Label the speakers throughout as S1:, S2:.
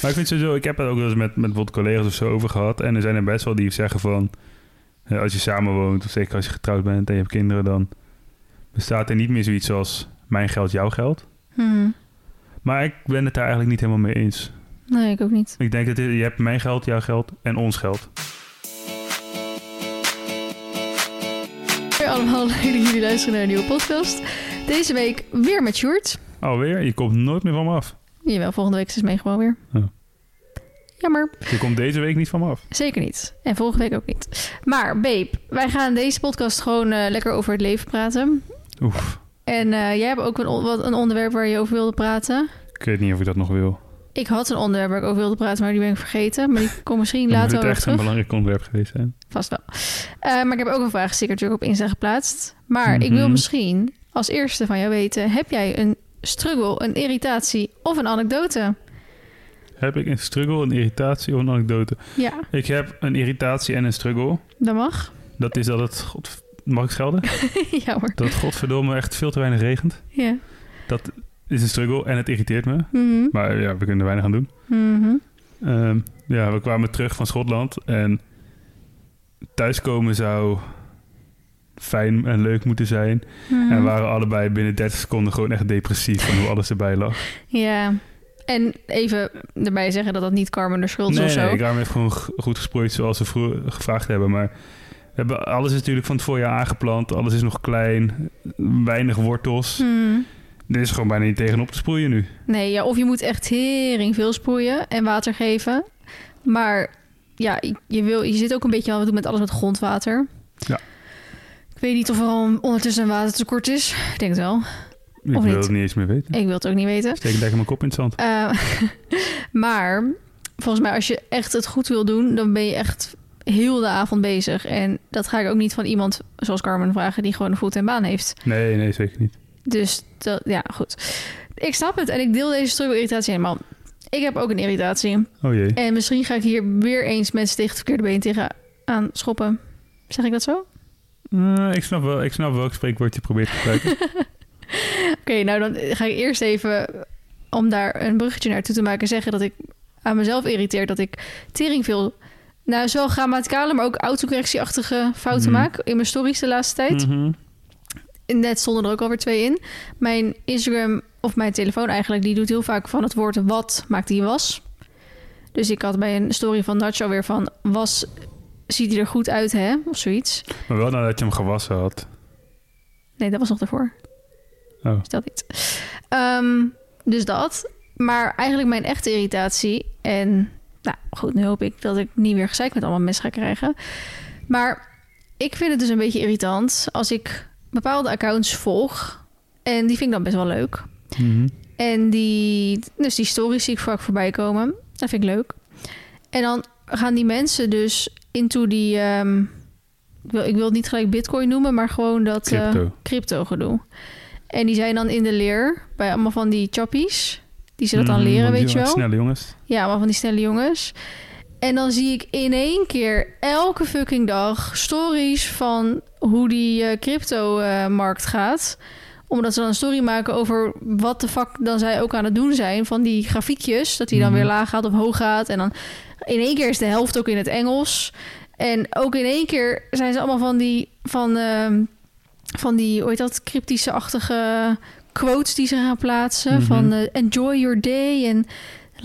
S1: Maar ik vind sowieso, ik heb het ook wel eens met, met wat collega's of zo over gehad. En er zijn er best wel die zeggen van, eh, als je samen woont, of zeker als je getrouwd bent en je hebt kinderen, dan bestaat er niet meer zoiets als mijn geld, jouw geld.
S2: Hm.
S1: Maar ik ben het daar eigenlijk niet helemaal mee eens.
S2: Nee, ik ook niet.
S1: Ik denk dat je je hebt mijn geld, jouw geld en ons geld.
S2: Hey allemaal, leuk dat jullie luisteren naar een nieuwe podcast. Deze week weer met Sjoerd.
S1: Alweer, je komt nooit meer van me af.
S2: Jawel, volgende week is het mee gewoon weer.
S1: Oh.
S2: Jammer.
S1: Je komt deze week niet van me af.
S2: Zeker niet. En volgende week ook niet. Maar, babe, wij gaan in deze podcast gewoon eh, lekker over het leven praten.
S1: Oef,
S2: En eh, jij hebt ook een, on- wat, een onderwerp waar je over wilde praten.
S1: ik weet niet of ik dat nog wil.
S2: Ik had een onderwerp waar ik over wilde praten, maar die ben ik vergeten. Maar die komt misschien
S1: Dan moet
S2: later
S1: het
S2: wel
S1: echt
S2: terug.
S1: een belangrijk onderwerp geweest zijn.
S2: Vast wel. Eh, maar ik heb ook een vraag zeker natuurlijk op Insta geplaatst. Maar ik wil
S1: Mhm.
S2: misschien als eerste van jou weten... heb jij een struggle, een irritatie of een anekdote?
S1: Heb ik een struggle, een irritatie of een anekdote?
S2: Ja,
S1: Ik heb een irritatie en een struggle.
S2: dat mag.
S1: Dat is dat het... God, mag ik schelden?
S2: ja hoor.
S1: Dat het godverdomme echt veel te weinig regent.
S2: Ja.
S1: Is een struggle en het irriteert me.
S2: Mhm.
S1: Maar ja, we kunnen er weinig aan doen.
S2: Mhm.
S1: Ehm, ja, we kwamen terug van Schotland. En thuiskomen zou fijn en leuk moeten zijn.
S2: Mhm.
S1: En we waren allebei binnen 30 seconden gewoon echt depressief van hoe alles erbij lag.
S2: Ja. En even erbij zeggen dat dat niet Carmen de schuld is
S1: nee,
S2: of zo.
S1: nee, Garmin heeft gewoon g- goed gesproeid zoals ze vroeg gevraagd hebben. Maar we hebben, alles is natuurlijk van het voorjaar aangeplant. Alles is nog klein. Weinig wortels.
S2: Hmm.
S1: Er is gewoon bijna niet tegenop te sproeien nu.
S2: Nee, ja, of je moet echt hering veel sproeien en water geven. Maar ja, je, wil, je zit ook een beetje aan het doen met alles met grondwater.
S1: Ja.
S2: Ik weet niet of er al ondertussen een watertekort is. Ik denk het wel.
S1: Ik
S2: Of
S1: wil
S2: niet.
S1: het niet eens meer weten.
S2: Ik wil het ook niet weten.
S1: Steek lekker mijn kop in het zand.
S2: Eh, maar volgens mij als je echt het goed wil doen, dan ben je echt heel de avond bezig. En dat ga ik ook niet van iemand zoals Carmen vragen die gewoon een voet en baan heeft.
S1: Nee, nee, zeker niet.
S2: Dus dat, ja, goed. Ik snap het en ik deel deze struggle irritatie helemaal. Ik heb ook een irritatie.
S1: Oh jee.
S2: En misschien ga ik hier weer eens mensen tegen het verkeerde been tegen aan schoppen. Zeg ik dat zo? Oké,
S1: Eh, ik, snap wel, ik snap welk spreekwoord je probeert te gebruiken.
S2: nou dan ga ik eerst even, om daar een bruggetje naartoe te maken, zeggen dat ik aan mezelf irriteer dat ik tering veel, nou zowel grammaticale, maar ook autocorrectieachtige fouten
S1: Mhm.
S2: maak in mijn stories de laatste tijd.
S1: Mhm.
S2: Net stonden er ook alweer twee in. Mijn Instagram of mijn telefoon eigenlijk, die doet heel vaak van het woord wat maakt die was. Dus ik had bij een story van Nacho weer van was ziet hij er goed uit hè of zoiets.
S1: Maar wel nadat je hem gewassen had.
S2: Nee, dat was nog daarvoor.
S1: Oh.
S2: Dus dat niet. Ehm, dus dat. Maar eigenlijk mijn echte irritatie en nou goed, nu hoop ik dat ik niet weer gezeik met allemaal mensen ga krijgen. Maar ik vind het dus een beetje irritant als ik bepaalde accounts volg en die vind ik dan best wel leuk.
S1: Mhm.
S2: En die, dus die stories zie ik vaak voorbij komen. Dat vind ik leuk. En dan gaan die mensen dus into die... ehm, ik, wil, ik wil het niet gelijk bitcoin noemen, maar gewoon dat eh,
S1: Crypto.
S2: crypto gedoe. En die zijn dan in de leer bij allemaal van die choppies. Die ze dat dan
S1: Mhm,
S2: leren,
S1: want die
S2: weet je wel.
S1: jongens- Snelle jongens.
S2: Ja, allemaal van die snelle jongens. En dan zie ik in één keer elke fucking dag stories van hoe die eh, crypto-markt gaat. Omdat ze dan een story maken over wat de fuck dan zij ook aan het doen zijn. Van die grafiekjes, dat die dan
S1: Mhm.
S2: weer laag gaat of hoog gaat. En dan in één keer is de helft ook in het Engels. En ook in één keer zijn ze allemaal van die, van, ehm, van die hoe heet dat, cryptische-achtige quotes die ze gaan plaatsen.
S1: Mhm.
S2: Van eh, enjoy your day en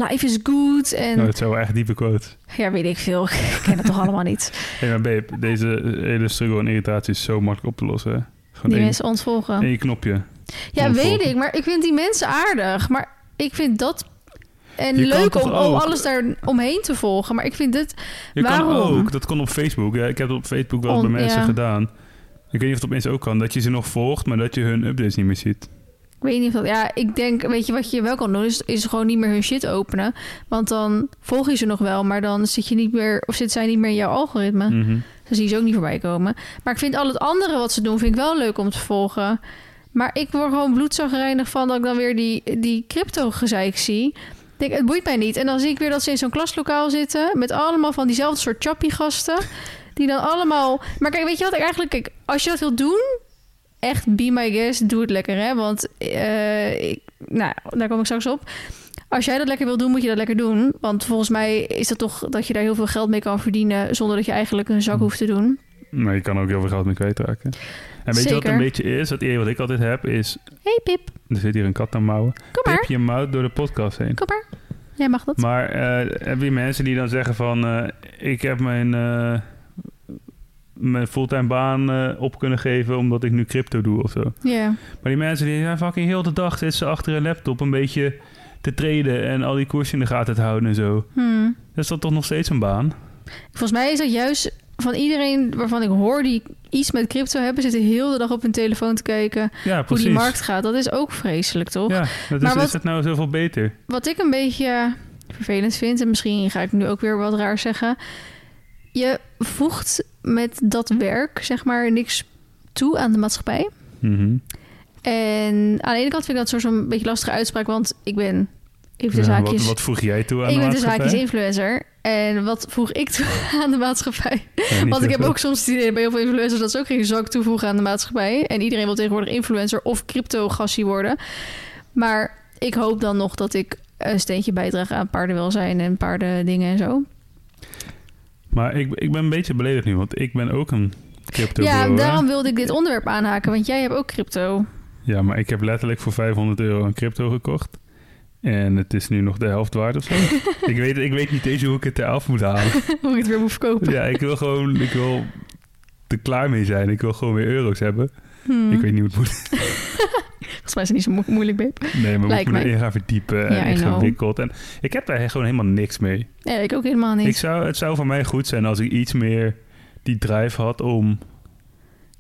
S2: life is good. En
S1: Nou, het zijn wel echt diepe quotes.
S2: ja, weet ik veel. Ik ken het toch allemaal niet.
S1: Hé, maar babe, deze eh, hele struggle en irritatie is zo makkelijk op te lossen. hè. Gewoon
S2: Die
S1: één,
S2: mensen ontvolgen.
S1: één knopje.
S2: Ja,
S1: ontvolgen.
S2: weet ik. Maar ik vind die mensen aardig. Maar ik vind dat... En
S1: Je kan
S2: leuk om,
S1: toch
S2: om
S1: ook-
S2: alles daar omheen te volgen. Maar ik vind dit...
S1: Je
S2: Waarom?
S1: kan ook, dat kon op Facebook. Ja, ik heb dat op Facebook wel eens
S2: On-
S1: bij mensen
S2: ja.
S1: gedaan. Ik weet niet of het op Insta ook kan, dat je ze nog volgt, maar dat je hun updates niet meer ziet.
S2: Ik weet niet of dat... Ja, ik denk... Weet je wat je wel kan doen? Is, is gewoon niet meer hun shit openen. Want dan volg je ze nog wel. Maar dan zit je niet meer... Of zit zij niet meer in jouw algoritme.
S1: Mhm.
S2: Dan zie je ze ook niet voorbij komen. Maar ik vind al het andere wat ze doen, vind ik wel leuk om te volgen. Maar ik word gewoon bloedzagrijnig van dat ik dan weer die, die crypto-gezeik zie. Ik Denk, het boeit mij niet. En dan zie ik weer dat ze in zo'n klaslokaal zitten... met allemaal van diezelfde soort chappie-gasten. Die dan allemaal... Maar kijk, weet je wat ik eigenlijk... Kijk, als je dat wilt doen, echt be my guest. Doe het lekker, hè. Want, eh, ik, nou, daar kom ik straks op. als jij dat lekker wil doen, moet je dat lekker doen. Want volgens mij is dat toch dat je daar heel veel geld mee kan verdienen zonder dat je eigenlijk een zak hoeft te doen.
S1: Maar je kan ook heel veel geld mee kwijtraken. En weet je wat het
S2: Zeker.
S1: een beetje is? Het idee wat ik altijd heb is...
S2: hey, Pip,
S1: Er zit hier een kat aan mouwen.
S2: kom
S1: Pip
S2: maar,
S1: je mouwt door de podcast heen.
S2: kom maar. Jij mag dat.
S1: Maar eh heb je mensen die dan zeggen van... eh, ik heb mijn, eh, mijn fulltime baan eh, op kunnen geven omdat ik nu crypto doe of zo.
S2: Ja.
S1: Maar die mensen die zijn fucking heel de dag zitten ze achter een laptop een beetje te traden en al die koersen in de gaten te houden en zo.
S2: Hmm.
S1: Dat is dan toch nog steeds een baan?
S2: Volgens mij is dat juist van iedereen waarvan ik hoor die iets met crypto hebben, zitten heel de dag op hun telefoon te kijken
S1: Ja,
S2: hoe
S1: precies.
S2: die markt gaat. Dat is ook vreselijk, toch?
S1: Ja, dat is,
S2: Maar wat-
S1: is het nou zoveel beter?
S2: Wat ik een beetje vervelend vind, en misschien ga ik nu ook weer wat raar zeggen. Je voegt met dat werk, zeg maar, niks toe aan de maatschappij.
S1: Mhm.
S2: En aan de ene kant vind ik dat soort een beetje lastige uitspraak, want ik ben even de
S1: Ja,
S2: zaakjes.
S1: wat, wat voeg jij toe aan
S2: ik
S1: de
S2: ben de
S1: maatschappij? Oh.
S2: zaakjes influencer. En wat voeg ik toe aan de maatschappij?
S1: Ja, niet
S2: Want ik heb
S1: zoveel.
S2: ook soms het idee bij heel veel influencers dat ze ook geen zak toevoegen aan de maatschappij. En iedereen wil tegenwoordig influencer of crypto-gassie worden. Maar ik hoop dan nog dat ik een steentje bijdraag aan paardenwelzijn en paardendingen en zo.
S1: Maar ik, ik ben een beetje beledigd nu, want ik ben ook een crypto
S2: ja, daarom wilde ik dit onderwerp aanhaken, want jij hebt ook crypto.
S1: ja, maar ik heb letterlijk voor 500 euro een crypto gekocht. En het is nu nog de helft waard of zo. ik, weet, ik weet niet eens hoe ik het eraf moet halen.
S2: Hoe ik het weer moet verkopen.
S1: Ja, ik wil gewoon... Ik wil er klaar mee zijn. Ik wil gewoon weer euro's hebben.
S2: Hmm.
S1: Ik weet niet hoe het moet.
S2: Volgens mij is het niet zo mo- moeilijk, babe.
S1: Nee, maar moet ik
S2: Lijkt
S1: me
S2: mij.
S1: erin gaan verdiepen en
S2: Ja, I know.
S1: ingewikkeld. En ik heb daar gewoon helemaal niks mee.
S2: Nee, ik ook helemaal
S1: Ik
S2: niet.
S1: zou, het zou voor mij goed zijn als ik iets meer die drive had om...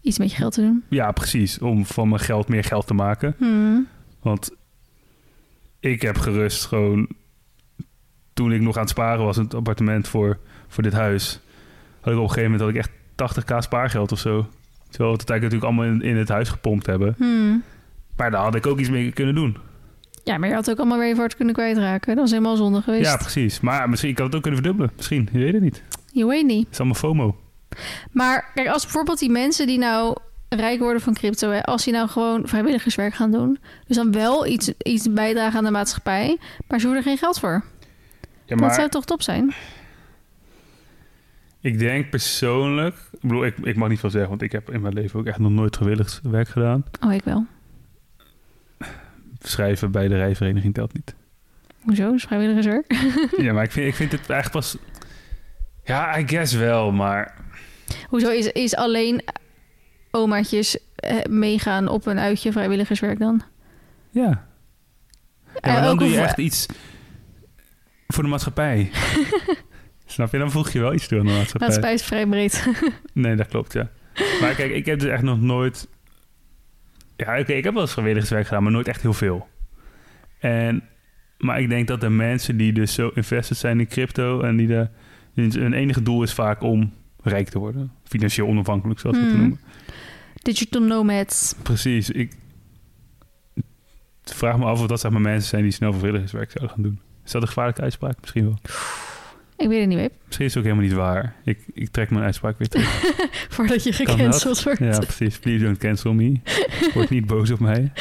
S2: Iets met je geld te doen.
S1: Ja, precies. Om van mijn geld meer geld te maken.
S2: Hmm.
S1: Want ik heb gerust gewoon... Toen ik nog aan het sparen was, in het appartement voor, voor dit huis... had ik op een gegeven moment had ik echt 80k spaargeld of zo. Terwijl we het eigenlijk natuurlijk allemaal in, in het huis gepompt hebben.
S2: Hmm.
S1: Maar daar had ik ook iets mee kunnen doen.
S2: Ja, maar je had ook allemaal weer je hard kunnen kwijtraken. Dat is helemaal zonde geweest.
S1: Ja, precies. Maar misschien kan ik het ook kunnen verdubbelen. Misschien. Je weet het niet.
S2: Je weet niet.
S1: Het is allemaal FOMO.
S2: Maar kijk, als bijvoorbeeld die mensen die nou rijk worden van crypto, hè, als die nou gewoon vrijwilligerswerk gaan doen, dus dan wel iets, iets bijdragen aan de maatschappij, maar ze hoeven er geen geld voor.
S1: Ja,
S2: Dat zou toch top zijn?
S1: Ik denk persoonlijk... Ik bedoel, ik, ik mag niet veel zeggen, want ik heb in mijn leven ook echt nog nooit gewillig werk gedaan.
S2: Oh, ik wel.
S1: Schrijven bij de rijvereniging telt niet.
S2: Hoezo? Is vrijwilligerswerk?
S1: ja, maar ik vind, ik vind het eigenlijk pas... Ja, I guess wel, maar...
S2: Hoezo is, is alleen omaatjes eh, meegaan op een uitje vrijwilligerswerk dan?
S1: Ja. ja maar
S2: Eh,
S1: dan
S2: ook
S1: doe je
S2: een-
S1: echt iets voor de maatschappij. Snap je? Dan voeg je wel iets toe aan de maatschappij.
S2: Maatschappij is vrij breed.
S1: Nee, dat klopt, ja. Maar kijk, ik heb dus echt nog nooit... Ja, oké, ik heb wel eens vrijwilligerswerk gedaan, maar nooit echt heel veel. En, maar ik denk dat de mensen die dus zo invested zijn in crypto... en die de, hun enige doel is vaak om rijk te worden. Financieel onafhankelijk, zoals we het
S2: Hmm.
S1: noemen.
S2: Digital nomads.
S1: Precies, ik... Ik vraag me af of dat zeg maar mensen zijn die snel vrijwilligerswerk zouden gaan doen. Is dat een gevaarlijke uitspraak? Misschien wel.
S2: Ik weet het niet, babe.
S1: Misschien is het ook helemaal niet waar. Ik, ik trek mijn uitspraak weer terug.
S2: Voordat je
S1: dat?
S2: gecanceld wordt.
S1: Ja, precies. Please don't cancel me. Word niet boos op mij.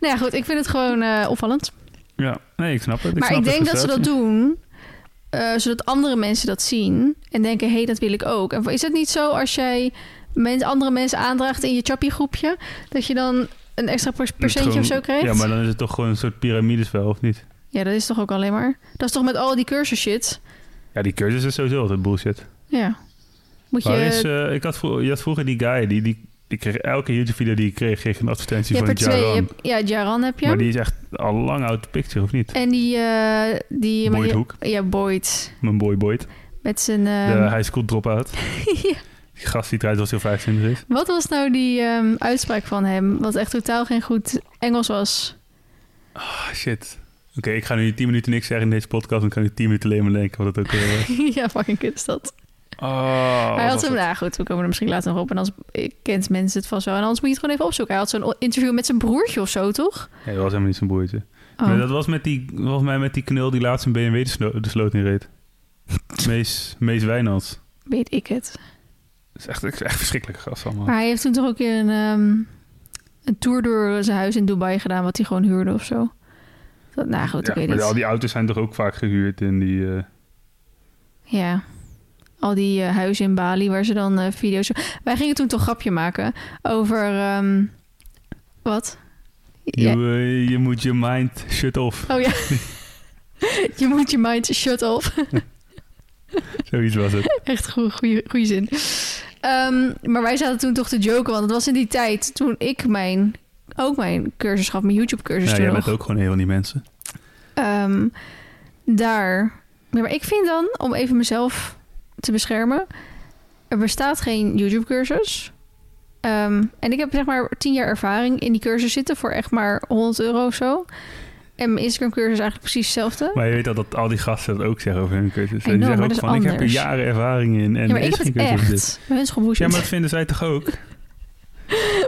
S2: Nou ja, goed. Ik vind het gewoon eh, opvallend.
S1: Ja, nee, ik snap het. Ik
S2: maar
S1: snap
S2: ik
S1: de
S2: denk dat ze dat
S1: frustratie.
S2: doen, eh, zodat andere mensen dat zien en denken: hé, hey, dat wil ik ook. En is het niet zo als jij mens, andere mensen aandraagt in je chappie groepje, dat je dan een extra per- percentje
S1: gewoon-
S2: of zo krijgt?
S1: Ja, maar dan is het toch gewoon een soort piramidespel, of niet?
S2: Ja, dat is toch ook alleen maar. Dat is toch met al die cursus shit.
S1: Ja, die cursus is sowieso altijd bullshit.
S2: Ja. Moet je.
S1: Maar is, eh, ik had vroeger, je had vroeger die guy, die, die, die kreeg elke YouTube-video die ik kreeg, kreeg een advertentie
S2: je hebt
S1: van
S2: er twee.
S1: Jaran.
S2: Je hebt- ja, Jaran heb je.
S1: Maar die is echt al lang out the picture, of niet?
S2: En die. eh die maar
S1: Boyd
S2: je-
S1: Hoek,
S2: Ja, Boyd.
S1: mijn boy Boyd,
S2: Met zijn.
S1: de
S2: ehm,
S1: high school dropout.
S2: ja.
S1: Die gast die trouwens al heel 25 is.
S2: Wat was nou die ehm, uitspraak van hem? Wat echt totaal geen goed Engels was.
S1: Ah, shit. Oké, ik ga nu 10 minuten niks zeggen in deze podcast, dan kan ik 10 minuten alleen maar denken wat het ook weer was.
S2: ja, fucking kut is dat.
S1: Oh,
S2: hij
S1: wat
S2: had
S1: was
S2: hem,
S1: dat?
S2: nou goed, we komen er misschien later nog op. En als ik kent mensen het vast wel. En anders moet je het gewoon even opzoeken. Hij had zo'n interview met zijn broertje of zo, toch?
S1: Nee, dat was helemaal niet zo'n boeite.
S2: Oh.
S1: Maar dat was met die, volgens mij met die knul die laatst een BMW de, slo- de sloot in reed. Mees, Mees Wijnands.
S2: Weet ik het.
S1: Oh. Dat is echt, echt, echt verschrikkelijk gast allemaal.
S2: Maar hij heeft toen toch ook een, ehm, een tour door zijn huis in Dubai gedaan, wat hij gewoon huurde of zo. Dat, nou goed,
S1: Ja,
S2: ik weet
S1: maar
S2: het.
S1: al die auto's zijn toch ook vaak gehuurd in die... eh,
S2: Ja. Al die eh, huizen in Bali waar ze dan eh, video's... Wij gingen toen toch een grapje maken over... ehm, wat? Ja.
S1: je, eh, je moet je mind shut off.
S2: Oh ja. je moet je mind shut off.
S1: Zoiets was het.
S2: Echt goede zin. Ehm, maar wij zaten toen toch te joken, want het was in die tijd toen ik mijn, ook mijn cursus gaf, mijn YouTube-cursus
S1: Ja,
S2: toen
S1: jij
S2: nog.
S1: bent ook gewoon een van die mensen.
S2: Ehm, daar. Ja, maar ik vind dan, om even mezelf te beschermen, er bestaat geen YouTube-cursus. Ehm, en ik heb zeg maar tien jaar ervaring in die cursus zitten voor echt maar 100 euro of zo. En mijn Instagram-cursus is eigenlijk precies hetzelfde.
S1: Maar je weet al dat al die gasten dat ook zeggen over hun cursus.
S2: I
S1: En die
S2: know,
S1: zeggen
S2: maar
S1: ook
S2: dat
S1: van,
S2: is
S1: ik heb er
S2: anders.
S1: jaren ervaring in. En
S2: ja, maar
S1: er
S2: ik
S1: is
S2: heb het
S1: geen cursus op dit.
S2: echt. Mijn hens geboezemd.
S1: Ja, maar dat vinden zij toch ook?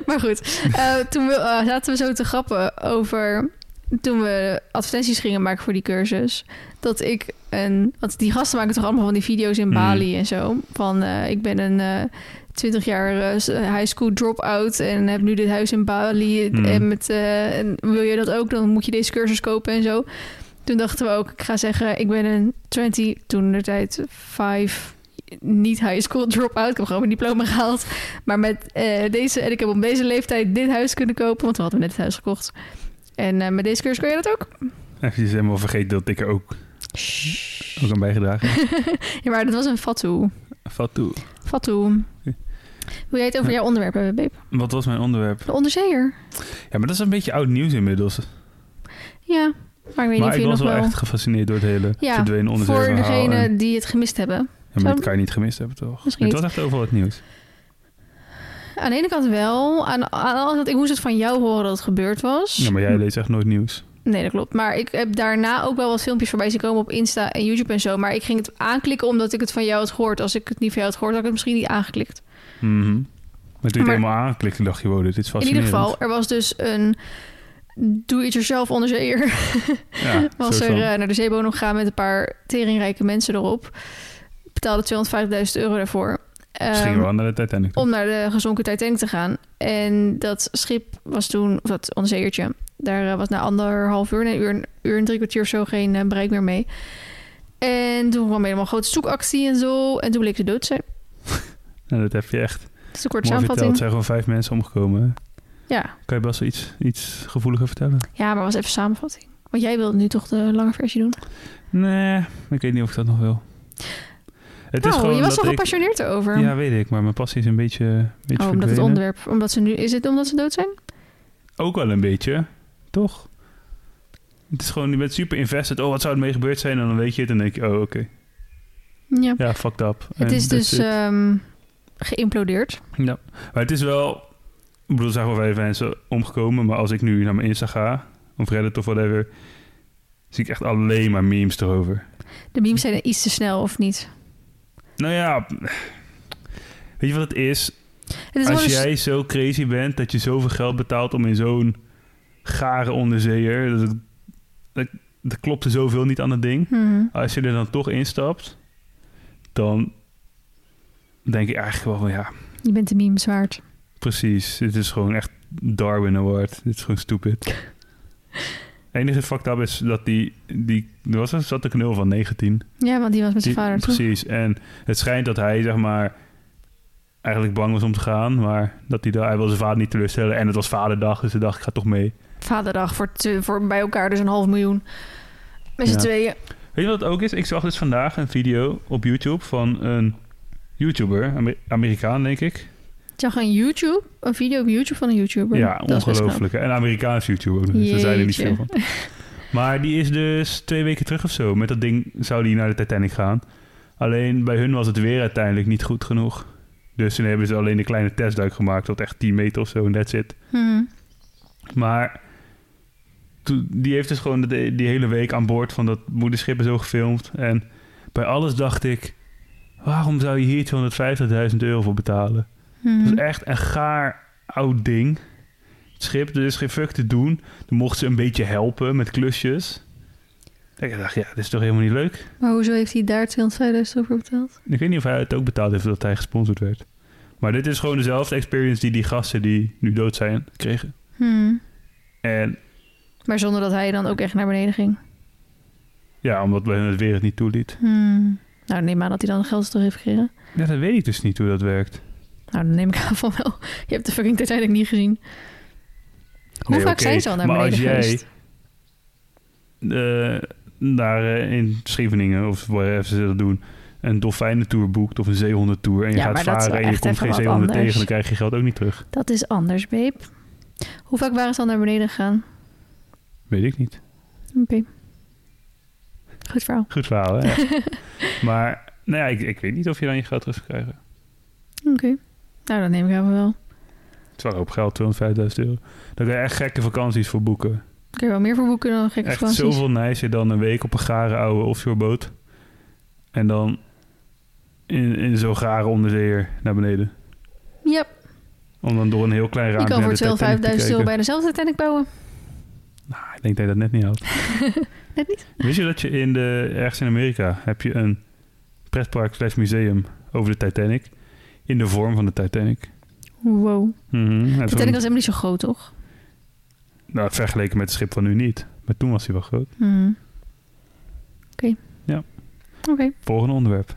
S2: Maar goed, eh, toen we, eh, zaten we zo te grappen over... toen we advertenties gingen maken voor die cursus... dat ik een... want die gasten maken toch allemaal van die video's in
S1: Mm.
S2: Bali en zo... van eh, ik ben een eh 20 jaar eh, s- high school drop-out... en heb nu dit huis in Bali...
S1: Mm.
S2: en, met, eh, en wil je dat ook, dan moet je deze cursus kopen en zo... Toen dachten we ook, ik ga zeggen, ik ben een 20, toen de tijd 5, niet high school drop-out. Ik heb gewoon mijn diploma gehaald. Maar met eh, deze, en ik heb op deze leeftijd dit huis kunnen kopen, want we hadden net het huis gekocht. En eh, met deze cursus kun je dat ook.
S1: Even helemaal vergeten dat ik er ook,
S2: Shh.
S1: ook aan bijgedragen heb.
S2: Ja, maar dat was een fatu.
S1: Vat toe.
S2: Fatu.
S1: Oké.
S2: Wil jij het over
S1: Ja.
S2: jouw onderwerp hebben, babe?
S1: Wat was mijn onderwerp?
S2: De onderzeeër.
S1: Ja, maar dat is een beetje oud nieuws inmiddels.
S2: Ja, maar ik weet niet
S1: maar
S2: of
S1: ik
S2: je nog
S1: was
S2: wel...
S1: wel echt gefascineerd door het hele
S2: Ja,
S1: verdwenen onderzeeër
S2: Voor
S1: verhaal.
S2: degene
S1: En,
S2: die het gemist hebben.
S1: ja, maar dat kan je niet gemist hebben, toch?
S2: Misschien
S1: Het was echt overal het nieuws.
S2: Aan de ene kant wel. Aan, aan de andere kant, ik moest het van jou horen dat het gebeurd was.
S1: Ja, maar jij leest echt nooit nieuws.
S2: Nee, dat klopt. Maar ik heb daarna ook wel wat filmpjes voorbij zien komen op Insta en YouTube en zo. Maar ik ging het aanklikken omdat ik het van jou had gehoord. Als ik het niet van jou had gehoord, had ik het misschien niet aangeklikt.
S1: Mhm. Maar toen je
S2: Maar-
S1: het helemaal aanklikte, dacht je, wow, dit is
S2: In ieder
S1: fascinerend.
S2: geval, er was dus een do-it-yourself onderzeeër.
S1: ja,
S2: Was
S1: soort
S2: er
S1: van.
S2: eh, naar de zeebodem gegaan met een paar teringrijke mensen erop. Betaalde 250.000 euro daarvoor.
S1: Misschien
S2: Ehm,
S1: wel naar de Titanic. toe.
S2: om naar de gezonken Titanic te gaan. En dat schip was toen, of dat onderzeeërtje, daar eh, was na anderhalf uur, nee, een uur, een uur en drie kwartier of zo geen eh, bereik meer mee. En toen kwam helemaal een grote zoekactie en zo. En toen bleek ze dood te zijn.
S1: Nou, dat heb je echt
S2: Dat is een korte
S1: mooi verteld. Er
S2: samenvatting.
S1: zijn gewoon vijf mensen omgekomen. hè?
S2: Ja.
S1: Kan je Bas iets, iets gevoeliger vertellen?
S2: ja, maar was even samenvatting. Want jij wilde nu toch de lange versie doen.
S1: Nee, ik weet niet of ik dat nog wil. Het
S2: nou, je was
S1: dat
S2: toch
S1: ik-
S2: gepassioneerd erover.
S1: Ja, weet ik, maar mijn passie is een beetje, een beetje
S2: oh, omdat het
S1: verdwenen.
S2: onderwerp, omdat ze nu, is het omdat ze dood zijn?
S1: Ook wel een beetje, toch? Het is gewoon, je bent super invested. Oh, wat zou er mee gebeurd zijn? En dan weet je het en dan denk je, oh, oké.
S2: Ja.
S1: Ja, fucked up.
S2: het
S1: En
S2: is
S1: that's
S2: dus
S1: it.
S2: ehm, geïmplodeerd.
S1: Ja. Maar het is wel... Ik bedoel, er zijn wel vijf mensen omgekomen. Maar als ik nu naar mijn Insta ga, of Reddit of whatever... zie ik echt alleen maar memes erover.
S2: De memes zijn iets te snel, of niet?
S1: Nou ja... Weet je wat het is?
S2: Het is
S1: Als
S2: gewoon een
S1: jij zo crazy bent dat je zoveel geld betaalt om in zo'n gare onderzeeër... Dat, het- dat, dat klopt er zoveel niet aan het ding.
S2: Mhm.
S1: als je er dan toch instapt, dan denk ik eigenlijk wel van ja,
S2: Je bent de memes waard.
S1: precies. Dit is gewoon echt Darwin Award. Dit is gewoon stupid. Het enige fucked up is dat die, die er was er zat een knul van 19.
S2: Ja, want die was met zijn
S1: Die-
S2: vader toch?
S1: precies. En het schijnt dat hij zeg maar eigenlijk bang was om te gaan, maar dat hij, daar- hij wil zijn vader niet teleurstellen. En het was vaderdag, dus hij dacht ik ga toch mee.
S2: Vaderdag voor, te- voor bij elkaar dus een half miljoen. Met z'n
S1: Ja.
S2: tweeën.
S1: Weet je wat het ook is? Ik zag dus vandaag een video op YouTube van een YouTuber, Amer- Amerikaan denk ik.
S2: Ik zag een YouTube, een video op YouTube van een YouTuber.
S1: Ja,
S2: Dat is best
S1: ongelooflijk. En Amerikaans YouTube ook. nog eens. Daar zijn er niet
S2: Jeetje.
S1: veel van. Maar die is dus twee weken terug of zo. Met dat ding zou die naar de Titanic gaan. Alleen bij hun was het weer uiteindelijk niet goed genoeg. Dus toen hebben ze alleen een kleine testduik gemaakt. Tot echt 10 meter of zo. En that's it.
S2: knap. Mhm.
S1: Maar toen- die heeft dus gewoon de- die hele week aan boord van dat moederschip en zo gefilmd. En bij alles dacht ik... Waarom zou je hier 250.000 euro voor betalen?
S2: Mhm.
S1: Het was echt een gaar oud ding. Het schip, er is geen fuck te doen. Dan mochten ze een beetje helpen met klusjes. Ik dacht, ja, dit is toch helemaal niet leuk?
S2: Maar hoezo heeft hij daar 250.000 euro voor betaald?
S1: Ik weet niet of hij het ook betaald heeft of dat hij gesponsord werd. Maar dit is gewoon dezelfde experience die die gasten die nu dood zijn, kregen.
S2: Hmm.
S1: En
S2: Maar zonder dat hij dan ook echt naar beneden ging.
S1: Ja, omdat we het weer het niet toeliet.
S2: Hmm. Nou, neem aan dat hij dan geld terug heeft gekregen.
S1: Ja, dat weet ik dus niet hoe dat werkt.
S2: Nou, dan neem ik aan van wel. Je hebt de fucking Titanic niet gezien. Hoe
S1: Nee,
S2: vaak
S1: oké,
S2: zijn ze al naar
S1: maar
S2: beneden
S1: als jij-
S2: geweest?
S1: eh daar eh, in Scheveningen of waar ze dat doen, een dolfijnentour boekt of een zeehondentour en je
S2: Ja,
S1: gaat
S2: maar dat is
S1: varen
S2: wel
S1: en je
S2: echt
S1: komt
S2: even
S1: geen
S2: wat
S1: zeehonden
S2: anders.
S1: tegen, dan krijg je geld ook niet terug.
S2: Dat is anders, babe. Hoe vaak waren ze al naar beneden gegaan?
S1: Weet ik niet.
S2: Oké. Goed verhaal.
S1: Goed verhaal, hè? Ja. maar nou ja, ik, ik weet niet of je dan je geld terug zou krijgen.
S2: Oké. Nou, dan neem ik aan van wel.
S1: Het is wel een hoop geld, 205.000 euro. Dan kun je echt gekke vakanties voor boeken.
S2: Ik heb wel meer voor boeken dan gekke
S1: Echt
S2: vakanties.
S1: zoveel nicer dan een week op een gare oude offshoreboot. En dan in, in zo'n gare onderzeeër naar beneden.
S2: Ja,
S1: Om dan door een heel klein
S2: je
S1: raampje
S2: kan
S1: naar
S2: voor
S1: de
S2: 12.000
S1: Titanic te kijken.
S2: euro bijna zelf de Titanic bouwen.
S1: Ah, ik denk dat je dat net niet houdt.
S2: Net niet?
S1: Wist je dat je in de, ergens in Amerika heb je een pretpark slash museum over de Titanic? In de vorm van de Titanic.
S2: Wow.
S1: Mhm. En
S2: De
S1: zo'n-
S2: Titanic was helemaal niet zo groot, toch?
S1: nou, vergeleken met het schip van nu niet. Maar toen was hij wel groot.
S2: Hmm. Oké.
S1: Ja.
S2: Oké.
S1: Volgende onderwerp.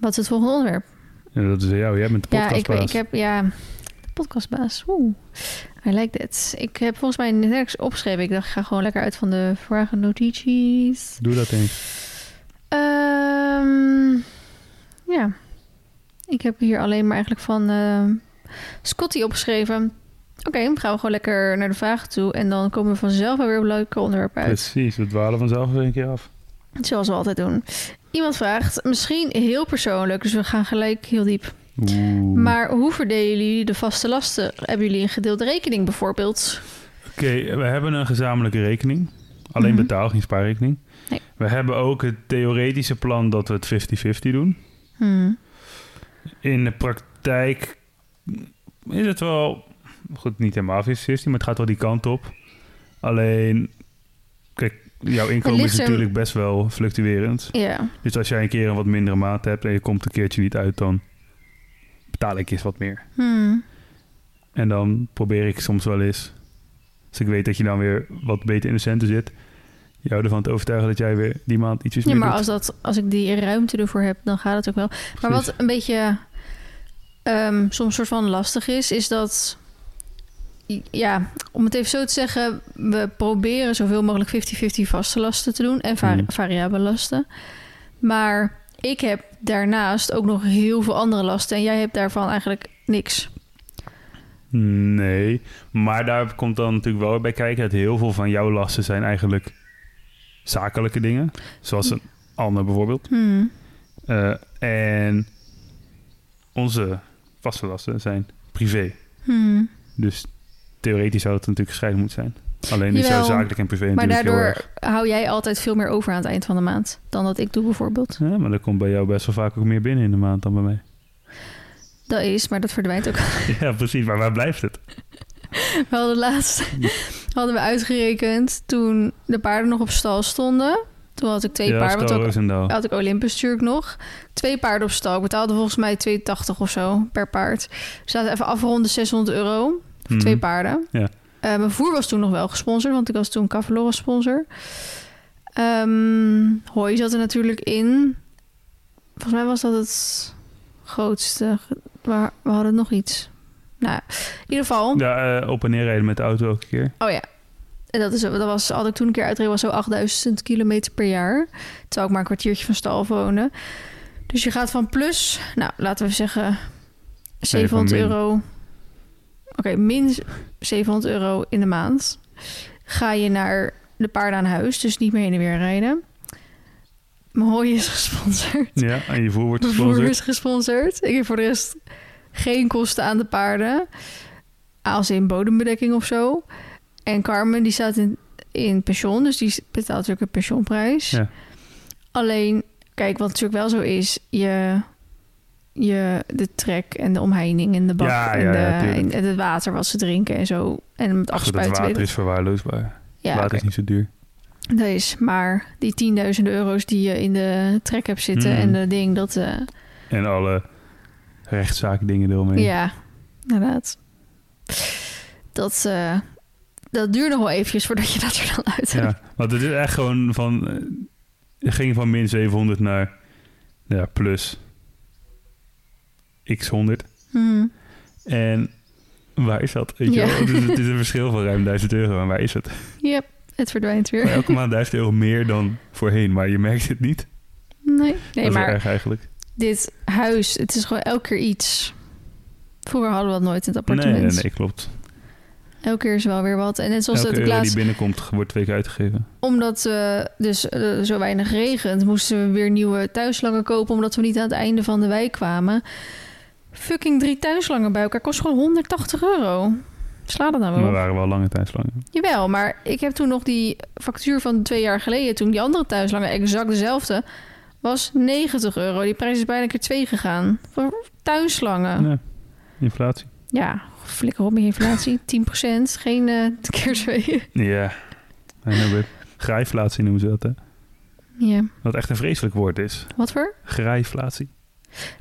S2: Wat is het volgende onderwerp?
S1: En dat is aan jou. Jij bent de
S2: Ja, ik,
S1: podcastbaas.
S2: ik heb... Ja, de podcastbaas. Oeh. I like that. Ik heb volgens mij nergens opgeschreven. Ik dacht, ik ga gewoon lekker uit van de vragen notities.
S1: Doe dat eens.
S2: Ehm, ja. Ik heb hier alleen maar eigenlijk van ehm, Scotty opgeschreven. Oké, dan gaan we gewoon lekker naar de vragen toe. En dan komen we vanzelf wel weer op leuke onderwerpen uit.
S1: Precies, we dwalen vanzelf weer een keer af.
S2: Zoals we altijd doen. Iemand vraagt, misschien heel persoonlijk, dus we gaan gelijk heel diep.
S1: Oeh.
S2: Maar hoe verdelen jullie de vaste lasten? Hebben jullie een gedeelde rekening bijvoorbeeld?
S1: Oké, we hebben een gezamenlijke rekening. Alleen
S2: Mhm.
S1: betaal, geen spaarrekening.
S2: Nee.
S1: We hebben ook het theoretische plan dat we het 50-50 doen.
S2: Hmm.
S1: In de praktijk is het wel... Goed, niet helemaal 50-50, maar het gaat wel die kant op. Alleen, kijk, jouw inkomen
S2: ligt
S1: is
S2: er-
S1: natuurlijk best wel fluctuerend.
S2: Ja,
S1: Dus als jij een keer een wat mindere maand hebt en je komt een keertje niet uit, dan betaal ik eens wat meer.
S2: Hmm.
S1: En dan probeer ik soms wel eens, als ik weet dat je dan weer wat beter in de centen zit, jou ervan te overtuigen dat jij weer die maand ietsjes
S2: ja
S1: meer
S2: maar
S1: doet.
S2: als, dat, als ik die ruimte ervoor heb, dan gaat het ook wel. Maar
S1: Precies.
S2: wat een beetje ehm, soms soort van lastig is, is dat. Ja, om het even zo te zeggen, we proberen zoveel mogelijk 50-50 vaste lasten te doen en vari-
S1: Mhm.
S2: variabele lasten. Maar ik heb daarnaast ook nog heel veel andere lasten en jij hebt daarvan eigenlijk niks.
S1: Nee, maar daar komt dan natuurlijk wel bij kijken dat heel veel van jouw lasten zijn eigenlijk zakelijke dingen. Zoals een ander bijvoorbeeld.
S2: Hmm.
S1: Eh, en onze vaste lasten zijn privé.
S2: Hmm.
S1: Dus theoretisch zou het natuurlijk gescheiden moeten zijn. Alleen is jouw
S2: Jawel,
S1: zakelijk en privé
S2: Maar
S1: natuurlijk heel erg.
S2: daardoor hou jij altijd veel meer over aan het eind van de maand dan dat ik doe bijvoorbeeld.
S1: Ja, maar er komt bij jou best wel vaak ook meer binnen in de maand dan bij mij.
S2: Dat is, maar dat verdwijnt ook
S1: Ja, precies. Maar waar blijft het?
S2: We hadden laatst hadden we uitgerekend toen de paarden nog op stal stonden. Toen had ik twee
S1: ja,
S2: paarden, want
S1: Star
S2: ook,
S1: Roosendaal.
S2: had ik Olympus natuurlijk nog. Twee paarden op stal. Ik betaalde volgens mij 2,80 of zo per paard. Dus laten we even afronden 600 euro.
S1: Mhm.
S2: Twee paarden.
S1: Ja.
S2: Eh, mijn voer was toen nog wel gesponsord, want ik was toen Cavalora sponsor. Ehm hooi zat er natuurlijk in. Volgens mij was dat het grootste. Maar we hadden nog iets. Nou, in ieder geval.
S1: Ja, eh, op en neer rijden met de auto elke keer.
S2: Oh ja. En dat, is, dat was, had ik toen een keer uitgereden, was zo 8000 kilometer per jaar. Terwijl ik maar een kwartiertje van stal woonde. Dus je gaat van plus, nou laten we zeggen 700
S1: min.
S2: euro. Oké, min 700 euro in de maand. Ga je naar de paarden aan huis, dus niet meer heen en weer rijden. Mijn hooi is gesponsord.
S1: Ja, en je voer wordt
S2: Mijn broer
S1: gesponsord.
S2: is gesponsord. Ik heb voor de rest geen kosten aan de paarden. Als in bodembedekking of zo. En Carmen die staat in, in pensioen. Dus die betaalt natuurlijk een pensioenprijs.
S1: Ja.
S2: Alleen, kijk, wat natuurlijk wel zo is. Je, je, de trek en de omheining en de bak
S1: Ja,
S2: en,
S1: ja, ja,
S2: de,
S1: tuurlijk.
S2: en, en het water wat ze drinken en zo. En het
S1: Ach, dat
S2: afspuiten.
S1: water
S2: weet ik-
S1: is verwaarloosbaar.
S2: Ja,
S1: water
S2: oké.
S1: is niet zo duur.
S2: Dat is. Maar die tienduizenden euro's die je in de trek hebt zitten.
S1: Mhm.
S2: En dat ding dat... eh,
S1: En alle rechtszaakdingen eromheen.
S2: Ja, inderdaad. Dat, eh, dat duurt nog wel eventjes voordat je dat er dan uit hebt.
S1: Ja, want het is echt gewoon van... eh, Het ging van min 700 naar ja, plus x 100.
S2: Hmm.
S1: En waar is dat? Weet je
S2: Ja.
S1: wel? Dus het is een verschil van ruim 1000 euro. En waar is het?
S2: Yep, het verdwijnt weer.
S1: Maar elke maand 1000 euro meer dan voorheen. Maar je merkt het niet.
S2: Nee,
S1: dat
S2: nee
S1: is wel
S2: maar
S1: erg eigenlijk.
S2: dit huis, het is gewoon elke keer iets. Vroeger hadden we dat nooit in het
S1: Nee,
S2: appartement.
S1: nee, nee, klopt.
S2: Elke keer is wel weer wat. En net zoals
S1: elke
S2: dat ik
S1: euro
S2: laatst
S1: die binnenkomt wordt twee keer uitgegeven.
S2: Omdat we dus eh, zo weinig regent, moesten we weer nieuwe tuinslangen kopen. Omdat we niet aan het einde van de wijk kwamen. Fucking drie tuinslangen bij elkaar kost gewoon 180 euro. Sla dat nou
S1: Maar
S2: wel.
S1: we
S2: op.
S1: waren wel lange tijdslangen.
S2: Jawel, maar ik heb toen nog die factuur van twee jaar geleden. Toen die andere tuinslangen exact dezelfde was 90 euro. Die prijs is bijna een keer twee gegaan. Voor tuinslangen.
S1: Ja. Inflatie.
S2: Ja, flikker op met je inflatie. 10%. Geen eh, keer twee.
S1: Ja. I know it. Grijflatie noemen ze dat, hè?
S2: ja,
S1: Wat echt een vreselijk woord is.
S2: wat voor?
S1: Grijflatie.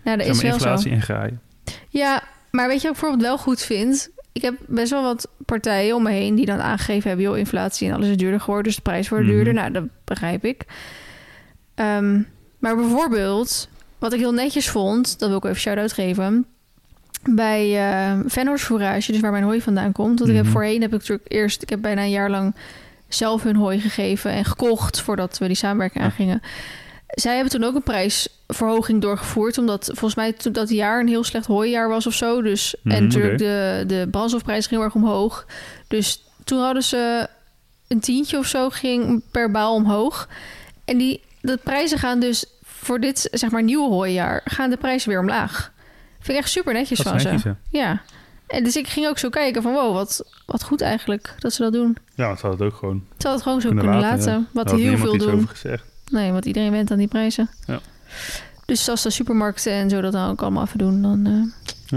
S2: Nou, dat
S1: Zeg
S2: is
S1: maar
S2: wel zo.
S1: inflatie en graaien.
S2: Ja, maar weet je wat ik bijvoorbeeld wel goed vind? Ik heb best wel wat partijen om me heen die dan aangegeven hebben... joh, inflatie en alles is duurder geworden, dus de prijs wordt
S1: Mhm.
S2: duurder. Nou, dat begrijp ik. Ehm, maar bijvoorbeeld, wat ik heel netjes vond... dat wil ik even shout-out geven... bij eh Venhorst Fourage, dus waar mijn hooi vandaan komt. Want ik
S1: Mhm.
S2: heb voorheen, heb ik natuurlijk eerst... ik heb bijna een jaar lang zelf hun hooi gegeven en gekocht... voordat we die samenwerking
S1: Ja.
S2: aangingen. Zij hebben toen ook een prijsverhoging doorgevoerd. Omdat volgens mij toen dat jaar een heel slecht hooijaar was of zo. Dus,
S1: Mhm,
S2: en natuurlijk
S1: oké.
S2: de, de brandstofprijs ging heel erg omhoog. Dus toen hadden ze een tientje of zo ging per baal omhoog. En die de prijzen gaan dus voor dit zeg maar nieuwe hooijaar gaan de prijzen weer omlaag. Vind ik echt super netjes
S1: Dat
S2: van
S1: zijn
S2: ze.
S1: kiezen.
S2: Ja. En dus ik ging ook zo kijken van wow, wat, wat goed eigenlijk dat ze dat doen.
S1: Ja, want ze hadden het ook gewoon.
S2: Ze hadden het gewoon zo
S1: Kunnen
S2: kunnen,
S1: laten,
S2: laten.
S1: ja.
S2: Wat
S1: Daar had
S2: heel
S1: niemand
S2: veel
S1: iets
S2: doen.
S1: over gezegd.
S2: Nee, want iedereen went aan die prijzen.
S1: Ja.
S2: Dus als de supermarkten en zo dat dan ook allemaal even doen, dan eh,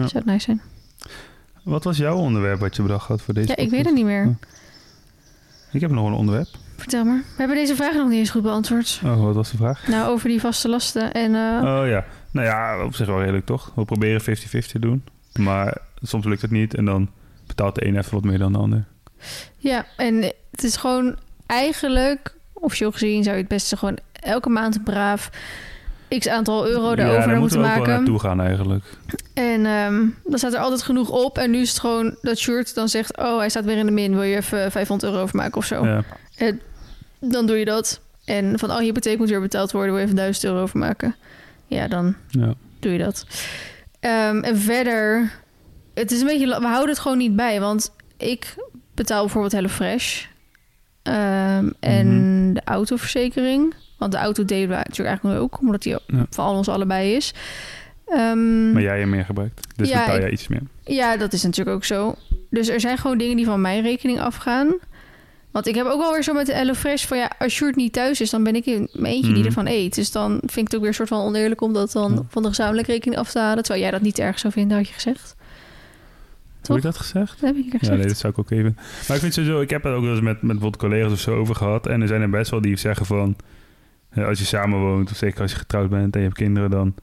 S1: Ja.
S2: zou het nice zijn.
S1: Wat was jouw onderwerp wat je bedacht had voor deze
S2: Ja, ik
S1: podcast? Hm.
S2: weet het niet
S1: Ja.
S2: meer.
S1: Ik heb nog een onderwerp.
S2: Vertel maar. We hebben deze vraag nog niet eens goed beantwoord.
S1: Oh, wat was de vraag?
S2: Nou, over die vaste lasten. En eh,
S1: Oh ja. Nou ja, op zich wel redelijk toch? We proberen 50-50 te doen. Maar soms lukt het niet en dan betaalt de een even wat meer dan de ander.
S2: ja, en het is gewoon eigenlijk, officieel gezien, zou je het beste gewoon elke maand braaf x aantal euro
S1: ja,
S2: daarover
S1: daar
S2: naar
S1: moeten
S2: moeten
S1: we ook wel
S2: maken.
S1: naartoe gaan eigenlijk.
S2: En ehm, dan staat er altijd genoeg op. En nu is het gewoon dat shirt dan zegt: Oh, hij staat weer in de min. Wil je even 500 euro overmaken of zo?
S1: Ja.
S2: dan doe je dat. En van, oh, je hypotheek moet weer betaald worden, wil je even 1000 euro overmaken. Ja, dan
S1: Ja.
S2: doe je dat. Ehm, en verder, het is een beetje, la- we houden het gewoon niet bij, want ik betaal bijvoorbeeld HelloFresh Ehm en
S1: Mhm.
S2: de autoverzekering. Want de auto delen we natuurlijk eigenlijk ook, omdat die
S1: Ja.
S2: van al ons allebei is. Ehm,
S1: Maar jij hebt meer gebruikt. Dus
S2: Ja,
S1: betaal
S2: ik-
S1: jij iets meer.
S2: ja, dat is natuurlijk ook zo. Dus er zijn gewoon dingen die van mijn rekening afgaan. Want ik heb ook alweer zo met de HelloFresh van ja, als Sjoerd niet thuis is, dan ben ik in mijn eentje
S1: Mhm.
S2: die ervan eet. Dus dan vind ik het ook weer een soort van oneerlijk om dat dan
S1: Ja.
S2: van de gezamenlijke rekening af te halen. Terwijl jij dat niet erg zou vinden, had je gezegd.
S1: Heb
S2: Toch?
S1: ik dat gezegd?
S2: Dat heb ik een keer
S1: Ja,
S2: gezegd.
S1: nee, dat zou ik ook even. Maar ik vind sowieso, ik heb het ook wel eens met, met wat collega's of zo over gehad. En er zijn er best wel die zeggen van, eh, als je samen woont, of zeker als je getrouwd bent en je hebt kinderen, dan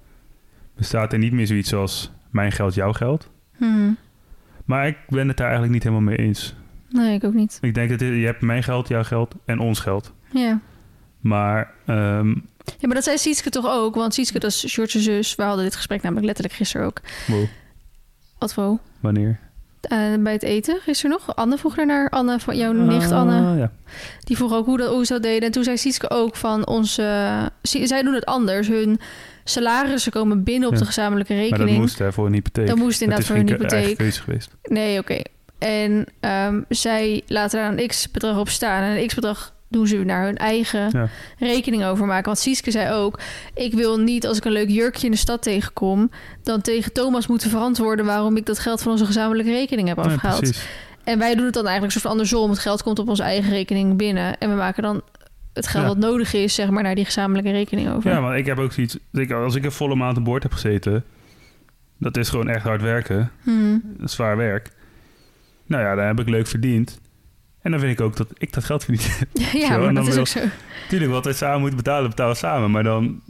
S1: bestaat er niet meer zoiets als mijn geld, jouw geld.
S2: Hmm.
S1: Maar ik ben het daar eigenlijk niet helemaal mee eens.
S2: Nee, ik ook niet.
S1: Ik denk dat je je hebt mijn geld, jouw geld en ons geld.
S2: Ja.
S1: Maar ehm,
S2: ja, maar dat zei Sietske toch ook? Want Sietske, dat is Sjoerd's zus. We hadden dit gesprek namelijk letterlijk gisteren ook.
S1: wow,
S2: Wat voor?
S1: wanneer?
S2: Eh, bij het eten gisteren nog. Anne vroeg daarnaar. Anne, van jouw Oh, nicht Anne.
S1: Ah, ja.
S2: Die vroeg ook hoe, dat, hoe ze dat deden. En toen zei Sietske ook van onze... Zie- Zij doen het anders. Hun salarissen komen binnen op
S1: Ja.
S2: de gezamenlijke
S1: Maar dat
S2: rekening.
S1: moest hè, voor een hypotheek.
S2: Dat moest inderdaad voor hun
S1: geen ke- eigen
S2: hypotheek.
S1: keuze geweest.
S2: Nee, oké. En ehm, zij laten daar een x-bedrag op staan. En een x-bedrag doen ze naar hun eigen
S1: Ja.
S2: rekening overmaken. Want Sietske zei ook... ik wil niet als ik een leuk jurkje in de stad tegenkom... dan tegen Thomas moeten verantwoorden... waarom ik dat geld van onze gezamenlijke rekening heb
S1: Ja,
S2: afgehaald.
S1: precies.
S2: En wij doen het dan eigenlijk soort van andersom. Het geld komt op onze eigen rekening binnen. En we maken dan het geld
S1: Ja.
S2: wat nodig is, zeg maar, naar die gezamenlijke rekening over.
S1: Ja, maar ik heb ook zoiets... Ik, als ik een volle maand aan boord heb gezeten... Dat is gewoon echt hard werken.
S2: Hmm.
S1: zwaar werk. Nou ja, daar heb ik leuk verdiend. En dan vind ik ook dat ik dat geld verdien.
S2: ja,
S1: en
S2: maar
S1: dan
S2: dat is
S1: wil-
S2: ook zo.
S1: Tuurlijk, wat wij samen moeten betalen, betalen we samen. Maar dan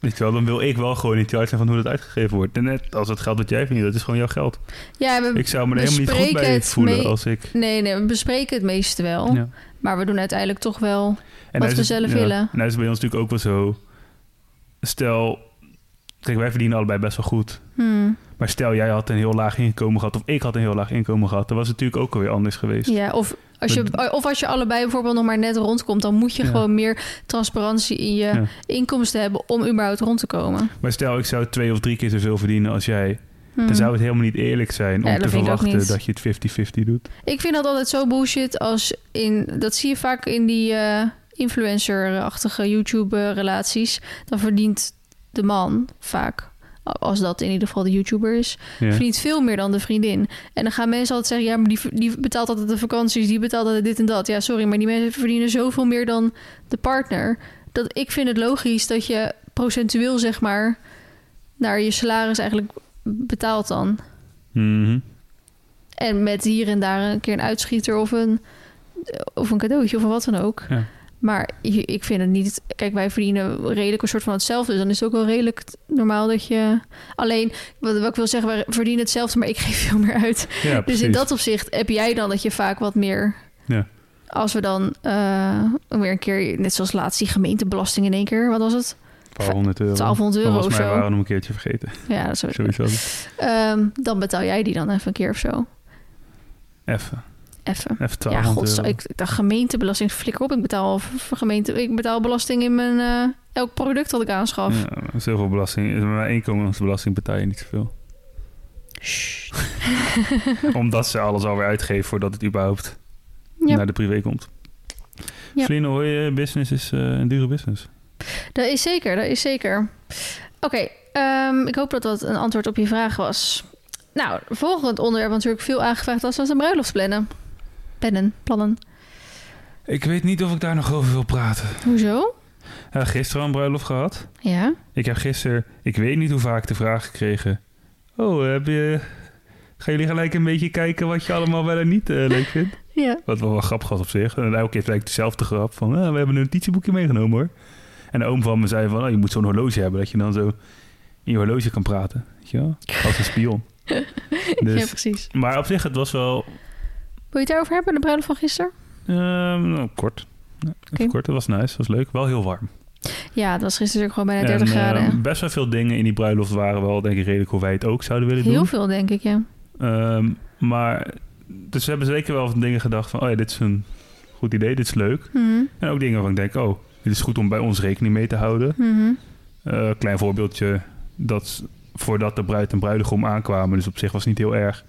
S1: Weet je wel, dan wil ik wel gewoon in charge zijn van hoe dat uitgegeven wordt. En net als het geld wat jij verdient, dat is gewoon jouw geld.
S2: Ja, we,
S1: Ik zou me er helemaal niet goed
S2: bespreken
S1: bij
S2: het
S1: voelen
S2: mee-
S1: als ik...
S2: nee, nee, we bespreken het meeste wel.
S1: Ja.
S2: Maar we doen uiteindelijk toch
S1: En
S2: wel... Wat
S1: nou is
S2: we
S1: het-
S2: zelf
S1: ja,
S2: willen.
S1: En nou is het bij ons natuurlijk ook wel zo. Stel, kijk, wij verdienen allebei best wel goed.
S2: hmm,
S1: Maar stel, jij had een heel laag inkomen gehad, of ik had een heel laag inkomen gehad, dan was het natuurlijk ook alweer anders geweest.
S2: ja, of, als je, of als je allebei bijvoorbeeld nog maar net rondkomt... dan moet je
S1: Ja.
S2: gewoon meer transparantie in je
S1: Ja.
S2: inkomsten hebben... om überhaupt rond te komen.
S1: Maar stel, ik zou twee of drie keer zoveel verdienen als jij,
S2: Hmm.
S1: dan zou het helemaal niet eerlijk zijn om
S2: Ja, dat
S1: te
S2: vind ik ook
S1: verwachten
S2: niet.
S1: dat je het 50-50 doet.
S2: Ik vind dat altijd zo bullshit als in... Dat zie je vaak in die eh, influencer-achtige YouTube-relaties. Dan verdient de man vaak, als dat in ieder geval de YouTuber is...
S1: Ja.
S2: verdient veel meer dan de vriendin. En dan gaan mensen altijd zeggen, ja, maar die, die betaalt altijd de vakanties, die betaalt altijd dit en dat. Ja, sorry, maar die mensen verdienen zoveel meer dan de partner. Dat ik vind het logisch dat je procentueel, zeg maar, naar je salaris eigenlijk betaalt dan.
S1: Mhm.
S2: En met hier en daar een keer een uitschieter of een, of een cadeautje of wat dan ook.
S1: Ja.
S2: Maar je- ik vind het niet... Kijk, wij verdienen redelijk een soort van hetzelfde. Dus dan is het ook wel redelijk t- normaal dat je... Alleen, wat, wat ik wil zeggen, wij verdienen hetzelfde, maar ik geef veel meer uit.
S1: Ja,
S2: Dus in
S1: precies.
S2: dat opzicht heb jij dan dat je vaak wat meer...
S1: Ja.
S2: Als we dan eh, weer een keer, net zoals laatst, die gemeentebelasting in één keer. Wat was het?
S1: Een paar honderd euro.
S2: 1200 euro of
S1: Volgens mij
S2: zo.
S1: waren we hem een keertje vergeten.
S2: Ja, dat is
S1: Zoiets was het.
S2: Ehm, Dan betaal jij die dan even een keer of zo.
S1: Even.
S2: Even.
S1: Even 1200
S2: Ja, god,
S1: euro.
S2: ik, de gemeentebelasting flikker op. Ik betaal, al v- gemeente, ik betaal belasting in mijn, eh, elk product dat ik aanschaf.
S1: Ja, maar zoveel belasting. Mijn inkomensbelasting betaal je niet zoveel.
S2: Sst.
S1: Omdat ze alles alweer uitgeven voordat het überhaupt
S2: Ja.
S1: naar de privé komt.
S2: Ja.
S1: Vlien, hoor je, business is eh, een dure business.
S2: Dat is zeker, dat is zeker. Oké, ehm, ik hoop dat dat een antwoord op je vraag was. Nou, volgend onderwerp wat natuurlijk veel aangevraagd was, was een bruiloft plannen. Pennen, plannen.
S1: Ik weet niet of ik daar nog over wil praten.
S2: Hoezo?
S1: Ja, gisteren al een bruiloft gehad.
S2: Ja.
S1: Ik heb gisteren, ik weet niet hoe vaak, de vraag gekregen. Oh, heb je... Gaan jullie gelijk een beetje kijken wat je allemaal wel en niet eh, leuk vindt?
S2: Ja.
S1: Wat wel, wel grappig was op zich. En elke keer lijkt dezelfde grap van... ah, we hebben een notitieboekje meegenomen hoor. En de oom van me zei van... Oh, je moet zo'n horloge hebben. Dat je dan zo in je horloge kan praten. Weet je wel? Als een spion.
S2: ja,
S1: Dus,
S2: precies.
S1: maar op zich, het was wel...
S2: Wil je het daarover hebben, de bruiloft van gisteren?
S1: Ehm, nou, kort. Ja, even
S2: Oké.
S1: kort, dat was nice, was leuk. Wel heel warm.
S2: Ja, het was gisteren natuurlijk gewoon bijna 30
S1: En,
S2: graden.
S1: ehm, best wel veel dingen in die bruiloft waren wel, denk ik, redelijk hoe wij het ook zouden willen
S2: Heel
S1: doen.
S2: veel, denk ik, ja.
S1: Ehm, maar, dus we hebben zeker wel van dingen gedacht van, oh ja, dit is een goed idee, dit is leuk.
S2: Mhm,
S1: En ook dingen waarvan ik denk, oh, dit is goed om bij ons rekening mee te houden.
S2: mhm.
S1: Eh, klein voorbeeldje, dat voordat de bruid en bruidegom aankwamen, dus op zich was het niet heel erg.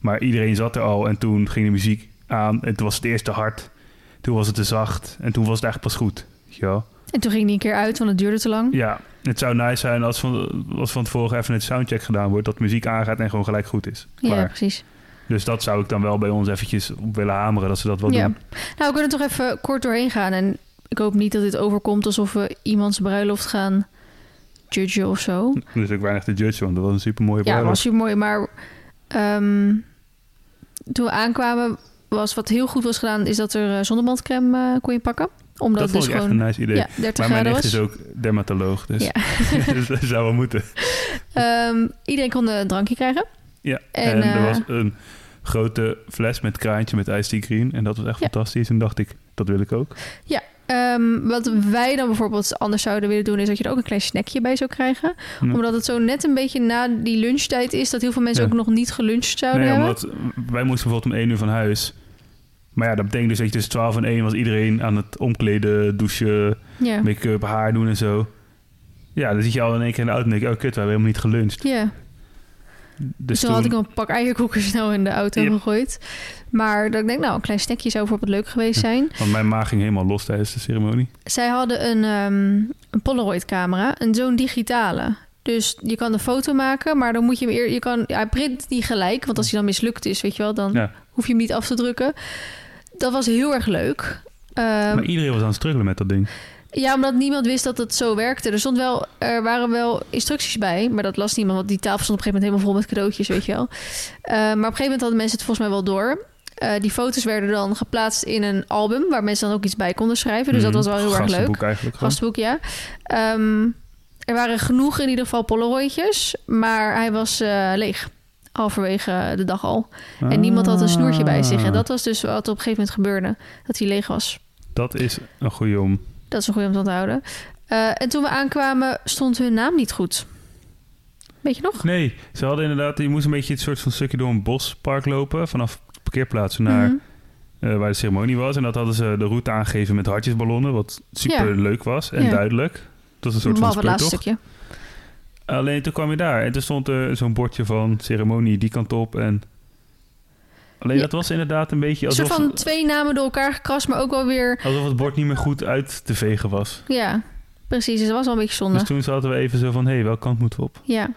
S1: Maar iedereen zat er al en toen ging de muziek aan en toen was het eerst te hard. Toen was het te zacht en toen was het eigenlijk pas goed. weet je wel.
S2: En toen ging die een keer uit, want het duurde te lang.
S1: Ja, het zou nice zijn als van, als van tevoren even een soundcheck gedaan wordt, dat de muziek aangaat en gewoon gelijk goed is.
S2: Ja,
S1: Klaar.
S2: precies.
S1: Dus dat zou ik dan wel bij ons eventjes op willen hameren, dat ze dat wel
S2: Ja.
S1: doen.
S2: Nou, we kunnen toch even kort doorheen gaan. En ik hoop niet dat dit overkomt alsof we iemands bruiloft gaan judgen of zo.
S1: Dus ik weinig te judge, want dat was een super mooie
S2: Ja, was
S1: bruiloft.
S2: super mooi. Maar ehm, toen we aankwamen, was wat heel goed was gedaan, is dat er eh, zonnebandcrème eh, kon je pakken. Omdat
S1: dat
S2: het
S1: vond
S2: dus
S1: ik
S2: gewoon
S1: echt een nice idee.
S2: ja, 30
S1: maar mijn
S2: graden
S1: nicht
S2: was.
S1: is ook dermatoloog, dus,
S2: Ja.
S1: dus dat zou wel moeten.
S2: Ehm, iedereen kon eh, een drankje krijgen.
S1: Ja, en,
S2: En,
S1: er
S2: eh,
S1: was een grote fles met kraantje met iced tea green en dat was echt
S2: Ja.
S1: fantastisch. En dacht ik, dat wil ik ook.
S2: Ehm, wat wij dan bijvoorbeeld anders zouden willen doen, is dat je er ook een klein snackje bij zou krijgen.
S1: Ja.
S2: Omdat het zo net een beetje na die lunchtijd is, dat heel veel mensen
S1: Ja.
S2: ook nog niet geluncht zouden
S1: Nee,
S2: hebben.
S1: omdat wij moesten bijvoorbeeld om 1 uur van huis. Maar ja, dat betekent dus dat je tussen 12 en 1 was iedereen aan het omkleden, douchen,
S2: Ja.
S1: make-up, haar doen en zo. Ja, dan zit je al in één keer in de auto en denk ik, oh kut, we hebben helemaal niet geluncht.
S2: Ja,
S1: Dus
S2: dus toen had ik een pak eierkoeken snel in de auto
S1: Ja.
S2: gegooid. Maar dat ik denk, nou, een klein snackje zou bijvoorbeeld leuk
S1: Hm.
S2: geweest zijn.
S1: Want mijn maag ging helemaal los tijdens de ceremonie.
S2: Zij hadden een, ehm, een Polaroid-camera, een zo'n digitale. Dus je kan een foto maken, maar dan moet je hem eer, je kan, ja, hij print niet gelijk, want als hij dan mislukt is, weet je wel, dan
S1: Ja.
S2: hoef je hem niet af te drukken. Dat was heel erg leuk. Ehm,
S1: maar iedereen was aan het struggelen met dat ding.
S2: ja, omdat niemand wist dat het zo werkte. Er, stond wel, er waren wel instructies bij, maar dat las niemand. Want die tafel stond op een gegeven moment helemaal vol met cadeautjes, weet je wel. Eh, maar op een gegeven moment hadden mensen het volgens mij wel door. Eh, die foto's werden dan geplaatst in een album... Dus
S1: Mhm.
S2: waar mensen dan ook iets bij konden schrijven. Dus dat was wel heel erg leuk.
S1: Gastenboek eigenlijk. gewoon.
S2: Gastboek, ja. Ehm, Er waren genoeg in ieder geval Polaroidjes, maar hij was eh, leeg. Halverwege de dag al. En niemand had een snoertje bij zich.
S1: Ah.
S2: En dat was dus wat op een gegeven moment gebeurde. Dat hij leeg was.
S1: Dat is een goede om.
S2: Dat is een goede om te onthouden. Eh, en toen we aankwamen, stond hun naam niet goed. Weet je nog?
S1: Nee, ze hadden inderdaad... Je moest een beetje het soort van stukje door een bospark lopen... vanaf parkeerplaatsen naar
S2: Mhm.
S1: eh, waar de ceremonie was. En dat hadden ze de route aangegeven met hartjesballonnen... wat super leuk was en
S2: Ja.
S1: duidelijk. Dat was een soort van
S2: Behalve het laatste
S1: speurtocht.
S2: stukje.
S1: Alleen toen kwam je daar en toen stond er zo'n bordje van ceremonie die kant op en... Alleen
S2: Ja.
S1: dat was inderdaad een beetje
S2: Een
S1: alsof,
S2: soort van twee namen door elkaar gekrast, maar ook wel weer...
S1: alsof het bord niet meer goed uit te vegen was.
S2: Ja, precies. Dus dat was wel een beetje zonde.
S1: Dus toen zaten we even zo van, hé, hey, welke kant moeten we op?
S2: Ja.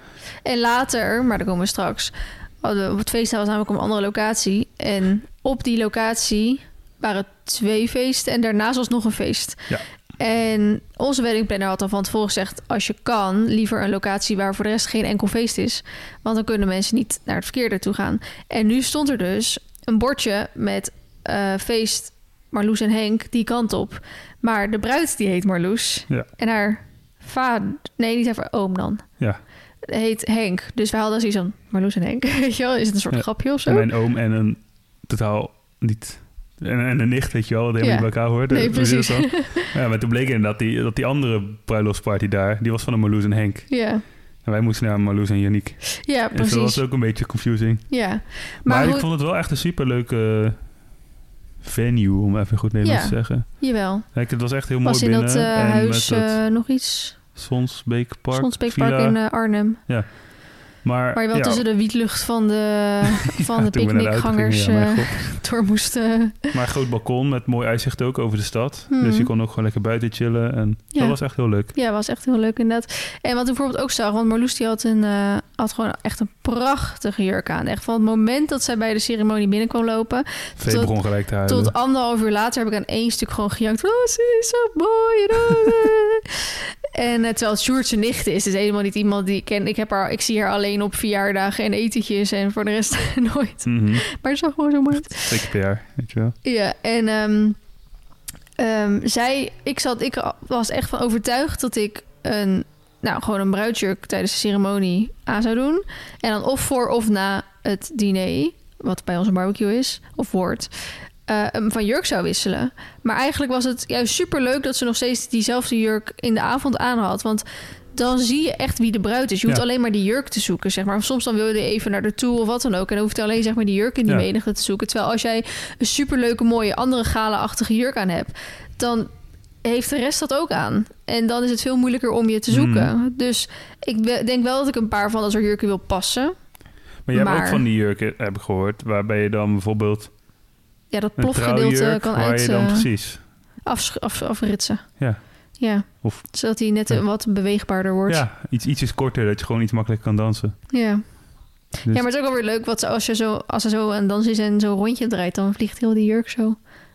S2: En later, maar daar komen we straks. hadden we- Op het feest was namelijk op een andere locatie. En op die locatie waren twee feesten. En daarnaast was nog een feest.
S1: Ja.
S2: En onze weddingplanner had al van tevoren gezegd... als je kan, liever een locatie waar voor de rest geen enkel feest is. Want dan kunnen mensen niet naar het verkeerde toe gaan. En nu stond er dus een bordje met eh, feest Marloes en Henk die kant op. Maar de bruid die heet Marloes.
S1: Ja.
S2: En haar vader... Nee, niet haar va- oom dan
S1: Ja,
S2: heet Henk. Dus we hadden zoiets van Marloes en Henk. Weet je wel, is het een soort
S1: Ja.
S2: grapje of zo?
S1: en mijn oom en een totaal niet... En, en een nicht, weet je wel, dat helemaal
S2: Ja.
S1: niet bij elkaar hoort.
S2: nee,
S1: Dat is heel
S2: precies.
S1: zo. ja, maar toen bleek inderdaad die, dat die andere bruiloftsparty daar, die was van een Marloes en Henk.
S2: ja.
S1: En wij moesten naar Marloes en Yannick.
S2: ja,
S1: En dus dat was
S2: precies.
S1: ook een beetje confusing.
S2: Ja. Maar,
S1: Maar, ik
S2: hoe-
S1: vond het wel echt een superleuke venue, om even goed Nederlands
S2: Ja.
S1: te zeggen.
S2: jawel.
S1: Kijk, het was echt heel mooi
S2: Was in
S1: binnen.
S2: dat eh,
S1: en
S2: huis
S1: met dat
S2: eh, nog iets?
S1: Sonsbeekpark,
S2: Sonsbeekpark
S1: villa.
S2: in eh, Arnhem.
S1: maar,
S2: Waar je wel
S1: ja,
S2: tussen de wietlucht van de, van
S1: ja,
S2: de
S1: toen we naar de auto
S2: picknickgangers
S1: gingen, ja,
S2: eh,
S1: mijn god.
S2: door moest. eh,
S1: Maar een groot balkon met mooi uitzicht ook over de stad.
S2: Hmm.
S1: Dus je kon ook gewoon lekker buiten chillen. En
S2: Ja.
S1: dat was echt heel leuk.
S2: Ja, was echt heel leuk inderdaad. En wat ik bijvoorbeeld ook zag, want Marloes die had, een, eh, had gewoon echt een prachtige jurk aan. Echt van het moment dat zij bij de ceremonie binnenkwam lopen,
S1: Vee
S2: Tot-
S1: begon gelijk te huilen.
S2: Tot anderhalf uur later heb ik aan één stuk gewoon gejankt. Oh, ze is zo mooi. en oh, eh. en eh, terwijl het Sjoerd zijn nicht is. Dus helemaal niet iemand die ik ken. Ik, heb haar, ik zie haar alleen op verjaardagen en etentjes. En voor de rest nooit.
S1: Mhm.
S2: Maar ze zag gewoon zo mooi uit.
S1: Twee keer per jaar, weet je wel.
S2: Ja, en ehm, ehm, zij, ik, zat, ik was echt van overtuigd dat ik een, nou, gewoon een bruidsjurk tijdens de ceremonie aan zou doen. En dan of voor of na het diner, wat bij onze barbecue is, of wordt, eh, hem van jurk zou wisselen. Maar eigenlijk was het juist superleuk dat ze nog steeds diezelfde jurk in de avond aan had. Want dan zie je echt wie de bruid is. Je hoeft
S1: Ja.
S2: alleen maar die jurk te zoeken, zeg maar. Of soms dan wil je even naar de toe of wat dan ook. En dan hoeft je alleen zeg maar die jurk in die
S1: Ja.
S2: menigte te zoeken. Terwijl als jij een superleuke, mooie, andere gala-achtige jurk aan hebt... dan heeft de rest dat ook aan. En dan is het veel moeilijker om je te zoeken.
S1: Hmm.
S2: Dus ik we- denk wel dat ik een paar van dat soort jurken wil passen.
S1: Maar jij hebt
S2: Maar-
S1: ook van die jurken, heb ik gehoord, waarbij je dan bijvoorbeeld
S2: Ja, dat
S1: een
S2: plofgedeelte
S1: trouwjurk,
S2: kan
S1: waar
S2: uit
S1: je dan
S2: eh,
S1: precies...
S2: afsch- af, afritsen.
S1: Ja.
S2: Ja,
S1: Of-
S2: zodat hij net
S1: Ja.
S2: eh, wat beweegbaarder wordt. Ja.
S1: Ja, iets, ietsjes korter, dat je gewoon iets makkelijker kan dansen.
S2: Ja.
S1: Dus-
S2: maar het is ook wel weer leuk, want als, je zo, als ze zo aan het dansen is en zo rondje draait... dan vliegt heel die jurk zo
S1: Ja,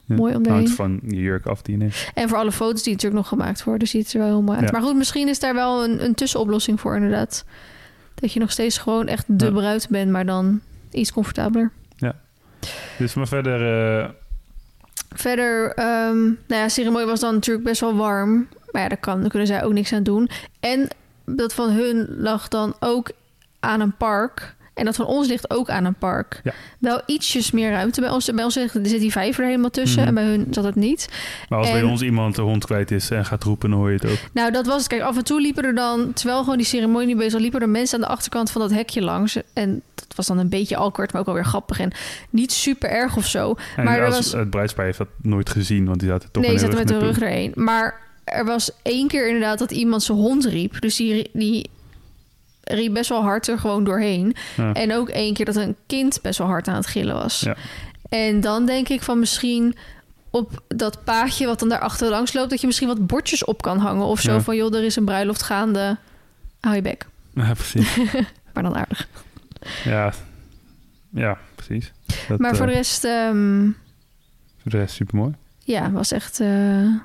S1: Nou,
S2: mooi om
S1: hangt
S2: daarheen.
S1: van je jurk af die je neemt.
S2: En voor alle foto's die natuurlijk nog gemaakt worden, ziet het er wel heel mooi uit.
S1: Ja.
S2: Maar goed, misschien is daar wel een, een tussenoplossing voor inderdaad. Dat je nog steeds gewoon echt de
S1: Ja.
S2: bruid bent, maar dan iets comfortabeler.
S1: Dus maar verder... eh,
S2: Verder, ehm nou ja, ceremonie was dan natuurlijk best wel warm. Maar ja, daar, kan, daar kunnen zij ook niks aan doen. En dat van hun lag dan ook aan een park. En dat van ons ligt ook aan een park.
S1: Ja.
S2: Wel ietsjes meer ruimte. Bij ons, bij ons ligt- zit die vijver er helemaal tussen.
S1: Mhm.
S2: En bij hun zat het niet.
S1: Maar als bij
S2: En-
S1: ons iemand de hond kwijt is en gaat roepen, dan hoor je het ook.
S2: Nou, dat was het. Kijk, af en toe liepen er dan, terwijl gewoon die ceremonie bezig was, liepen er mensen aan de achterkant van dat hekje langs. En dat was dan een beetje awkward, maar ook alweer grappig. En niet super erg of zo.
S1: En
S2: Maar er
S1: als,
S2: was-
S1: het bruidspaar heeft dat nooit gezien, want die zaten toch
S2: nee,
S1: met
S2: ze
S1: hun
S2: zaten met
S1: rug
S2: hun rug
S1: naartoe.
S2: erheen. Maar er was één keer inderdaad dat iemand zijn hond riep. Dus die, die riep best wel hard er gewoon doorheen.
S1: Ja.
S2: En ook één keer dat een kind best wel hard aan het gillen was.
S1: Ja.
S2: En dan denk ik van misschien op dat paadje wat dan daar achter langs loopt... dat je misschien wat bordjes op kan hangen of zo.
S1: Ja.
S2: Van joh, er is een bruiloft gaande. Hou je bek.
S1: Ja, precies.
S2: Maar dan aardig.
S1: Ja, ja precies. Dat,
S2: maar voor
S1: eh,
S2: de rest, ehm,
S1: voor de rest super mooi.
S2: ja, was echt... eh,
S1: Mhm.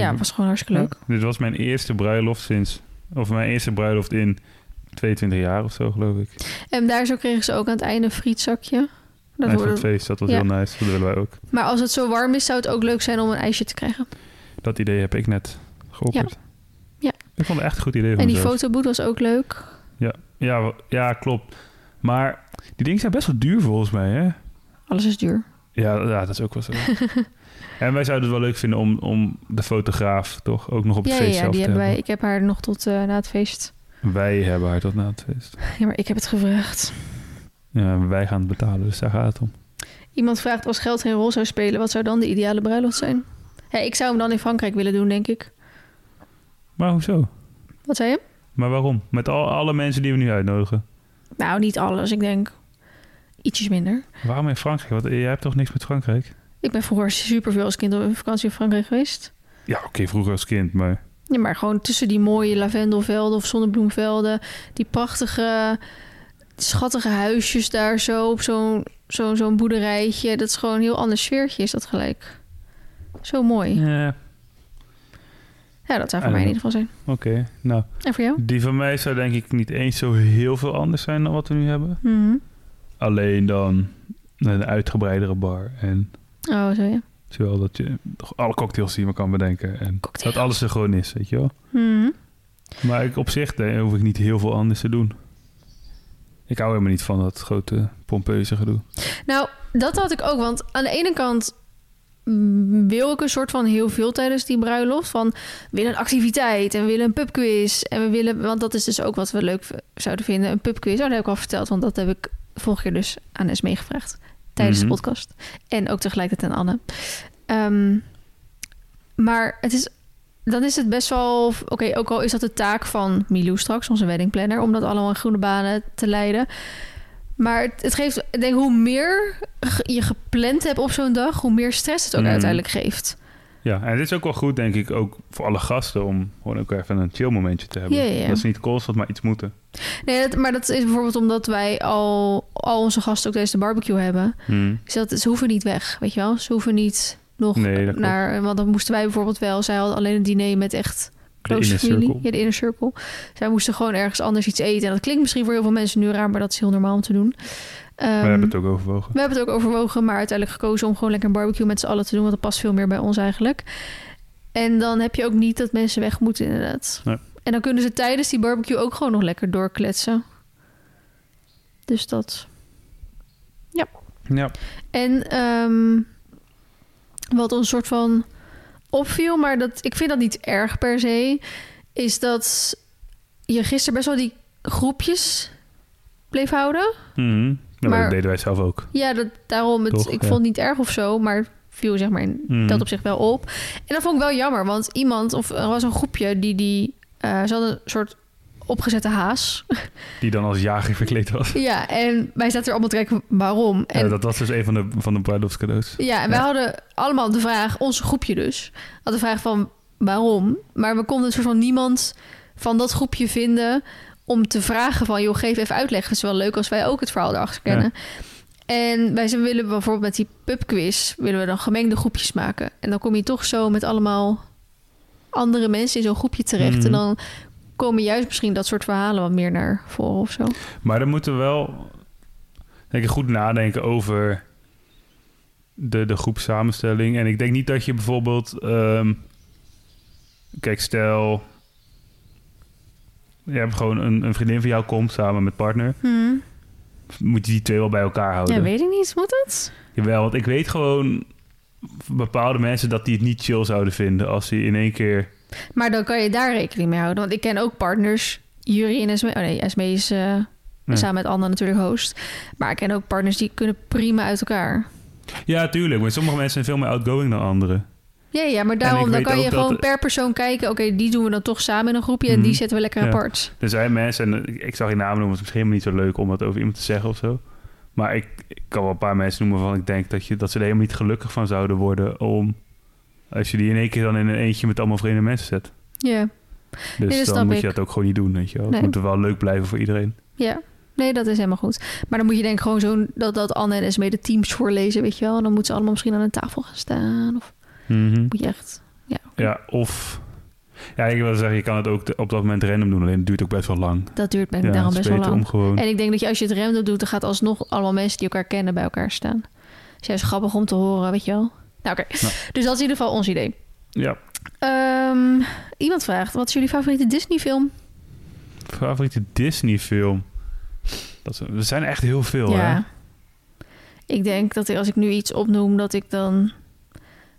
S2: ja, was gewoon hartstikke leuk.
S1: Dit was mijn eerste bruiloft sinds... Of mijn eerste bruiloft in 22 jaar of zo, geloof ik.
S2: En daar zo kregen ze ook aan het einde een frietzakje. Dat
S1: en voor
S2: hoorde-
S1: het feest, dat was
S2: ja.
S1: heel nice. Dat willen wij ook.
S2: Maar als het zo warm is, zou het ook leuk zijn om een ijsje te krijgen.
S1: Dat idee heb ik net geopperd.
S2: Ja.
S1: Ik vond het echt een goed idee. van
S2: En die
S1: mezelf.
S2: fotoboot was ook leuk.
S1: Ja, wa- ja, klopt. Maar die dingen zijn best wel duur volgens mij, hè?
S2: Alles is duur.
S1: Ja, ja dat is ook wel zo. en wij zouden het wel leuk vinden om, om de fotograaf toch ook nog op het
S2: Ja, ja,
S1: feest
S2: ja,
S1: zelf
S2: die
S1: te
S2: hebben
S1: hebben.
S2: wij. Ik heb haar nog tot eh, na het feest.
S1: Wij hebben haar tot na het feest.
S2: Ja, maar ik heb het gevraagd.
S1: Ja, wij gaan het betalen, dus daar gaat het om.
S2: Iemand vraagt als geld geen rol zou spelen, wat zou dan de ideale bruiloft zijn? Ja, ik zou hem dan in Frankrijk willen doen, denk ik.
S1: Maar hoezo?
S2: Wat zei je?
S1: Maar waarom? Met al, alle mensen die we nu uitnodigen.
S2: Nou, niet alles. Ik denk ietsjes minder.
S1: Waarom in Frankrijk? Want eh, jij hebt toch niks met Frankrijk?
S2: Ik ben vroeger superveel als kind op een vakantie in Frankrijk geweest.
S1: Ja, oké, vroeger als kind, maar...
S2: Ja, maar gewoon tussen die mooie lavendelvelden of zonnebloemvelden. Die prachtige, schattige huisjes daar zo op zo'n zo'n zo'n boerderijtje. Dat is gewoon een heel ander sfeertje, is dat gelijk. Zo mooi.
S1: Ja,
S2: Ja, dat zou voor
S1: Eh,
S2: mij in ieder geval zijn.
S1: oké. Nou,
S2: En voor jou?
S1: die van mij zou denk ik niet eens zo heel veel anders zijn dan wat we nu hebben.
S2: Mhm.
S1: Alleen dan een uitgebreidere bar en
S2: Oh, zo ja.
S1: Zowel dat je alle cocktails die je maar kan bedenken. En
S2: Cocktail.
S1: dat alles er gewoon is, weet je wel.
S2: Mhm.
S1: Maar ik, op zich eh, hoef ik niet heel veel anders te doen. Ik hou helemaal niet van dat grote pompeuze gedoe.
S2: Nou, dat had ik ook. Want aan de ene kant mm, wil ik een soort van heel veel tijdens die bruiloft. Van we willen een activiteit en we willen een pubquiz. En we willen, want dat is dus ook wat we leuk v- zouden vinden. Een pubquiz. Oh, dat heb ik al verteld. Want dat heb ik vorige keer dus aan Esme meegevraagd. Tijdens
S1: Mhm.
S2: de podcast. En ook tegelijkertijd aan Anne. Ehm, maar het is, dan is het best wel... Oké, ook al is dat de taak van Milou straks, onze weddingplanner... om dat allemaal in groene banen te leiden. Maar het, het geeft... Ik denk, hoe meer ge- je gepland hebt op zo'n dag... hoe meer stress het ook
S1: Mhm.
S2: uiteindelijk geeft.
S1: Ja, en dit is ook wel goed, denk ik, ook voor alle gasten... om gewoon ook even een chill momentje te hebben.
S2: Ja, ja, ja.
S1: Dat ze niet constant maar iets moeten.
S2: Nee, dat- maar dat is bijvoorbeeld omdat wij al, al onze gasten ook tijdens de barbecue hebben. Dus dat, ze hoeven niet weg, weet je wel? Ze hoeven niet nog
S1: Nee, dat klopt.
S2: naar... Want dan moesten wij bijvoorbeeld wel... Zij hadden alleen een diner met echt
S1: De
S2: close
S1: inner
S2: familie.
S1: circle.
S2: Ja, de inner circle. Zij moesten gewoon ergens anders iets eten. En dat klinkt misschien voor heel veel mensen nu raar... maar dat is heel normaal om te doen. Ehm,
S1: We hebben het ook overwogen.
S2: We hebben het ook overwogen, maar uiteindelijk gekozen om gewoon lekker een barbecue met z'n allen te doen. Want dat past veel meer bij ons eigenlijk. En dan heb je ook niet dat mensen weg moeten, inderdaad.
S1: Nee.
S2: En dan kunnen ze tijdens die barbecue ook gewoon nog lekker doorkletsen. Dus dat.
S1: Ja.
S2: En ehm, wat ons soort van opviel, maar dat, ik vind dat niet erg per se, is dat je gisteren best wel die groepjes bleef houden.
S1: Mhm. Nou, maar
S2: Maar-
S1: dat deden wij zelf ook.
S2: Ja, dat, daarom. Het,
S1: Toch,
S2: ik
S1: ja.
S2: vond het niet erg of zo, maar het viel zeg maar in
S1: Mhm.
S2: dat op zich wel op. En dat vond ik wel jammer, want iemand, of er was een groepje die die. eh ze hadden een soort opgezette haas.
S1: Die dan als jager verkleed was.
S2: ja, en wij zaten er allemaal te kijken waarom. En,
S1: Ja, dat was dus een van de, van de bruiloftscadeaus.
S2: ja, en wij
S1: Ja.
S2: hadden allemaal de vraag, ons groepje dus, had de vraag van waarom. Maar we konden een soort van niemand van dat groepje vinden om te vragen van, joh, geef even uitleg. Het is wel leuk als wij ook het verhaal erachter kennen. En wij zijn- willen bijvoorbeeld met die pubquiz, willen we dan gemengde groepjes maken. En dan kom je toch zo met allemaal andere mensen in zo'n groepje terecht.
S1: Mhm.
S2: En dan komen juist misschien dat soort verhalen wat meer naar voren of zo.
S1: Maar dan moeten we wel denk ik, goed nadenken over de, de groepsamenstelling. En ik denk niet dat je bijvoorbeeld... ehm, kijk, stel... Je hebt gewoon een, een vriendin van jou komt samen met partner. Moet je die twee wel bij elkaar houden?
S2: Mhm. Ja, weet ik niet. Moet dat?
S1: Jawel, want ik weet gewoon van bepaalde mensen dat die het niet chill zouden vinden als ze in één keer...
S2: Maar dan kan je daar rekening mee houden. Want ik ken ook partners, Jury en Esme. Oh nee, Esme is eh,
S1: Ja.
S2: samen met Anna natuurlijk host. Maar ik ken ook partners die kunnen prima uit elkaar.
S1: Ja, tuurlijk. Maar sommige mensen zijn veel meer outgoing dan anderen.
S2: Ja, ja, maar daarom
S1: ik
S2: dan
S1: weet
S2: kan je
S1: ook dat-
S2: gewoon per persoon kijken. Oké, die doen we dan toch samen in een groepje en die
S1: Mhm.
S2: zetten we lekker
S1: Ja.
S2: apart.
S1: Er zijn mensen, en ik, ik zag je naam noemen, het is misschien helemaal niet zo leuk om dat over iemand te zeggen of zo. Maar ik, ik kan wel een paar mensen noemen waarvan ik denk dat, je, dat ze er helemaal niet gelukkig van zouden worden om. Als je die in één keer dan in een eentje met allemaal vreemde mensen zet.
S2: Ja,
S1: Dus
S2: dat snap
S1: dan moet
S2: ik.
S1: je dat ook gewoon niet doen, weet je wel.
S2: Nee.
S1: Het moet wel leuk blijven voor iedereen.
S2: ja. Nee, dat is helemaal goed. Maar dan moet je denk ik gewoon zo'n... Dat, dat Anne en Esme de teams voorlezen, weet je wel. En dan moeten ze allemaal misschien aan een tafel gaan staan. Of moet je echt...
S1: Ja, of... Ja, ik wil zeggen, je kan het ook te- op dat moment random doen. Alleen het duurt ook best wel lang.
S2: Dat duurt ben ik
S1: ja,
S2: daarom
S1: het is
S2: best wel
S1: beter
S2: lang.
S1: om gewoon...
S2: En ik denk dat je als je het random doet, dan gaat alsnog allemaal mensen die elkaar kennen bij elkaar staan. Dus juist grappig om te horen, weet je wel. Nou, oké.
S1: Nou.
S2: Dus dat is in ieder geval ons idee.
S1: Ja.
S2: Ehm, iemand vraagt, wat is jullie favoriete Disney film?
S1: Favoriete Disney-film? Dat, is- er zijn echt heel veel, hè?
S2: Ik denk dat ik, als ik nu iets opnoem, dat ik dan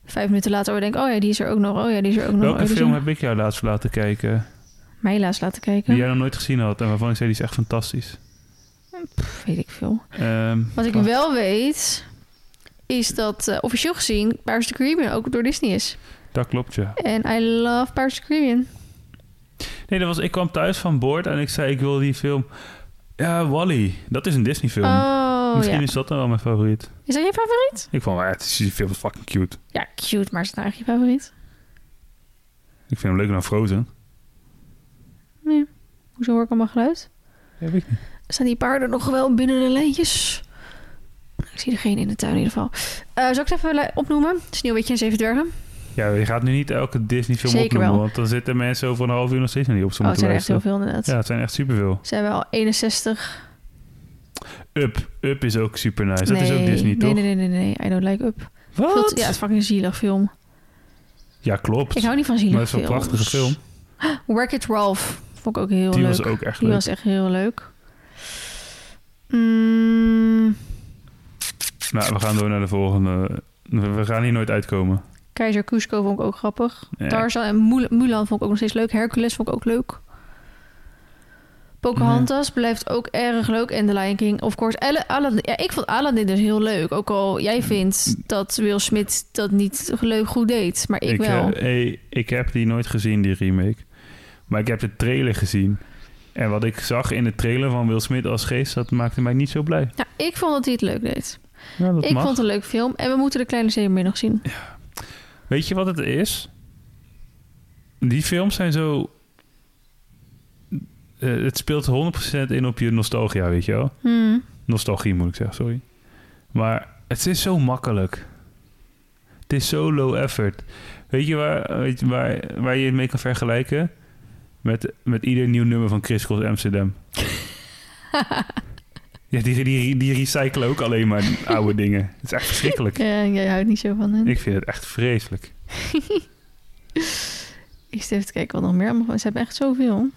S2: vijf minuten later weer denk... oh ja, die is er ook nog, oh ja, die is er ook nog. oh,
S1: Welke
S2: die is er
S1: film
S2: nog.
S1: heb ik jou laatst laten kijken?
S2: Mij helaas laten kijken.
S1: Die jij nog nooit gezien had en waarvan ik zei, die is echt fantastisch.
S2: Pff, weet ik veel.
S1: Ehm,
S2: Wat ik
S1: wacht.
S2: wel weet, is dat eh, officieel gezien Pirates of the Caribbean ook door Disney is.
S1: Dat klopt, ja.
S2: En I love Pirates of the Caribbean.
S1: Nee, dat was, ik kwam thuis van boord en ik zei, ik wil die film... Ja, Wally. Dat is een Disney-film.
S2: Oh,
S1: Misschien
S2: ja.
S1: is dat dan wel mijn favoriet.
S2: Is dat je favoriet?
S1: Ik vond wel, ja, het is- die film is fucking cute.
S2: Ja, cute, maar is het nou echt je favoriet?
S1: Ik vind hem leuker dan Frozen.
S2: Nee. Hoezo hoor ik allemaal geluid?
S1: Ja, weet ik niet.
S2: Staan die paarden nog wel binnen de lijntjes? Ik zie er geen in de tuin in ieder geval. Eh, zal ik het even li- opnoemen? Sneeuwwitje en Zeven Dwergen. Oh,
S1: Ja, je gaat nu niet elke Disney-film
S2: Zeker
S1: opnoemen,
S2: wel.
S1: want dan zitten mensen over een half uur nog steeds naar die op
S2: Oh,
S1: zo'n
S2: het zijn er echt heel veel inderdaad.
S1: Ja, het zijn echt superveel.
S2: Ze hebben al 61.
S1: Up. Up is ook super nice. Dat is ook
S2: Nee,
S1: Disney, toch?
S2: nee, nee, nee, nee, nee. I don't like Up.
S1: Wat?
S2: Veel te- Ja, het is fucking zielig film.
S1: Ja, klopt.
S2: Ik hou niet van zielig
S1: maar het is wel een
S2: films.
S1: prachtige film.
S2: Wreck-It Ralph vond ik ook heel
S1: Die
S2: leuk.
S1: was ook echt
S2: Die
S1: leuk.
S2: was echt heel leuk. Mm,
S1: Nou, we gaan door naar de volgende. We, we gaan hier nooit uitkomen.
S2: Keizer Cusco vond ik ook grappig.
S1: Ja,
S2: Tarzan en Mul- Mulan vond ik ook nog steeds leuk. Hercules vond ik ook leuk. Pocahontas
S1: Mhm.
S2: blijft ook erg leuk. En The Lion King, of course. Alle- Aladdin, ja, ik vond Aladdin dus heel leuk. Ook al jij vindt dat Will Smith dat niet leuk goed deed. Maar ik,
S1: eh,
S2: wel.
S1: hey, ik heb die nooit gezien, die remake. Maar ik heb de trailer gezien. En wat ik zag in de trailer van Will Smith als geest, dat maakte mij niet zo blij.
S2: Nou, ik vond dat hij het leuk deed.
S1: Ja, dat
S2: ik
S1: mag.
S2: vond het een leuk film. En we moeten de Kleine Zeemeermin nog zien.
S1: Weet je wat het is? Die films zijn zo... eh, het speelt 100% in op je nostalgia, weet je wel?
S2: Hmm.
S1: Nostalgie moet ik zeggen, sorry. Maar het is zo makkelijk. Het is zo low effort. Weet je waar, weet je waar, waar je het mee kan vergelijken? Met, met ieder nieuw nummer van Chris Cross Amsterdam. ja, die, die, die recyclen ook alleen maar oude dingen. Het is echt verschrikkelijk.
S2: Ja, jij houdt niet zo van hem.
S1: Ik vind het echt vreselijk.
S2: Ik zit even te kijken wat nog meer. allemaal- Ze hebben echt zoveel.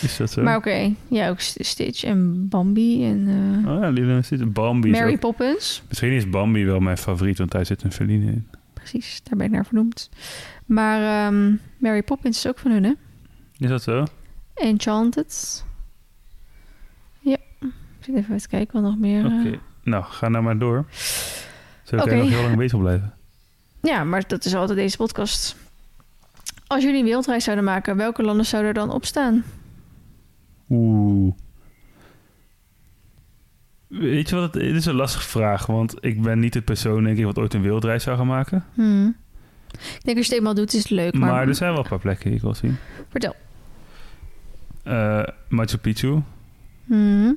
S1: Is dat zo?
S2: Maar oké. Ja, ook St- Stitch en Bambi en eh,
S1: Oh ja, Lilo en Stitch. Bambi. is
S2: Mary
S1: ook-
S2: Poppins.
S1: Misschien is Bambi wel mijn favoriet, want daar zit een verline in.
S2: Precies, daar ben ik naar vernoemd. Maar ehm, Mary Poppins is ook van hun, hè?
S1: Is dat zo?
S2: Enchanted. Ja. Ik zit even te kijken wat nog meer... eh.
S1: Oké. Nou, ga nou maar door. Zo kan
S2: Oké.
S1: je nog heel lang bezig blijven.
S2: Ja, maar dat is altijd deze podcast. Als jullie een wereldreis zouden maken, welke landen zouden er dan op staan?
S1: Oeh. Weet je wat? Het, dit is een lastige vraag. Want ik ben niet de persoon, denk ik, wat ooit een wereldreis zou gaan maken.
S2: Hmm. Ik denk als je het eenmaal doet, is het leuk.
S1: Maar, dus-
S2: Maar,
S1: er zijn wel een paar plekken die ik wil zien.
S2: vertel.
S1: Eh, Machu Picchu.
S2: Hmm.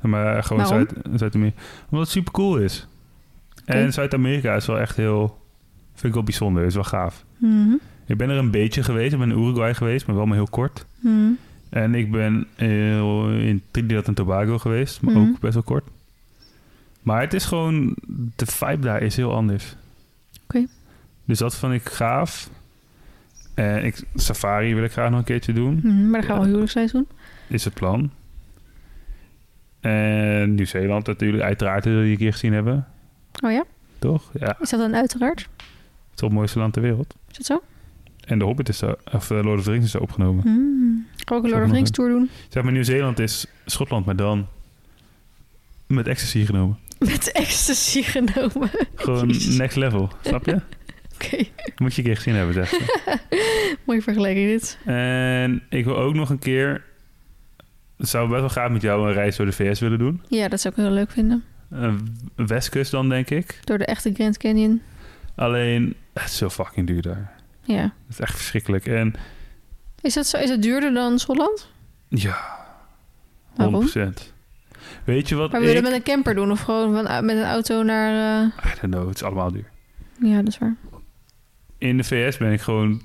S1: Maar gewoon
S2: Waarom?
S1: Zuid- Zuid-Amerika. Omdat het super cool is.
S2: Oké.
S1: En Zuid-Amerika is wel echt heel... Vind ik wel bijzonder. Is wel gaaf.
S2: Hmm.
S1: Ik ben er een beetje geweest. Ik ben in Uruguay geweest, maar wel maar heel kort.
S2: Hmm.
S1: En ik ben heel- in Trinidad en Tobago geweest, maar
S2: Mhm.
S1: ook best wel kort. Maar het is gewoon, de vibe daar is heel anders.
S2: Oké.
S1: Dus dat vond ik gaaf. En ik, safari wil ik graag nog een keertje doen,
S2: Hmm. Maar dan gaan we wel huwelijksreis doen.
S1: is het plan. En Nieuw-Zeeland natuurlijk, uiteraard, dat wil je een keer gezien hebben,
S2: Oh ja?
S1: toch? Ja, het
S2: Is dat dan uiteraard?
S1: is het mooiste land ter wereld.
S2: Is dat zo?
S1: En de Hobbit is daar, of eh, Lord of the Rings is daar opgenomen.
S2: Hmm. Gaan we ook een Lord of the Rings tour doen?
S1: Zeg maar, Nieuw-Zeeland is Schotland, maar dan met ecstasy genomen.
S2: Met ecstasy genomen.
S1: Gewoon
S2: Jezus.
S1: next level, snap je?
S2: Oké,
S1: Moet je een keer gezien hebben, zeg.
S2: mooie vergelijking dit.
S1: en ik wil ook nog een keer... Het zou best wel graag met jou een reis door de VS willen doen.
S2: Ja, dat zou ik heel leuk vinden.
S1: Een Westkust dan, denk ik.
S2: Door de echte Grand Canyon.
S1: Alleen, het is zo fucking duur daar.
S2: Ja.
S1: Het is echt verschrikkelijk. En
S2: Is dat, zo, is dat duurder dan Schotland?
S1: ja, 100%.
S2: Waarom?
S1: Weet je wat
S2: Maar wil je
S1: ik...
S2: dat met een camper doen of gewoon van, met een auto naar... eh,
S1: I don't know, het is allemaal duur.
S2: Ja, dat is waar.
S1: In de VS ben ik gewoon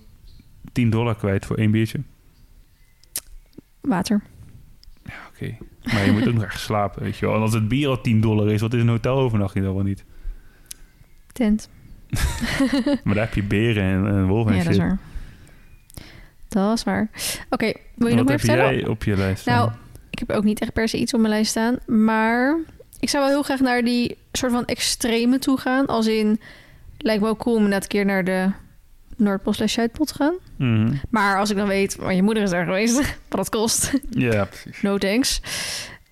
S1: 10 dollar kwijt voor één biertje.
S2: Water.
S1: Ja, Oké. Maar je moet ook nog echt slapen, weet je wel. En als het bier al 10 dollar is, wat is een hotelovernachting dan wel niet?
S2: Tent.
S1: maar daar heb je beren en, en wolven en
S2: ja, dat is
S1: shit.
S2: waar. Dat is waar. Oké, wil je nog
S1: Wat
S2: meer
S1: heb
S2: vertellen?
S1: jij op je lijst
S2: Nou,
S1: staan?
S2: ik heb ook niet echt per se iets op mijn lijst staan. Maar ik zou wel heel graag naar die soort van extreme toe gaan. Als in, lijkt me ook cool om na een keer naar de Noordpool slash Zuidpool te gaan.
S1: Mhm.
S2: Maar als ik dan weet, want je moeder is daar geweest, wat dat kost.
S1: Ja, precies.
S2: No thanks.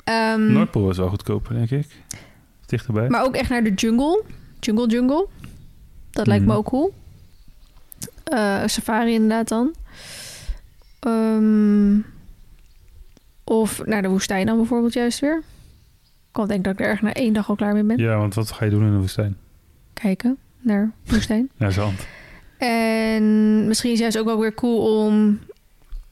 S2: Ehm,
S1: Noordpool is wel goedkoper, denk ik. Dichterbij.
S2: maar ook echt naar de jungle. Jungle jungle. Dat lijkt me
S1: Mhm.
S2: ook cool. Eh, safari inderdaad dan. Ehm, of naar de woestijn dan bijvoorbeeld juist weer. Ik kan denk ik dat ik er erg na één dag al klaar mee ben.
S1: Ja, want wat ga je doen in de woestijn?
S2: Kijken naar woestijn.
S1: Naar zand.
S2: En misschien is juist ook wel weer cool om...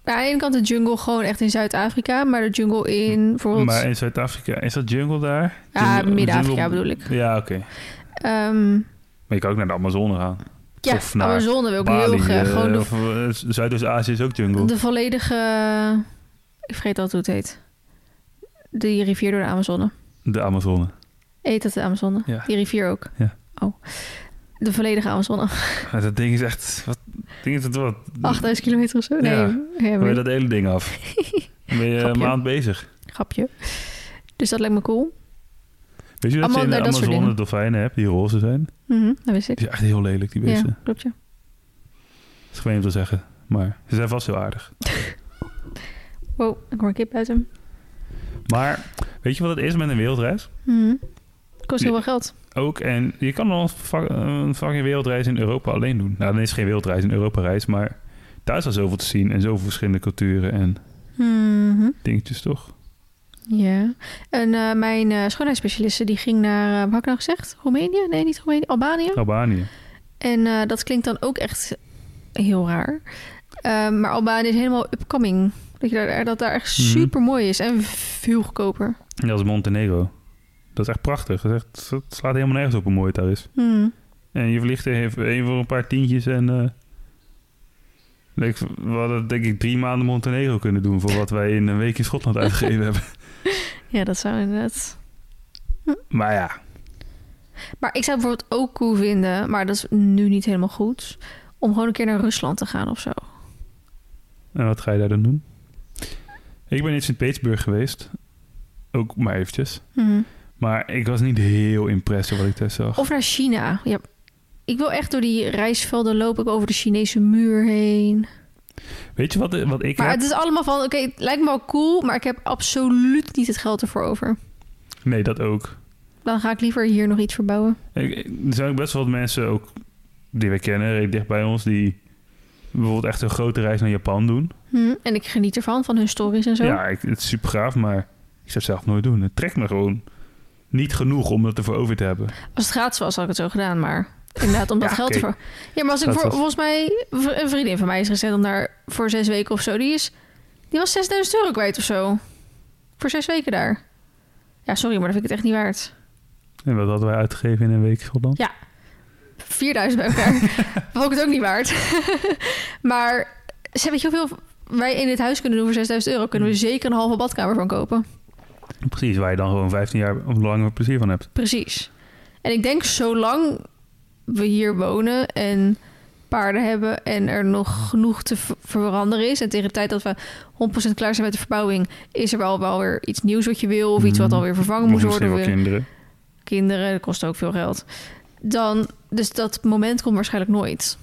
S2: Nou, aan de ene kant de jungle gewoon echt in Zuid-Afrika. Maar de jungle in bijvoorbeeld...
S1: Maar in Zuid-Afrika, is dat jungle daar?
S2: Ja,
S1: Jungle-
S2: Midden-Afrika
S1: jungle-
S2: bedoel ik.
S1: Ja, oké.
S2: Ehm,
S1: Maar je kan ook naar de Amazone gaan.
S2: ja,
S1: Of naar
S2: Amazone wil ik heel
S1: Bali,
S2: graag.
S1: eh,
S2: Gewoon de,
S1: of, eh, Zuidoost-Azië is ook jungle.
S2: de volledige... Ik vergeet altijd hoe het heet. Die rivier door de Amazone.
S1: De Amazone.
S2: Eet dat de Amazone?
S1: Ja.
S2: Die rivier ook?
S1: Ja.
S2: Oh. De volledige Amazone.
S1: Ja, Dat ding is echt... Wat, ding is het wat?
S2: 8000 kilometer of zo? Nee.
S1: Ja.
S2: ja,
S1: Wil
S2: maar-
S1: je dat hele ding af? Dan ben je een
S2: Grapje.
S1: maand bezig.
S2: Grapje. Dus dat lijkt me cool.
S1: Weet je dat
S2: Allemaal
S1: je in
S2: naar
S1: de
S2: dat soort
S1: Amazone
S2: dingen.
S1: dolfijnen hebt die roze zijn?
S2: Mhm, dat wist ik.
S1: Die zijn echt heel lelijk, die beesten.
S2: Ja, klopt ja.
S1: Dat is gemeen om te zeggen. Maar ze zijn vast heel aardig.
S2: Wow, ik hoor een kip buiten.
S1: Maar weet je wat het is met een wereldreis?
S2: Mhm. Kost heel
S1: Nee.
S2: veel geld.
S1: Ook, en je kan al een vak- een fucking wereldreis in Europa alleen doen. Nou, dan is het geen wereldreis, een Europa-reis. Maar daar is al zoveel te zien en zoveel verschillende culturen en
S2: Mhm.
S1: dingetjes, toch?
S2: Ja. En eh, mijn eh, schoonheidsspecialiste die ging naar, eh, wat had ik nou gezegd? Roemenië? Nee, niet Roemenië. Albanië.
S1: Albanië.
S2: En eh, dat klinkt dan ook echt heel raar. Ehm, maar Albanië is helemaal upcoming. Dat, je daar, dat daar echt
S1: Mhm.
S2: super mooi is en veel goedkoper.
S1: En dat is Montenegro. Dat is echt prachtig. Dat, is echt- dat slaat helemaal nergens op hoe mooi het daar is.
S2: Hmm.
S1: En je vliegt er even even voor een paar tientjes en... eh, leuk, we hadden denk ik drie maanden Montenegro kunnen doen... voor wat wij in een week in Schotland uitgegeven hebben.
S2: Ja, dat zou inderdaad.
S1: Maar ja,
S2: Maar ik zou bijvoorbeeld ook cool vinden, maar dat is nu niet helemaal goed. Om gewoon een keer naar Rusland te gaan of zo.
S1: En wat ga je daar dan doen? Ik ben in Sint-Petersburg geweest. Ook maar eventjes.
S2: Hmm.
S1: Maar ik was niet heel impressed door wat ik daar zag.
S2: Of naar China. Ja. Ik wil echt door die reisvelden lopen. Ik wil over de Chinese muur heen.
S1: Weet je wat, wat ik
S2: Maar
S1: heb?
S2: het is allemaal van, oké, het lijkt me wel cool, maar ik heb absoluut niet het geld ervoor over.
S1: Nee, dat ook.
S2: Dan ga ik liever hier nog iets verbouwen.
S1: Ik- ik- er zijn ook best wel wat mensen ook, die we kennen, redelijk dicht bij ons, die bijvoorbeeld echt een grote reis naar Japan doen.
S2: Hm, En ik geniet ervan, van hun stories en zo.
S1: Ja, ik, het is super gaaf, maar ik zou het zelf nooit doen. Het trekt me gewoon niet genoeg om dat ervoor over te hebben.
S2: Als het gratis was, had ik het zo gedaan, maar inderdaad, om dat
S1: Ja,
S2: geld
S1: oké.
S2: ervoor. Ja, maar als ik
S1: Dat
S2: voor,
S1: was-
S2: volgens mij, een vriendin van mij is gezet om daar voor zes weken of zo, die is, die was 6000 euro kwijt of zo. Voor zes weken daar. Ja, sorry, maar dat vind ik het echt niet waard.
S1: En wat hadden wij uitgegeven in een week Schotland?
S2: 4000 bij elkaar. Vond ik het ook niet waard. maar ze weet je hoeveel wij in dit huis kunnen doen voor 6000 euro? Kunnen we zeker een halve badkamer van kopen.
S1: Precies, waar je dan gewoon 15 jaar of langer plezier van hebt.
S2: Precies. En ik denk zolang we hier wonen en paarden hebben en er nog genoeg te ver- veranderen is. En tegen de tijd dat we 100% klaar zijn met de verbouwing, is er wel, wel weer iets nieuws wat je wil. Of iets wat
S1: Mhm.
S2: alweer vervangen
S1: Of
S2: moet
S1: misschien
S2: worden.
S1: wel
S2: Weer-
S1: kinderen.
S2: kinderen, dat kost ook veel geld. Dan, dus dat moment komt waarschijnlijk nooit.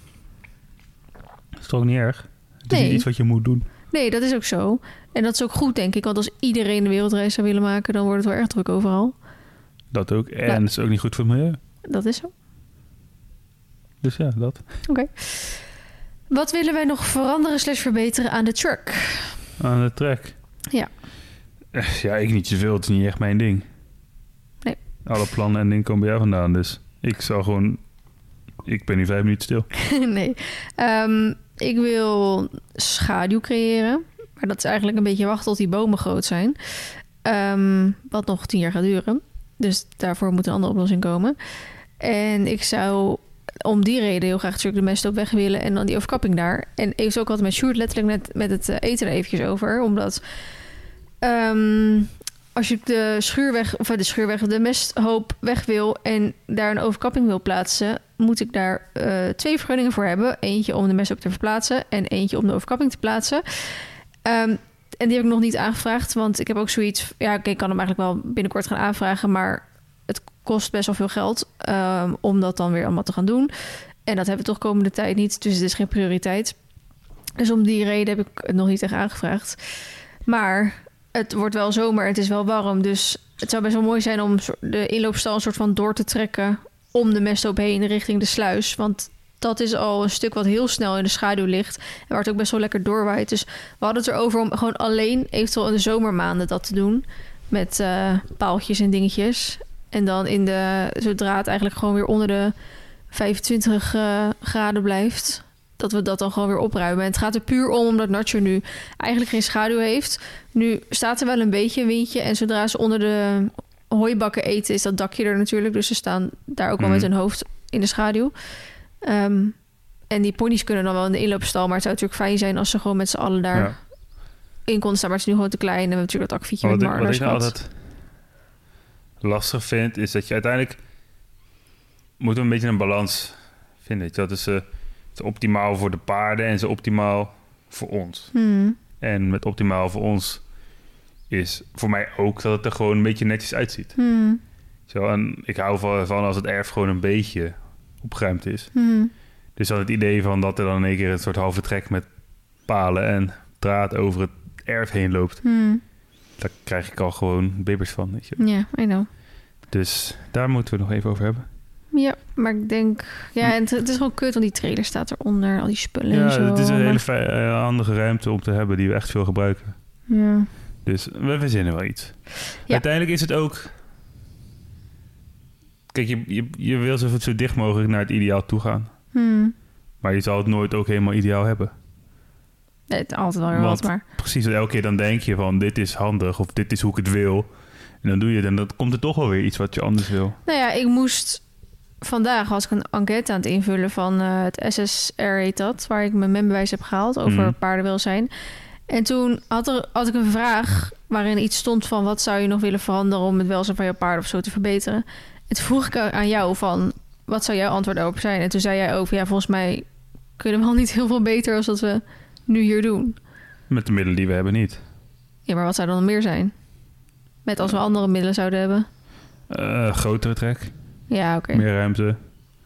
S1: Dat is toch ook niet erg? Het is
S2: Nee.
S1: niet iets wat je moet doen.
S2: Nee, dat is ook zo. En dat is ook goed, denk ik. Want als iedereen de wereldreis zou willen maken, dan wordt het wel erg druk overal.
S1: Dat ook. En
S2: Ja.
S1: het is ook niet goed voor het milieu.
S2: Dat is zo.
S1: Dus ja, dat.
S2: Wat willen wij nog veranderen slash verbeteren aan de truck?
S1: Aan de track.
S2: Ja.
S1: Eh, Ja, ik niet zoveel. Het is niet echt mijn ding.
S2: Nee.
S1: Alle plannen en dingen komen bij jou vandaan. Dus ik zal gewoon... Ik ben hier vijf minuten stil.
S2: nee. Ehm, ik wil schaduw creëren. Maar dat is eigenlijk een beetje wachten tot die bomen groot zijn. Ehm, wat nog tien jaar gaat duren. Dus daarvoor moet een andere oplossing komen. En ik zou om die reden heel graag natuurlijk de mest op weg willen. En dan die overkapping daar. En even ook wat met Sjoerd letterlijk net met het eh, eten er eventjes over. Omdat ehm, als je de schuurweg, of eh, de schuurweg, de mesthoop weg wil en daar een overkapping wil plaatsen, moet ik daar eh, twee vergunningen voor hebben. Eentje om de meststof te verplaatsen en eentje om de overkapping te plaatsen. Ehm, en die heb ik nog niet aangevraagd, want ik heb ook zoiets... Ja, oké, ik kan hem eigenlijk wel binnenkort gaan aanvragen, maar het kost best wel veel geld ehm, om dat dan weer allemaal te gaan doen. En dat hebben we toch komende tijd niet, dus het is geen prioriteit. Dus om die reden heb ik het nog niet echt aangevraagd. Maar het wordt wel zomer, het is wel warm, dus het zou best wel mooi zijn om zo- de inloopstal een soort van door te trekken om de mesthoop heen richting de sluis. Want dat is al een stuk wat heel snel in de schaduw ligt en waar het ook best wel lekker doorwaait. Dus we hadden het erover om gewoon alleen eventueel in de zomermaanden dat te doen met eh, paaltjes en dingetjes. En dan in de, zodra het eigenlijk gewoon weer onder de 25 eh, graden blijft, dat we dat dan gewoon weer opruimen. En het gaat er puur om omdat Nacho nu eigenlijk geen schaduw heeft. Nu staat er wel een beetje een windje. En zodra ze onder de hooibakken eten, is dat dakje er natuurlijk. Dus ze staan daar ook wel
S1: Mhm.
S2: met hun hoofd in de schaduw. Ehm, en die ponies kunnen dan wel in de inloopstal. Maar het zou natuurlijk fijn zijn als ze gewoon met z'n allen daar
S1: Ja.
S2: in konden staan. Maar het is nu gewoon te klein. En we hebben natuurlijk dat akfietje
S1: Maar
S2: met
S1: Wat, ik-
S2: Marlers
S1: wat ik nou
S2: gehad.
S1: altijd lastig vind, is dat je uiteindelijk moet een beetje een balans vinden. weet je wel. Dat is, eh, het is optimaal voor de paarden en ze optimaal voor ons.
S2: Hmm.
S1: En met optimaal voor ons is voor mij ook dat het er gewoon een beetje netjes uitziet.
S2: Hmm.
S1: Zo, en ik hou van van als het erf gewoon een beetje opgeruimd is.
S2: Hmm.
S1: Dus dan het idee van dat er dan in één keer een soort halve trek met palen en draad over het erf heen loopt.
S2: Hmm.
S1: Daar krijg ik al gewoon bibbers van. Weet je.
S2: Ja, I know.
S1: Dus daar moeten we het nog even over hebben.
S2: Ja, maar ik denk... Ja, en het, het is gewoon kut, want die trailer staat eronder. Al die spullen en zo.
S1: Ja, het is een
S2: maar-
S1: hele fijn- eh, handige ruimte om te hebben die we echt veel gebruiken.
S2: Ja.
S1: Dus we verzinnen wel iets.
S2: Ja.
S1: Uiteindelijk is het ook... Kijk, je, je, je wil zo, zo dicht mogelijk naar het ideaal toe gaan.
S2: Hmm.
S1: Maar je zal het nooit ook helemaal ideaal hebben.
S2: Nee, het- altijd wel weer
S1: Want-
S2: wat, maar...
S1: Precies, want elke keer dan denk je van dit is handig of dit is hoe ik het wil. En dan doe je het en dan komt er toch wel weer iets wat je anders wil.
S2: Nou ja, ik moest vandaag was ik een enquête aan het invullen van eh, het SSR heet dat, waar ik mijn membewijs heb gehaald over
S1: Mhm.
S2: paardenwelzijn. En toen had, er, had ik een vraag waarin iets stond van wat zou je nog willen veranderen om het welzijn van jouw paard of zo te verbeteren. En toen vroeg ik aan jou van wat zou jouw antwoord daarop zijn? En toen zei jij over ja, volgens mij kunnen we al niet heel veel beter als dat we nu hier doen.
S1: Met de middelen die we hebben niet.
S2: Ja, maar wat zou dan nog meer zijn? Met als we andere middelen zouden hebben.
S1: Eh, grotere trek,
S2: Ja, oké.
S1: meer ruimte,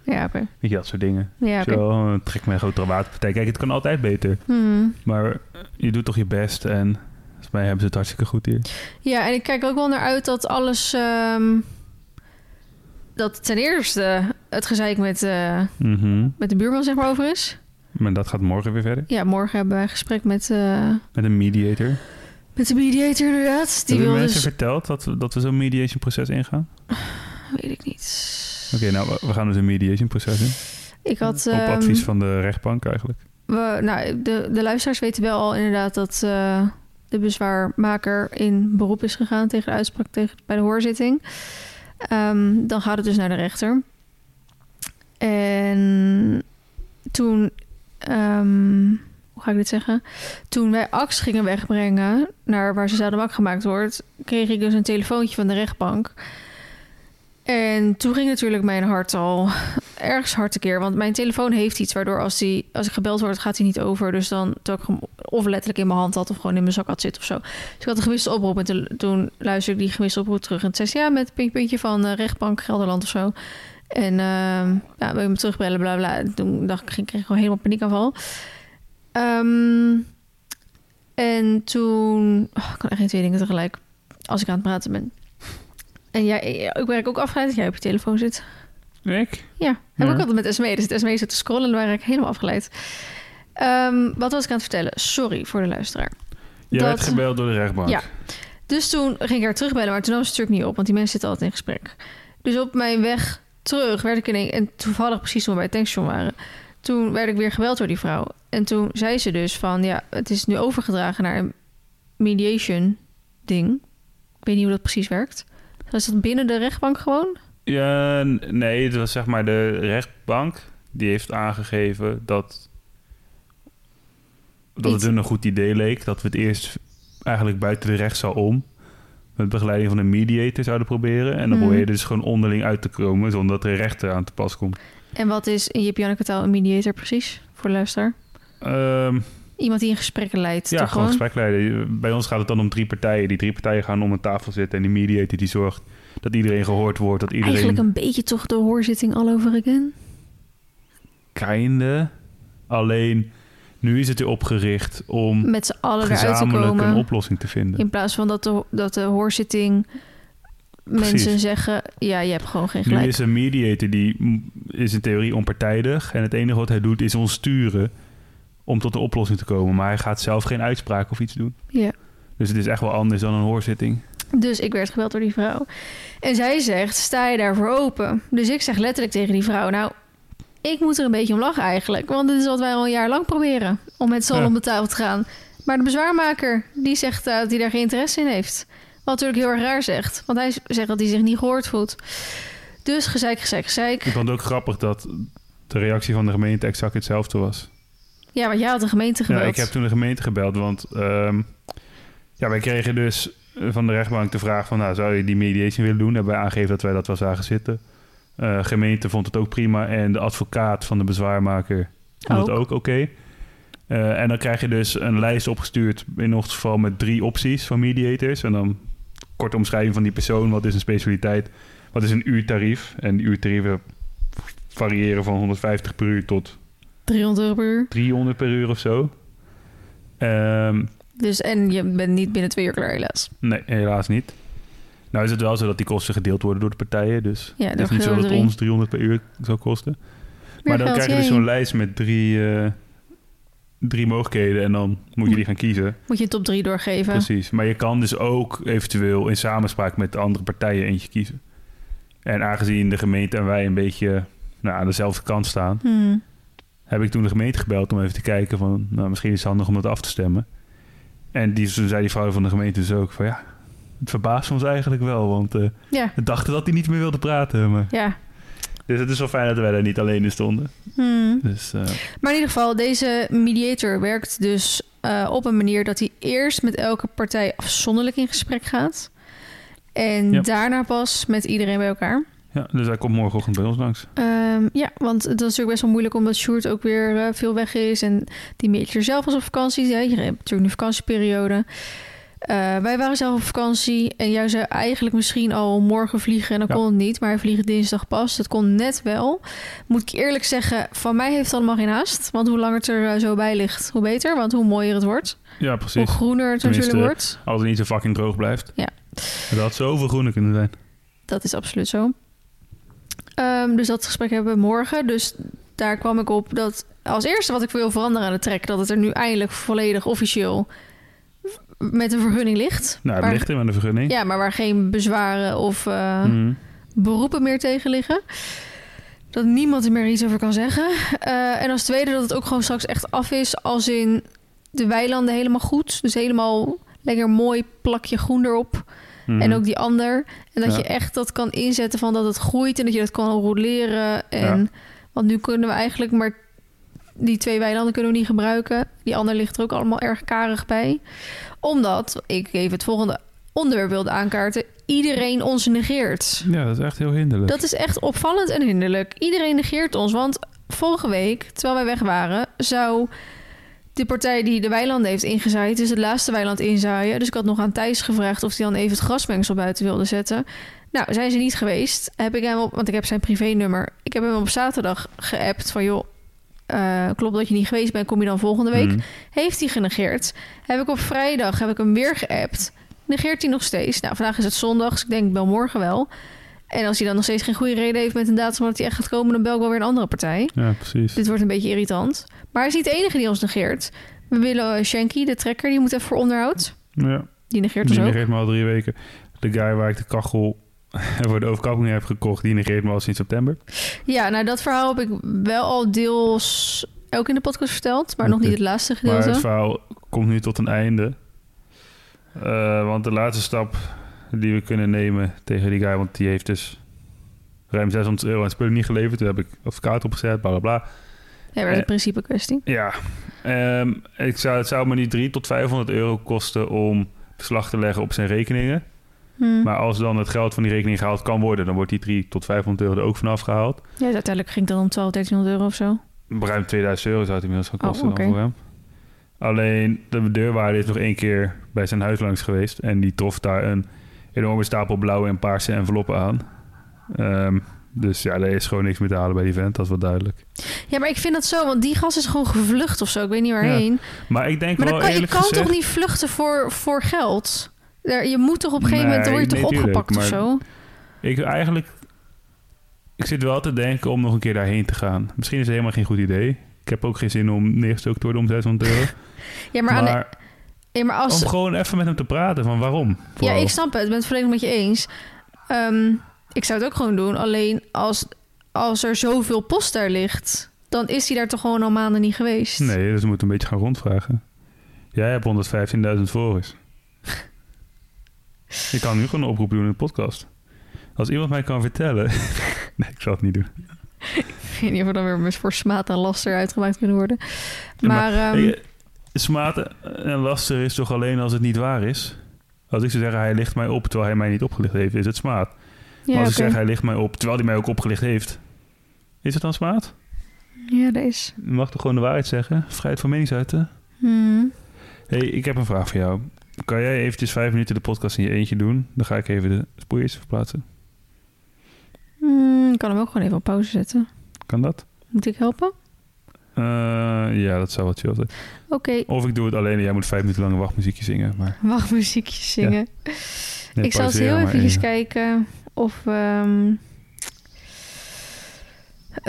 S2: Ja, oké.
S1: weet je, dat soort dingen.
S2: Ja, oké.
S1: Zo, eh, trek met een grotere waterpartij. Kijk, het kan altijd beter.
S2: Hmm.
S1: Maar je doet toch je best en volgens mij hebben ze het hartstikke goed hier.
S2: Ja, en ik kijk ook wel naar uit dat alles. ehm, dat ten eerste het gezeik met, eh,
S1: Mhm.
S2: met de buurman zeg maar over is.
S1: Maar dat gaat morgen weer verder.
S2: Ja, morgen hebben wij een gesprek met, eh,
S1: Met een mediator.
S2: met de mediator inderdaad. Die
S1: hebben
S2: wil
S1: mensen
S2: dus...
S1: verteld dat we, dat we zo'n mediation proces ingaan?
S2: Weet ik niet.
S1: Oké, nou, we- we gaan dus een mediation proces in.
S2: Ik had...
S1: Op
S2: ehm,
S1: advies van de rechtbank eigenlijk.
S2: we, nou, de, de luisteraars weten wel al inderdaad dat eh, de bezwaarmaker in beroep is gegaan tegen de uitspraak tegen, bij de hoorzitting. Ehm, dan gaat het dus naar de rechter. En toen, ehm, hoe ga ik dit zeggen? Toen wij Ax gingen wegbrengen naar waar ze zouden wakker gemaakt wordt, kreeg ik dus een telefoontje van de rechtbank. En toen ging natuurlijk mijn hart al ergens hard keer. Want mijn telefoon heeft iets waardoor als, die, als ik gebeld word, gaat hij niet over. Dus dan dat ik hem of letterlijk in mijn hand had of gewoon in mijn zak had zitten of zo. Dus ik had een gewisse oproep en toen- toen luisterde ik die gewisse oproep terug. En toen zei ze, ja, met puntje, puntje van eh, rechtbank Gelderland of zo. En ehm ja, wil je me terugbellen, bla bla. En toen dacht ik, ging- kreeg ik gewoon helemaal paniekaanval. Ehm, en toen... oh, ik kan echt geen twee dingen tegelijk als ik aan het praten ben. En jij, ik werk ook afgeleid. Jij op je telefoon zit.
S1: Ik?
S2: Ja, heb ik
S1: Ja.
S2: ook altijd met SME. Dus het SME zit te scrollen en dan waren ik helemaal afgeleid. Ehm, wat was ik aan het vertellen? Sorry voor de luisteraar.
S1: Jij
S2: Dat-
S1: werd gebeld door de rechtbank.
S2: Ja. Dus toen ging ik haar terugbellen, maar toen nam ze het natuurlijk niet op, want die mensen zitten altijd in gesprek. Dus op mijn weg terug werd ik in een, en toevallig precies toen we bij het tankstation waren, toen werd ik weer gebeld door die vrouw. En toen zei ze dus van, ja, het is nu overgedragen naar een mediation ding. Ik weet niet hoe dat precies werkt. Is dat binnen de rechtbank gewoon?
S1: Ja, n- nee, het was zeg maar de rechtbank die heeft aangegeven dat, dat het
S2: Iets-
S1: hun een goed idee leek. Dat we het eerst eigenlijk buiten de rechtszaal om met begeleiding van een mediator zouden proberen. En dan
S2: Hmm.
S1: probeerden ze dus gewoon onderling uit te komen zonder dat de rechter aan te pas komt.
S2: En wat is in Jip Janneke taal een mediator precies? Voor de luisteraar.
S1: Ehm,
S2: Iemand die een gesprek leidt.
S1: ja,
S2: toch
S1: gewoon gesprek leiden. Bij ons gaat het dan om drie partijen. Die drie partijen gaan om een tafel zitten en die mediator die zorgt dat iedereen gehoord wordt, dat iedereen... Mm.
S2: Eigenlijk een beetje toch de hoorzitting all over again.
S1: Kinder. Alleen, nu is het er opgericht om
S2: Met z'n allen eruit te
S1: gezamenlijk een
S2: komen.
S1: oplossing te vinden.
S2: In plaats van dat de, dat de hoorzitting mensen
S1: Precies.
S2: zeggen... Ja, je hebt gewoon geen
S1: Nu
S2: gelijk.
S1: is een mediator die mm, is in theorie onpartijdig. En het enige wat hij doet is ons sturen om tot een oplossing te komen. Maar hij gaat zelf geen uitspraak of iets doen.
S2: Ja.
S1: Dus het is echt wel anders dan een hoorzitting.
S2: Dus ik werd gebeld door die vrouw. En zij zegt, sta je daarvoor open? Dus ik zeg letterlijk tegen die vrouw... Nou, ik moet er een beetje om lachen eigenlijk. Want dit is wat wij al een jaar lang proberen. Om met z'n allen
S1: Ja.
S2: om de tafel te gaan. Maar de bezwaarmaker, die zegt eh, dat hij daar geen interesse in heeft. Wat natuurlijk heel erg raar zegt. Want hij z- zegt dat hij zich niet gehoord voelt. Dus gezeik, gezeik, gezeik.
S1: Ik vond het ook grappig dat de reactie van de gemeente exact hetzelfde was.
S2: Ja, want jij had de gemeente
S1: Ja,
S2: gebeld.
S1: ik heb toen de gemeente gebeld, want ehm, ja, wij kregen dus eh, van de rechtbank de vraag van... Nou, zou je die mediation willen doen? Daarbij aangegeven dat wij dat wel zagen zitten. Eh gemeente vond het ook prima en de advocaat van de bezwaarmaker vond het
S2: Ook.
S1: ook oké. Eh, en dan krijg je dus een lijst opgestuurd, in ons geval met drie opties van mediators. En dan korte omschrijving van die persoon, wat is een specialiteit, wat is een uurtarief. En die uurtarieven variëren van 150 per uur tot
S2: 300 euro per uur.
S1: 300 per uur of zo. Ehm,
S2: Dus, en je bent niet binnen twee uur klaar helaas.
S1: nee, helaas niet. Nou is het wel zo dat die kosten gedeeld worden door de partijen. Dus
S2: Ja,
S1: het
S2: door
S1: is niet zo dat
S2: drie.
S1: ons 300 per uur zou kosten. maar dan krijg je dus zo'n lijst met drie, eh, drie mogelijkheden. En dan moet je die gaan kiezen.
S2: Moet je een top 3 doorgeven.
S1: Precies. Maar je kan dus ook eventueel in samenspraak met de andere partijen eentje kiezen. En aangezien de gemeente en wij een beetje nou, aan dezelfde kant staan...
S2: Hmm.
S1: heb ik toen de gemeente gebeld om even te kijken van... nou, misschien is het handig om dat af te stemmen. En die, toen zei die vrouw van de gemeente dus ook van... ja, het verbaast ons eigenlijk wel, want eh,
S2: Ja,
S1: we dachten dat hij niet meer wilde praten. Maar...
S2: ja.
S1: Dus het is wel fijn dat wij daar niet alleen in stonden.
S2: Hmm.
S1: Dus eh,
S2: Maar in ieder geval, deze mediator werkt dus eh, op een manier dat hij eerst met elke partij afzonderlijk in gesprek gaat. En
S1: Ja.
S2: daarna pas met iedereen bij elkaar.
S1: ja, dus hij komt morgenochtend bij ons langs.
S2: Ehm, ja, want het is natuurlijk best wel moeilijk omdat Sjoerd ook weer eh, veel weg is. En die mediator zelf was op vakantie. Ja, je hebt natuurlijk nu vakantieperiode. Eh, wij waren zelf op vakantie. En jij zou eigenlijk misschien al morgen vliegen. En dan
S1: Ja.
S2: kon het niet. Maar hij vliegt dinsdag pas. Dat kon net wel. Moet ik eerlijk zeggen, van mij heeft het allemaal geen haast. Want hoe langer het er eh, zo bij ligt, hoe beter. Want hoe mooier het wordt.
S1: Ja, precies.
S2: Hoe groener het natuurlijk
S1: Tenminste,
S2: wordt.
S1: Als het niet zo fucking droog blijft.
S2: Ja.
S1: Er had zoveel groene kunnen zijn.
S2: Dat is absoluut zo. Ehm, dus dat gesprek hebben we morgen. Dus daar kwam ik op dat als eerste wat ik wil veranderen aan de trek... dat het er nu eindelijk volledig officieel met een vergunning ligt.
S1: Nou, het
S2: Waar-
S1: ligt hem aan de vergunning.
S2: Ja, maar waar geen bezwaren of eh,
S1: Mhm.
S2: beroepen meer tegen liggen. Dat niemand er meer iets over kan zeggen. Eh, en als tweede dat het ook gewoon straks echt af is als in de weilanden helemaal goed. Dus helemaal lekker mooi plakje groen erop.
S1: Mhm.
S2: En ook die ander. En dat
S1: Ja.
S2: je echt dat kan inzetten van dat het groeit en dat je dat kan roleren. En, Want nu kunnen we eigenlijk maar die twee weilanden kunnen we niet gebruiken. Die ander ligt er ook allemaal erg karig bij. Omdat, ik even het volgende onderwerp wilde aankaarten, iedereen ons negeert.
S1: Ja, dat is echt heel hinderlijk.
S2: Dat is echt opvallend en hinderlijk. Iedereen negeert ons, want vorige week, terwijl wij weg waren, zou de partij die de weilanden heeft ingezaaid, dus het laatste weiland inzaaien. Dus ik had nog aan Thijs gevraagd of hij dan even het grasmengsel buiten wilde zetten. Nou, zijn ze niet geweest. Heb ik hem op, want ik heb zijn privénummer. Ik heb hem op zaterdag geappt van joh, eh, klopt dat je niet geweest bent, kom je dan volgende week?
S1: Mhm.
S2: Heeft hij genegeerd. Heb ik op vrijdag heb ik hem weer geappt. Negeert hij nog steeds. Nou, vandaag is het zondag, dus ik denk ik bel morgen wel. En als hij dan nog steeds geen goede reden heeft met een datum dat hij echt gaat komen, dan bel ik wel weer een andere partij.
S1: Ja, precies.
S2: Dit wordt een beetje irritant. Maar hij is niet de enige die ons negeert. We willen eh, Shanky, de trekker, die moet even voor onderhoud.
S1: Ja.
S2: Die negeert
S1: Die
S2: ons ook.
S1: negeert me al drie weken. De guy waar ik de kachel voor de overkapping heb gekocht, die negeert me al sinds september.
S2: Ja, nou dat verhaal heb ik wel al deels ook in de podcast verteld, maar nog
S1: Oké.
S2: niet het laatste
S1: Maar
S2: gedeelte.
S1: het verhaal komt nu tot een einde. Eh, want de laatste stap die we kunnen nemen tegen die guy, want die heeft dus ruim 600 euro aan spullen niet geleverd. Toen heb ik advocaat opgezet, bla bla bla.
S2: ja, maar dat is
S1: eh,
S2: een principe kwestie.
S1: Ja, ehm, ik zou, het zou me niet 300 tot 500 euro kosten om beslag te leggen op zijn rekeningen.
S2: Hm.
S1: Maar als dan het geld van die rekening gehaald kan worden, dan wordt die 3 tot 500 euro er ook vanaf gehaald.
S2: Ja, uiteindelijk ging het dan om 12, 1300 euro of zo.
S1: Ruim 2000 euro zou het inmiddels gaan
S2: Oh,
S1: kosten
S2: oké.
S1: dan voor hem. Alleen de deurwaarde is nog één keer bij zijn huis langs geweest. En die trof daar een enorme stapel blauwe en paarse enveloppen aan. Ehm, dus ja, daar is gewoon niks meer te halen bij die vent, dat is wel duidelijk.
S2: Ja, maar ik vind dat zo, want die gast is gewoon gevlucht of zo. Ik weet niet waarheen.
S1: Maar ik denk
S2: maar
S1: wel
S2: dan kan, je
S1: eerlijk
S2: kan
S1: gezegd...
S2: toch niet vluchten voor, voor geld? Daar, je moet toch op een gegeven
S1: Nee,
S2: moment, dan word je
S1: nee,
S2: toch
S1: tuurlijk,
S2: opgepakt of
S1: maar-
S2: zo?
S1: Ik eigenlijk... Ik zit wel te denken om nog een keer daarheen te gaan. Misschien is het helemaal geen goed idee. Ik heb ook geen zin om neergestoken te worden om 600 euro.
S2: Ja, maar,
S1: Maar,
S2: aan de- ja, maar als...
S1: om gewoon even met hem te praten van waarom.
S2: Ja,
S1: vooral.
S2: ik snap het. Ik ben het volledig met je eens. Ehm, ik zou het ook gewoon doen. Alleen als, als er zoveel post daar ligt, dan is hij daar toch gewoon al maanden niet geweest.
S1: Nee, dus we moeten een beetje gaan rondvragen. Jij hebt 115.000 volgers. ik kan nu gewoon een oproep doen in de podcast. Als iemand mij kan vertellen... nee, ik zal het niet doen.
S2: Ik weet niet of we dan weer voor smaad en laster uitgemaakt kunnen worden.
S1: Ja, maar- eh,
S2: Maar, ehm,
S1: Hey, smaad en laster is toch alleen als het niet waar is? Als ik zou zeggen, hij ligt mij op terwijl hij mij niet opgelicht heeft, is het smaad.
S2: ja,
S1: maar als
S2: oké.
S1: ik zeg, hij ligt mij op terwijl hij mij ook opgelicht heeft, is het dan smaad?
S2: ja, dat is.
S1: Je mag toch gewoon de waarheid zeggen? Vrijheid van meningsuiten?
S2: Hmm.
S1: Hé, hey, ik heb een vraag voor jou. Kan jij eventjes vijf minuten de podcast in je eentje doen? Dan ga ik even de spoeiers verplaatsen.
S2: Hmm, ik kan hem ook gewoon even op pauze zetten.
S1: Kan dat?
S2: Moet ik helpen?
S1: Eh, ja, dat zou wat chill zijn.
S2: Oké,
S1: Of ik doe het alleen en jij moet vijf minuten lange wachtmuziekje zingen. Maar
S2: mag muziekjes
S1: Ja.
S2: zingen.
S1: nee,
S2: ik zal eens
S1: pauzeer
S2: heel
S1: maar
S2: even
S1: en-
S2: kijken of we ehm,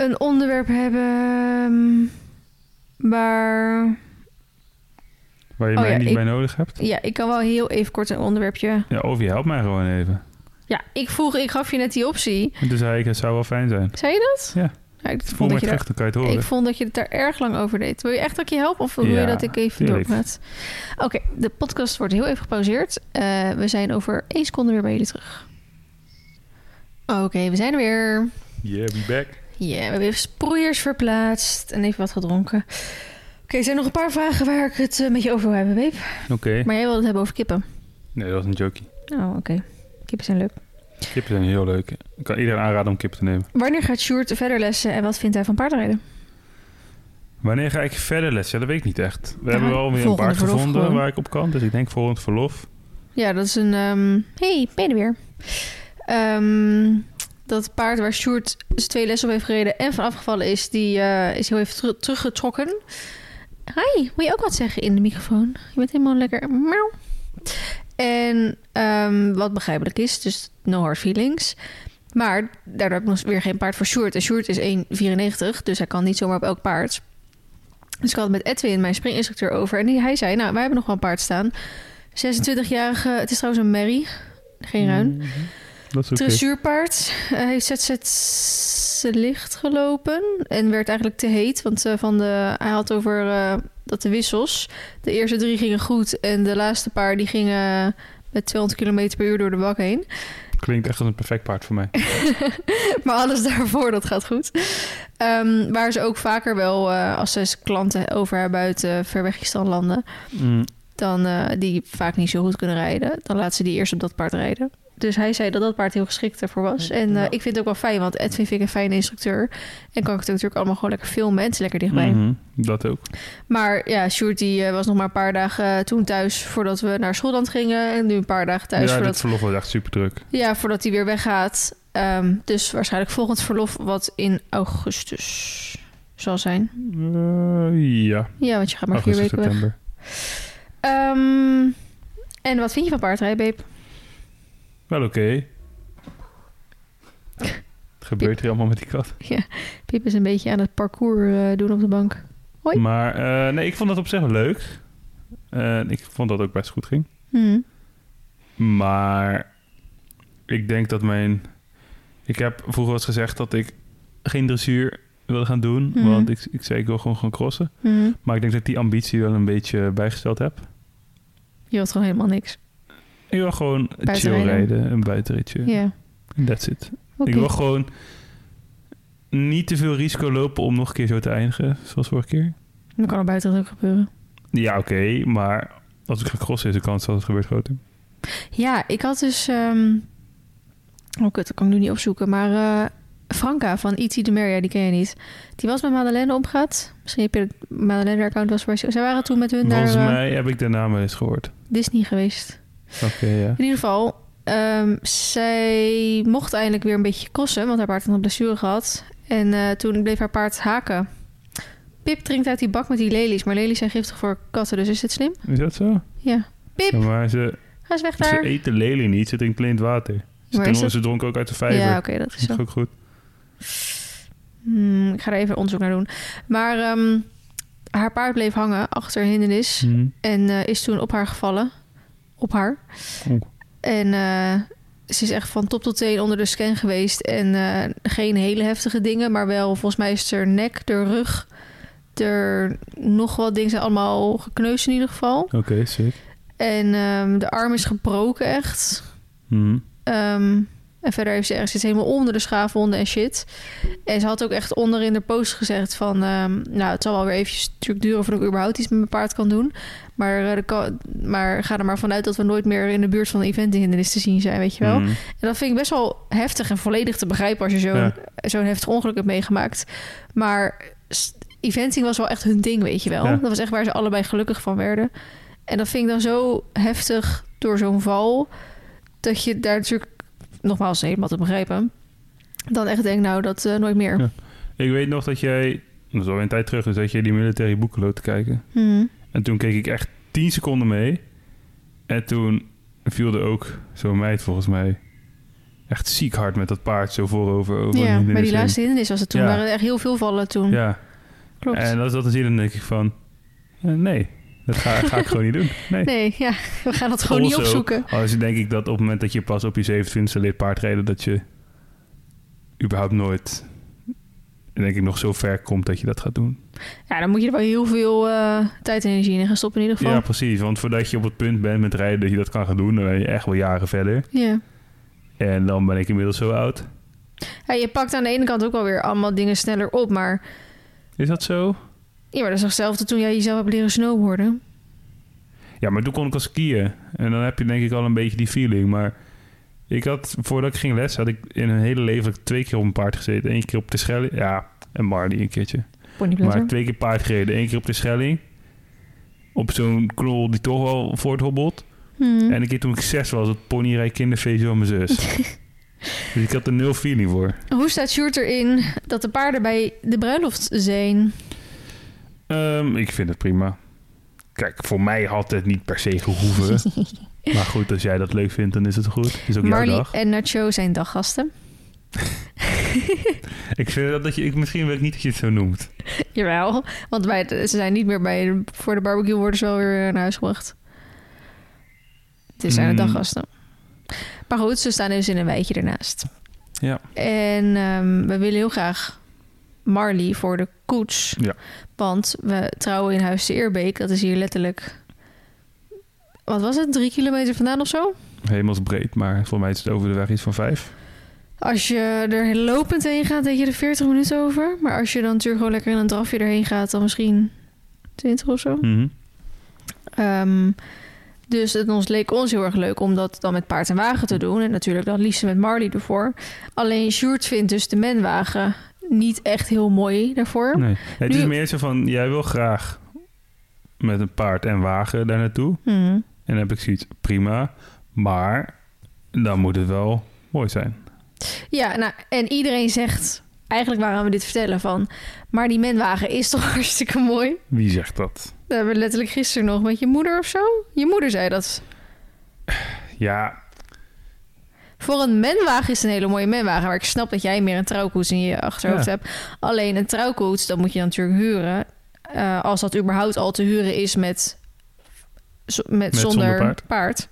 S2: een onderwerp hebben ehm, waar...
S1: Waar je
S2: Oh
S1: mij
S2: ja,
S1: niet
S2: ik-
S1: bij nodig hebt?
S2: Ja, ik kan wel heel even kort een onderwerpje...
S1: Ja, of je helpt mij gewoon even.
S2: Ja, ik vroeg, ik gaf je net die optie.
S1: En toen zei ik, het zou wel fijn zijn.
S2: Zei je dat?
S1: Ja.
S2: Ja, ik,
S1: Voel
S2: vond
S1: me
S2: dat je daar,
S1: terug, dan kan je het
S2: ik
S1: horen.
S2: vond dat je het daar erg lang over deed. Wil je echt dat ik je help of wil
S1: Ja,
S2: je dat ik even
S1: tuurlijk.
S2: doorpraat? Oké, de podcast wordt heel even gepauzeerd. Eh, we zijn over één seconde weer bij jullie terug. Oké, we zijn er weer.
S1: Yeah, be back.
S2: Ja, we hebben even sproeiers verplaatst en even wat gedronken. Oké, er zijn nog een paar vragen waar ik het eh, met je over wil hebben, Weep.
S1: Oké.
S2: Maar jij wilde het hebben over kippen.
S1: Nee, dat was een jokie.
S2: Oh, oké. Kippen zijn leuk.
S1: Kippen zijn heel leuk. Ik kan iedereen aanraden om kippen te nemen.
S2: Wanneer gaat Sjoerd verder lessen en wat vindt hij van paardrijden?
S1: Wanneer ga ik verder les? Ja, dat weet ik niet echt. We
S2: Ja,
S1: hebben wel weer een
S2: volgende
S1: paard
S2: verlof
S1: gevonden
S2: gewoon.
S1: waar ik op kan. Dus ik denk volgend verlof.
S2: Ja, dat is een... ehm, hey, ben je er weer? Ehm, dat paard waar Sjoerd zijn twee lessen op heeft gereden en van afgevallen is, die eh, is heel even teru- teruggetrokken. Hi, wil je ook wat zeggen in de microfoon? Je bent helemaal lekker... Miauw. En ehm, wat begrijpelijk is, dus no hard feelings. Maar daardoor heb ik nog weer geen paard voor Sjoerd. En Sjoerd is 1,94, dus hij kan niet zomaar op elk paard. Dus ik had het met Edwin, mijn springinstructeur, over. En die- hij zei, nou, wij hebben nog wel een paard staan. 26-jarige, het is trouwens een merrie.
S1: Mm.
S2: Geen ruim.
S1: Mhm. Dat is oké.
S2: Dressuurpaard. Hij heeft ZZ licht gelopen en werd eigenlijk te heet. Want eh, van de, hij had over eh, dat de wissels. De eerste drie gingen goed en de laatste paar die gingen eh, met 200 km per uur door de bak heen.
S1: Klinkt echt als een perfect paard voor mij.
S2: Maar alles daarvoor, dat gaat goed. Ehm, waar ze ook vaker wel, eh, als ze klanten over hebben uit eh verwegingsstandlanden,
S1: Mm.
S2: dan eh, die vaak niet zo goed kunnen rijden, dan laten ze die eerst op dat paard rijden. Dus hij zei dat dat paard heel geschikt daarvoor was. En eh,
S1: Ja.
S2: ik vind het ook wel fijn, want Edwin vind ik een fijne instructeur. En kan ik het ook natuurlijk allemaal gewoon lekker filmen. en Het is lekker dichtbij.
S1: Mhm, Dat ook.
S2: Maar ja, Sjoerd die, eh, was nog maar een paar dagen eh, toen thuis voordat we naar Schotland gingen. En nu een paar dagen thuis
S1: ja,
S2: voordat
S1: dit verlof was echt super druk.
S2: ja, voordat hij weer weggaat. Ehm, dus waarschijnlijk volgend verlof, wat in augustus zal zijn.
S1: Eh, ja,
S2: Ja, want je gaat maar vier
S1: augustus,
S2: weken weg.
S1: september.
S2: Ehm, en wat vind je van paardrijden, babe?
S1: Wel oké. Het gebeurt hier allemaal met die kat.
S2: Pip is een beetje aan het parcours eh, doen op de bank. Hoi.
S1: Maar eh, nee, ik vond dat op zich wel leuk. En ik vond dat het ook best goed ging.
S2: Hmm.
S1: Maar ik denk dat mijn... Ik heb vroeger wel eens gezegd dat ik geen dressuur wilde gaan doen.
S2: Mhm.
S1: Want ik, ik zei, ik wil gewoon gaan crossen.
S2: Hmm.
S1: Maar ik denk dat ik die ambitie wel een beetje bijgesteld heb.
S2: Je had gewoon helemaal niks.
S1: Ik wil gewoon chill
S2: Buitenrijden.
S1: rijden, een buitenritje.
S2: Ja.
S1: That's it.
S2: Oké.
S1: Ik wil gewoon niet te veel risico lopen om nog een keer zo te eindigen, zoals vorige keer.
S2: Dan kan er buiten ook gebeuren.
S1: Ja, oké, maar als ik ga crossen is de kans dat het gebeurt groter.
S2: Ja, ik had dus... ehm, Oh kut, dat kan ik nu niet opzoeken. Maar eh, Franca van E.T. de Mer, ja, die ken je niet. Die was met Madeleine opgehaald. Misschien heb je het Madeleine-account was waar ze... Zij waren toen met hun
S1: Volgens
S2: naar eh,
S1: mij heb ik de naam wel eens gehoord.
S2: Disney geweest.
S1: Oké, ja.
S2: In ieder geval, ehm, zij mocht eindelijk weer een beetje crossen, want haar paard had een blessure gehad. En eh, toen bleef haar paard haken. Pip drinkt uit die bak met die lelies, maar lelies zijn giftig voor katten, dus is het slim?
S1: Is dat zo?
S2: Ja.
S1: Ja,
S2: Pip,
S1: maar ze,
S2: ga eens weg
S1: ze
S2: daar.
S1: eten lelie niet, ze drinken blind water. Ze,
S2: Maar is
S1: dronken,
S2: dat-
S1: ze dronken ook uit de vijver.
S2: Ja, oké,
S1: dat
S2: dat is
S1: is
S2: zo.
S1: toch ook goed.
S2: Hmm, ik ga er even onderzoek naar doen. Maar ehm, haar paard bleef hangen achter een hindernis.
S1: Mhm.
S2: En eh, is toen op haar gevallen. Op haar.
S1: Oeh.
S2: En eh, ze is echt van top tot teen onder de scan geweest. En eh, geen hele heftige dingen, maar wel volgens mij is er nek, de rug, er nog wat dingen zijn allemaal gekneusd in ieder geval.
S1: Oké, sick.
S2: En ehm, de arm is gebroken echt.
S1: Mhm.
S2: Ehm, en verder heeft ze ergens zit helemaal onder de schaafwonden en shit. En ze had ook echt onder in de post gezegd van... ehm, nou, het zal wel weer eventjes natuurlijk duren voordat ik überhaupt iets met mijn paard kan doen. Maar, eh, er kan- maar ga er maar vanuit dat we nooit meer in de buurt van een eventhindernis te zien zijn, weet je wel.
S1: Mhm.
S2: En dat vind ik best wel heftig en volledig te begrijpen als je zo'n
S1: Ja.
S2: zo'n heftig ongeluk hebt meegemaakt. Maar s- eventing was wel echt hun ding, weet je wel.
S1: Ja.
S2: Dat was echt waar ze allebei gelukkig van werden. En dat vind ik dan zo heftig door zo'n val, dat je daar natuurlijk, nogmaals helemaal te begrijpen, dan echt denkt, nou, dat eh, nooit meer.
S1: Ja. Ik weet nog dat jij, dat is alweer een tijd terug, dus dat jij die militaire boeken loopt te kijken.
S2: Hmm.
S1: En toen keek ik echt 10 seconden mee. En toen viel er ook zo'n meid volgens mij echt ziek hard met dat paard zo voorover. Over een
S2: Ja, maar
S1: hindernis
S2: die
S1: heen.
S2: laatste hindernis was het toen.
S1: Ja.
S2: Er waren echt heel veel vallen toen.
S1: Ja,
S2: Klopt.
S1: en als ik dat dan zie, dan denk ik van, eh, nee, dat ga, ga ik gewoon niet doen. Nee.
S2: Nee, ja, we gaan dat gewoon niet
S1: Also,
S2: opzoeken.
S1: Als denk ik dat op het moment dat je pas op je 27e leert paardrijden, dat je überhaupt nooit, denk ik, nog zo ver komt dat je dat gaat doen.
S2: Ja, dan moet je er wel heel veel eh, tijd en energie in gaan stoppen in ieder geval.
S1: Ja, precies. Want voordat je op het punt bent met rijden dat je dat kan gaan doen, dan ben je echt wel jaren verder.
S2: Ja.
S1: En dan ben ik inmiddels zo oud.
S2: Ja, je pakt aan de ene kant ook alweer allemaal dingen sneller op, maar...
S1: Is dat zo?
S2: Ja, maar dat is toch hetzelfde toen jij jezelf hebt leren snowboarden?
S1: Ja, maar toen kon ik al skiën. En dan heb je denk ik al een beetje die feeling. Maar ik had, voordat ik ging les, had ik in een hele leven had ik twee keer op een paard gezeten. Eén keer op de Schelling. Ja, en Marley een keertje. Maar
S2: Ponyplatter.
S1: twee keer paard gereden. Eén keer op de Schelling. Op zo'n knol die toch wel voorthobbelt.
S2: Hmm.
S1: En een keer toen ik zes was, het ponyrij kinderfeestje van mijn zus. dus ik had er nul feeling voor.
S2: Hoe staat Sjoerd erin dat de paarden bij de bruiloft zijn?
S1: Ehm, ik vind het prima. Kijk, voor mij had het niet per se gehoeven. maar goed, als jij dat leuk vindt, dan is het goed. Het is ook jouw
S2: Marley eh,
S1: dag.
S2: en Nacho zijn daggasten.
S1: Ik vind dat, dat je, ik, misschien wil ik niet dat je het zo noemt.
S2: Jawel, want bij de- ze zijn niet meer bij... de- voor de barbecue worden ze wel weer naar huis gebracht. Het zijn de
S1: Hmm.
S2: daggasten. Maar goed, ze staan dus in een wijtje ernaast.
S1: Ja.
S2: En ehm, we willen heel graag Marley voor de koets.
S1: Ja.
S2: Want we trouwen in Huis de Eerbeek. Dat is hier letterlijk... Wat was het? Drie kilometer vandaan of zo?
S1: Hemelsbreed, maar voor mij is het over de weg iets van vijf.
S2: Als je er lopend heen gaat, denk je er 40 minuten over. Maar als je dan natuurlijk gewoon lekker in een drafje erheen gaat... dan misschien 20 of zo.
S1: Mhm.
S2: Ehm, dus het ons leek ons heel erg leuk om dat dan met paard en wagen te doen. En natuurlijk dan liefst met Marley ervoor. Alleen Sjoerd vindt dus de menwagen niet echt heel mooi daarvoor.
S1: Nee. Het is
S2: Nu-
S1: meer zo van, jij wil graag met een paard en wagen daar naartoe.
S2: Hmm.
S1: En dan heb ik zoiets, prima. Maar dan moet het wel mooi zijn.
S2: Ja, nou, en iedereen zegt eigenlijk waarom we dit vertellen van... maar die menwagen is toch hartstikke mooi?
S1: Wie zegt dat?
S2: Dat hebben we letterlijk gisteren nog met je moeder of zo. Je moeder zei dat.
S1: Ja,
S2: Voor een menwagen is het een hele mooie menwagen. Maar ik snap dat jij meer een trouwkoets in je achterhoofd
S1: Ja.
S2: hebt. Alleen een trouwkoets, dat moet je dan natuurlijk huren. eh, als dat überhaupt al te huren is met, zo- met, zonder,
S1: zonder
S2: paard.
S1: paard.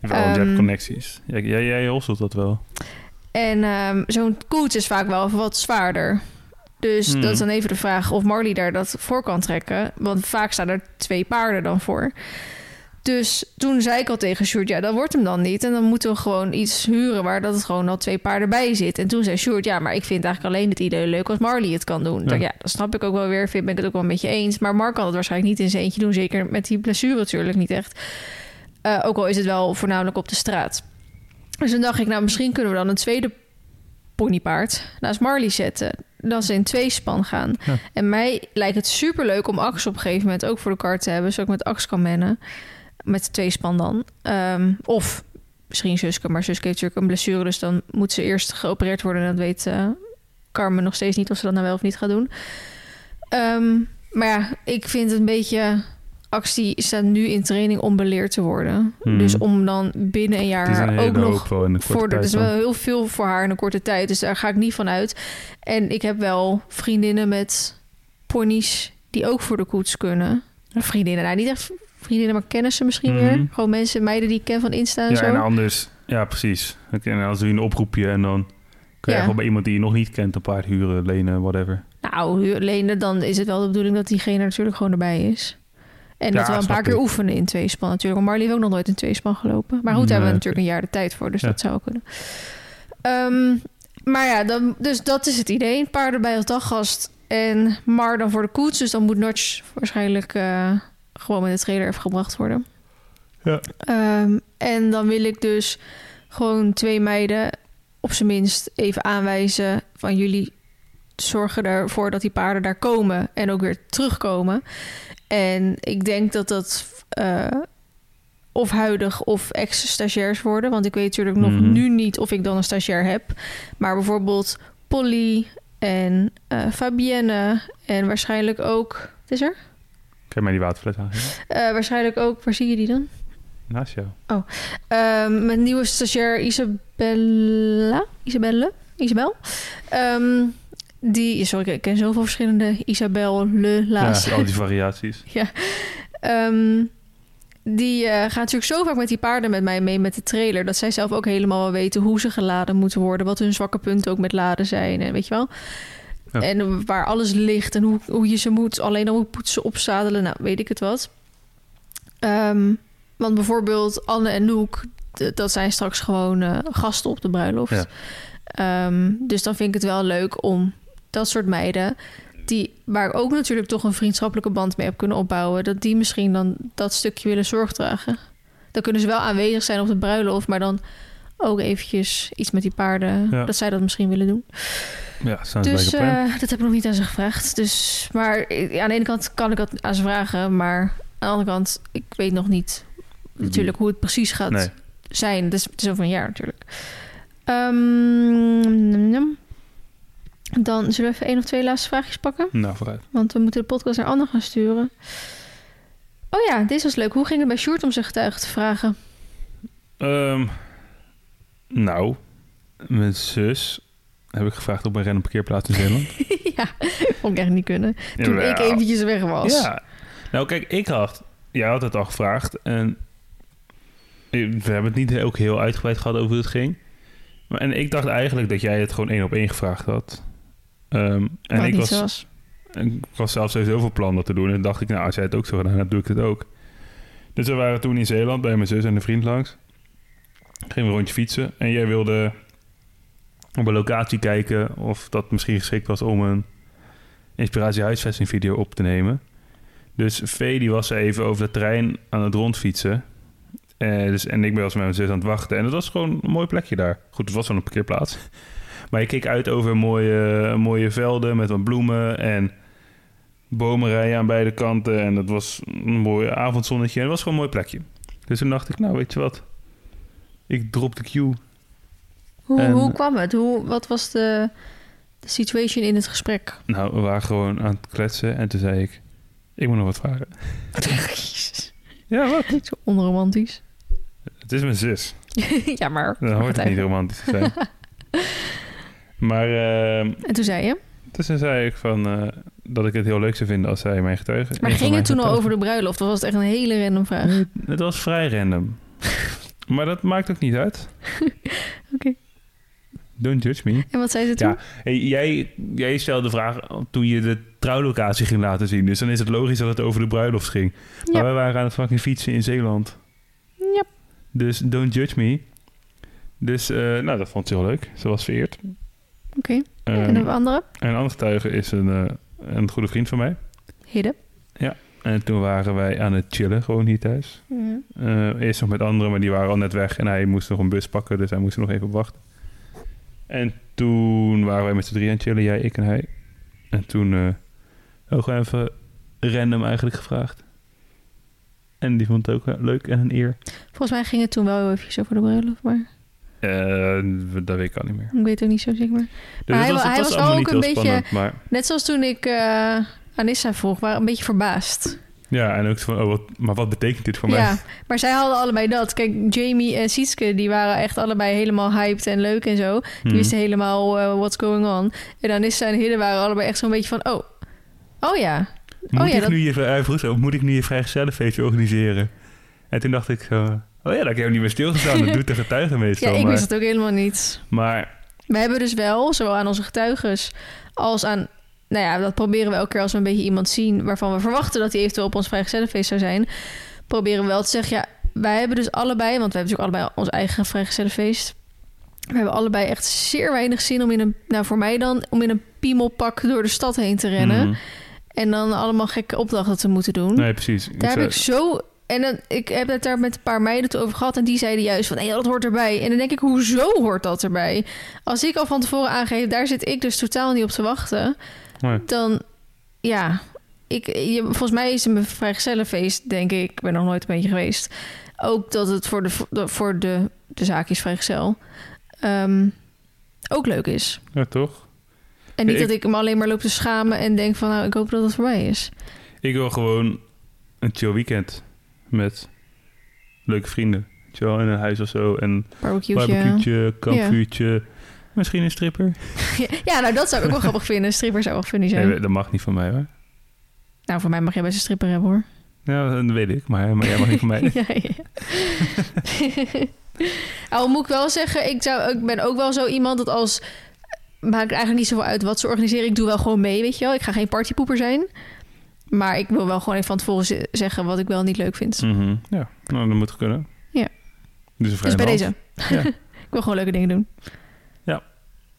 S1: wel, je
S2: Ehm,
S1: hebt connecties. Jij, jij, jij hosselt dat wel.
S2: En ehm, zo'n koets is vaak wel wat zwaarder. Dus
S1: Hmm.
S2: dat is dan even de vraag of Marley daar dat voor kan trekken. Want vaak staan er twee paarden dan voor. Dus toen zei ik al tegen Sjoerd, ja, dat wordt hem dan niet. En dan moeten we gewoon iets huren waar dat het gewoon al twee paarden bij zit. En toen zei Sjoerd, ja, maar ik vind eigenlijk alleen het idee leuk als Marley het kan doen.
S1: Ja.
S2: Ja, ja dat snap ik ook wel weer. Vind ben ik het ook wel met je eens. Maar Mark kan het waarschijnlijk niet in zijn eentje doen. Zeker met die blessure natuurlijk niet echt. Eh, ook al is het wel voornamelijk op de straat. Dus dan dacht ik, nou, misschien kunnen we dan een tweede ponypaard naast Marley zetten. Dat ze in twee span gaan.
S1: Ja.
S2: En mij lijkt het superleuk om Ax op een gegeven moment ook voor de kar te hebben. Zodat ik met Ax kan mennen. Met twee span dan. Ehm, of misschien Suske. Maar Suske heeft natuurlijk een blessure. Dus dan moet ze eerst geopereerd worden. En dat weet eh, Carmen nog steeds niet of ze dat nou wel of niet gaat doen. Ehm, maar ja, ik vind het een beetje... Ax die staat nu in training om beleerd te worden.
S1: Hmm.
S2: Dus om dan binnen een
S1: Het is
S2: jaar
S1: een
S2: ook
S1: hele
S2: nog
S1: hoop wel in de korte
S2: voor de,
S1: tijd
S2: dus
S1: dan.
S2: wel heel veel voor haar in een korte tijd. Dus daar ga ik niet van uit. En ik heb wel vriendinnen met ponies die ook voor de koets kunnen. Vriendinnen, nou niet echt vriendinnen, maar kennissen misschien
S1: Mhm.
S2: weer. Gewoon mensen, meiden die ik ken van Insta en
S1: Ja,
S2: zo.
S1: en anders... Ja, precies. Oké, En als doe je een oproepje en dan... Kun je
S2: Ja.
S1: gewoon bij iemand die je nog niet kent een paard huren, lenen, whatever.
S2: Nou, alleen dan is het wel de bedoeling dat diegene natuurlijk gewoon erbij is. En
S1: Ja,
S2: dat we een
S1: snap
S2: paar keer
S1: ik.
S2: oefenen in tweespan natuurlijk. Want Marley heeft ook nog nooit in tweespan gelopen. Maar goed, daar hebben
S1: Nee.
S2: we natuurlijk een jaar de tijd voor. Dus
S1: Ja.
S2: dat zou wel kunnen. Ehm, maar ja, dan, dus dat is het idee. Paarden bij als daggast en Mar dan voor de koets. Dus dan moet Notch waarschijnlijk eh, gewoon met de trailer even gebracht worden.
S1: Ja.
S2: Ehm, en dan wil ik dus gewoon twee meiden op zijn minst even aanwijzen van jullie zorgen ervoor dat die paarden daar komen en ook weer terugkomen. En ik denk dat dat eh, of huidig of ex-stagiairs worden, want ik weet natuurlijk nog
S1: Mhm.
S2: nu niet of ik dan een stagiair heb. Maar bijvoorbeeld Polly en eh, Fabienne en waarschijnlijk ook... Wat is er?
S1: Kijk mij die waterfles aan.
S2: Eh, waarschijnlijk ook... Waar zie je die dan?
S1: Naast jou.
S2: Ehm, mijn nieuwe stagiair Isabella. Isabelle? Isabel? Ehm, die, sorry, ik ken zoveel verschillende Isabel, Le, La's.
S1: Ja, al die variaties.
S2: Ehm, die eh, gaat natuurlijk zo vaak met die paarden met mij mee met de trailer. Dat zij zelf ook helemaal wel weten hoe ze geladen moeten worden. Wat hun zwakke punten ook met laden zijn. En weet je wel.
S1: Ja.
S2: En waar alles ligt en hoe, hoe je ze moet. Alleen al moet poetsen, opzadelen. Nou, weet ik het wat. Ehm, want bijvoorbeeld Anne en Noek. d- Dat zijn straks gewoon eh, gasten op de bruiloft.
S1: Ja.
S2: Ehm, dus dan vind ik het wel leuk om dat soort meiden die, waar ik ook natuurlijk toch een vriendschappelijke band mee heb kunnen opbouwen, dat die misschien dan dat stukje willen zorgdragen. Dan kunnen ze wel aanwezig zijn op de bruiloft, maar dan ook eventjes iets met die paarden,
S1: Ja.
S2: dat zij dat misschien willen doen.
S1: Ja, sounds
S2: dus
S1: like a plan.
S2: eh, dat heb ik nog niet aan ze gevraagd. Dus, maar eh, aan de ene kant kan ik dat aan ze vragen, maar aan de andere kant, ik weet nog niet natuurlijk hoe het precies gaat
S1: nee.
S2: zijn. Dus het is over een jaar natuurlijk. Ehm, nam, nam. dan zullen we even één of twee laatste vraagjes pakken.
S1: Nou, vooruit.
S2: Want we moeten de podcast naar anderen gaan sturen. Oh ja, deze was leuk. Hoe ging het bij Sjoerd om zijn getuige te vragen?
S1: Ehm, nou, mijn zus heb ik gevraagd op een random parkeerplaats in Zeeland.
S2: ja, kon ik echt niet kunnen. Toen
S1: Jawel.
S2: ik eventjes weg was.
S1: Ja. Nou, kijk, ik had... Jij had het al gevraagd en... ik- We hebben het niet ook heel uitgebreid gehad over hoe het ging. Maar, en ik dacht eigenlijk dat jij het gewoon één op één gevraagd had. Ehm,
S2: en
S1: en ik
S2: niet
S1: was,
S2: zo was.
S1: ik was zelf sowieso van plan dat te doen. En dacht ik, nou, als jij het ook zo gedaan hebt, doe ik het ook. Dus we waren toen in Zeeland bij mijn zus en een vriend langs. Gingen we een rondje fietsen. En jij wilde op een locatie kijken of dat misschien geschikt was om een inspiratie huisvesting video op te nemen. Dus Vee die was even over het terrein aan het rondfietsen. Eh, dus, en ik ben als met mijn zus aan het wachten. En dat was gewoon een mooi plekje daar. Goed, het was wel een parkeerplaats. Maar je keek uit over mooie, mooie velden met wat bloemen en bomenrijen aan beide kanten. En het was een mooi avondzonnetje. En het was gewoon een mooi plekje. Dus toen dacht ik, nou weet je wat? Ik drop de cue.
S2: Hoe,
S1: en-
S2: hoe kwam het? Hoe, wat was de, de situation in het gesprek?
S1: Nou, we waren gewoon aan het kletsen. En toen zei ik, ik moet nog wat vragen.
S2: Jezus,
S1: Ja, wat?
S2: zo onromantisch.
S1: Het is mijn zus.
S2: ja, maar...
S1: Dan hoort het niet romantisch te zijn. maar ehm,
S2: En toen zei je...
S1: dus toen zei ik van, eh, dat ik het heel leuk zou vinden als zij mijn getuige...
S2: Maar
S1: een van
S2: ging
S1: mijn
S2: het toen al
S1: getuigen-
S2: over de bruiloft? Of was het echt een hele random vraag?
S1: Nee, het was vrij random. maar dat maakt ook niet uit.
S2: Oké.
S1: Don't judge me.
S2: En wat zei ze toen?
S1: Ja. Hey, jij, jij stelde de vraag toen je de trouwlocatie ging laten zien. Dus dan is het logisch dat het over de bruiloft ging. Maar
S2: Ja.
S1: wij waren aan het fucking fietsen in Zeeland.
S2: Ja.
S1: Dus don't judge me. Dus eh, nou, dat vond ze heel leuk. Ze was vereerd.
S2: Oké.
S1: Ehm,
S2: en de andere?
S1: eh, en een ander getuige is een, eh, een goede vriend van mij.
S2: Hidde.
S1: En toen waren wij aan het chillen gewoon hier thuis.
S2: Ja.
S1: Eh, eerst nog met anderen, maar die waren al net weg. En hij moest nog een bus pakken, dus hij moest er nog even op wachten. En toen waren wij met z'n drieën aan het chillen, jij, ik en hij. En toen eh, ook gewoon even random eigenlijk gevraagd. En die vond het ook eh, leuk en een eer.
S2: Volgens mij ging het toen wel even over de bruiloft, maar
S1: Eh, dat weet ik al niet meer.
S2: ik weet het ook niet zo zeker.
S1: Dus het
S2: Maar hij wa- hij
S1: het
S2: was wel
S1: allemaal
S2: ook
S1: niet
S2: een
S1: heel
S2: beetje-
S1: spannend, maar
S2: Net zoals toen ik eh Anissa vroeg, waren een beetje verbaasd.
S1: ja, en ook zo van, oh, wat, maar wat betekent dit voor mij?
S2: Ja, maar zij hadden allebei dat. Kijk, Jamie en Sietske, die waren echt allebei helemaal hyped en leuk en zo. Die
S1: Hmm.
S2: wisten helemaal eh, what's going on. En Anissa en Hidde waren allebei echt zo'n beetje van, oh, oh ja.
S1: Moet
S2: Oh ja,
S1: ik
S2: dat-
S1: nu je hij vroeg zo, moet ik nu je vrijgezellenfeestje organiseren? En toen dacht ik zo, oh ja, dat heb ik niet meer stilgestaan. Dat doet de getuige
S2: Ja,
S1: meestal.
S2: ik
S1: maar,
S2: wist het ook helemaal niet.
S1: maar
S2: We hebben dus wel, zowel aan onze getuiges als aan... Nou ja, dat proberen we elke keer als we een beetje iemand zien... waarvan we verwachten dat hij eventueel op ons vrijgezellenfeest zou zijn... proberen we wel te zeggen, ja, wij hebben dus allebei... want we hebben natuurlijk allebei ons eigen vrijgezellenfeest... we hebben allebei echt zeer weinig zin om in een... nou, voor mij dan, om in een piemelpak door de stad heen te rennen...
S1: mm,
S2: en dan allemaal gekke opdrachten te moeten doen.
S1: nee, precies. Ik
S2: Daar heb
S1: zei-
S2: ik zo... En dan, ik heb het daar met een paar meiden het over gehad. En die zeiden juist van, hé, dat hoort erbij. En dan denk ik, hoezo hoort dat erbij? Als ik al van tevoren aangeef, daar zit ik dus totaal niet op te wachten.
S1: Nee.
S2: Dan, ja... Ik, je, volgens mij is een vrijgezellenfeest, denk ik. Ik ben nog nooit een beetje geweest. Ook dat het voor de, voor de, de zaakjes vrijgezel ehm, ook leuk is.
S1: Ja, toch?
S2: En niet
S1: Ik-
S2: dat ik me alleen maar loop te schamen en denk van... nou, ik hoop dat het voor mij is.
S1: Ik wil gewoon een chill weekend met leuke vrienden. Weet je wel, in een huis of zo. En
S2: Barbecue.
S1: barbecue, kampvuurtje. Misschien een stripper.
S2: Ja, nou dat zou ik ook wel grappig vinden. Stripper zou wel funny zijn.
S1: Nee, dat mag niet van mij hoor.
S2: Nou, voor mij mag jij best een stripper hebben hoor.
S1: Ja, dat weet ik, maar, maar jij mag niet van mij.
S2: ja, ja. Al moet ik wel zeggen, ik, zou, ik ben ook wel zo iemand dat als... Maakt eigenlijk niet zoveel uit wat ze organiseren. Ik doe wel gewoon mee, weet je wel. Ik ga geen partypoeper zijn. Maar ik wil wel gewoon even van tevoren ze- zeggen wat ik wel niet leuk vind.
S1: Mhm. Ja, nou, dat moet kunnen.
S2: Ja.
S1: Dus, een
S2: Dus
S1: vrije
S2: bij
S1: hand.
S2: deze.
S1: Ja.
S2: ik wil gewoon leuke dingen doen.
S1: Ja.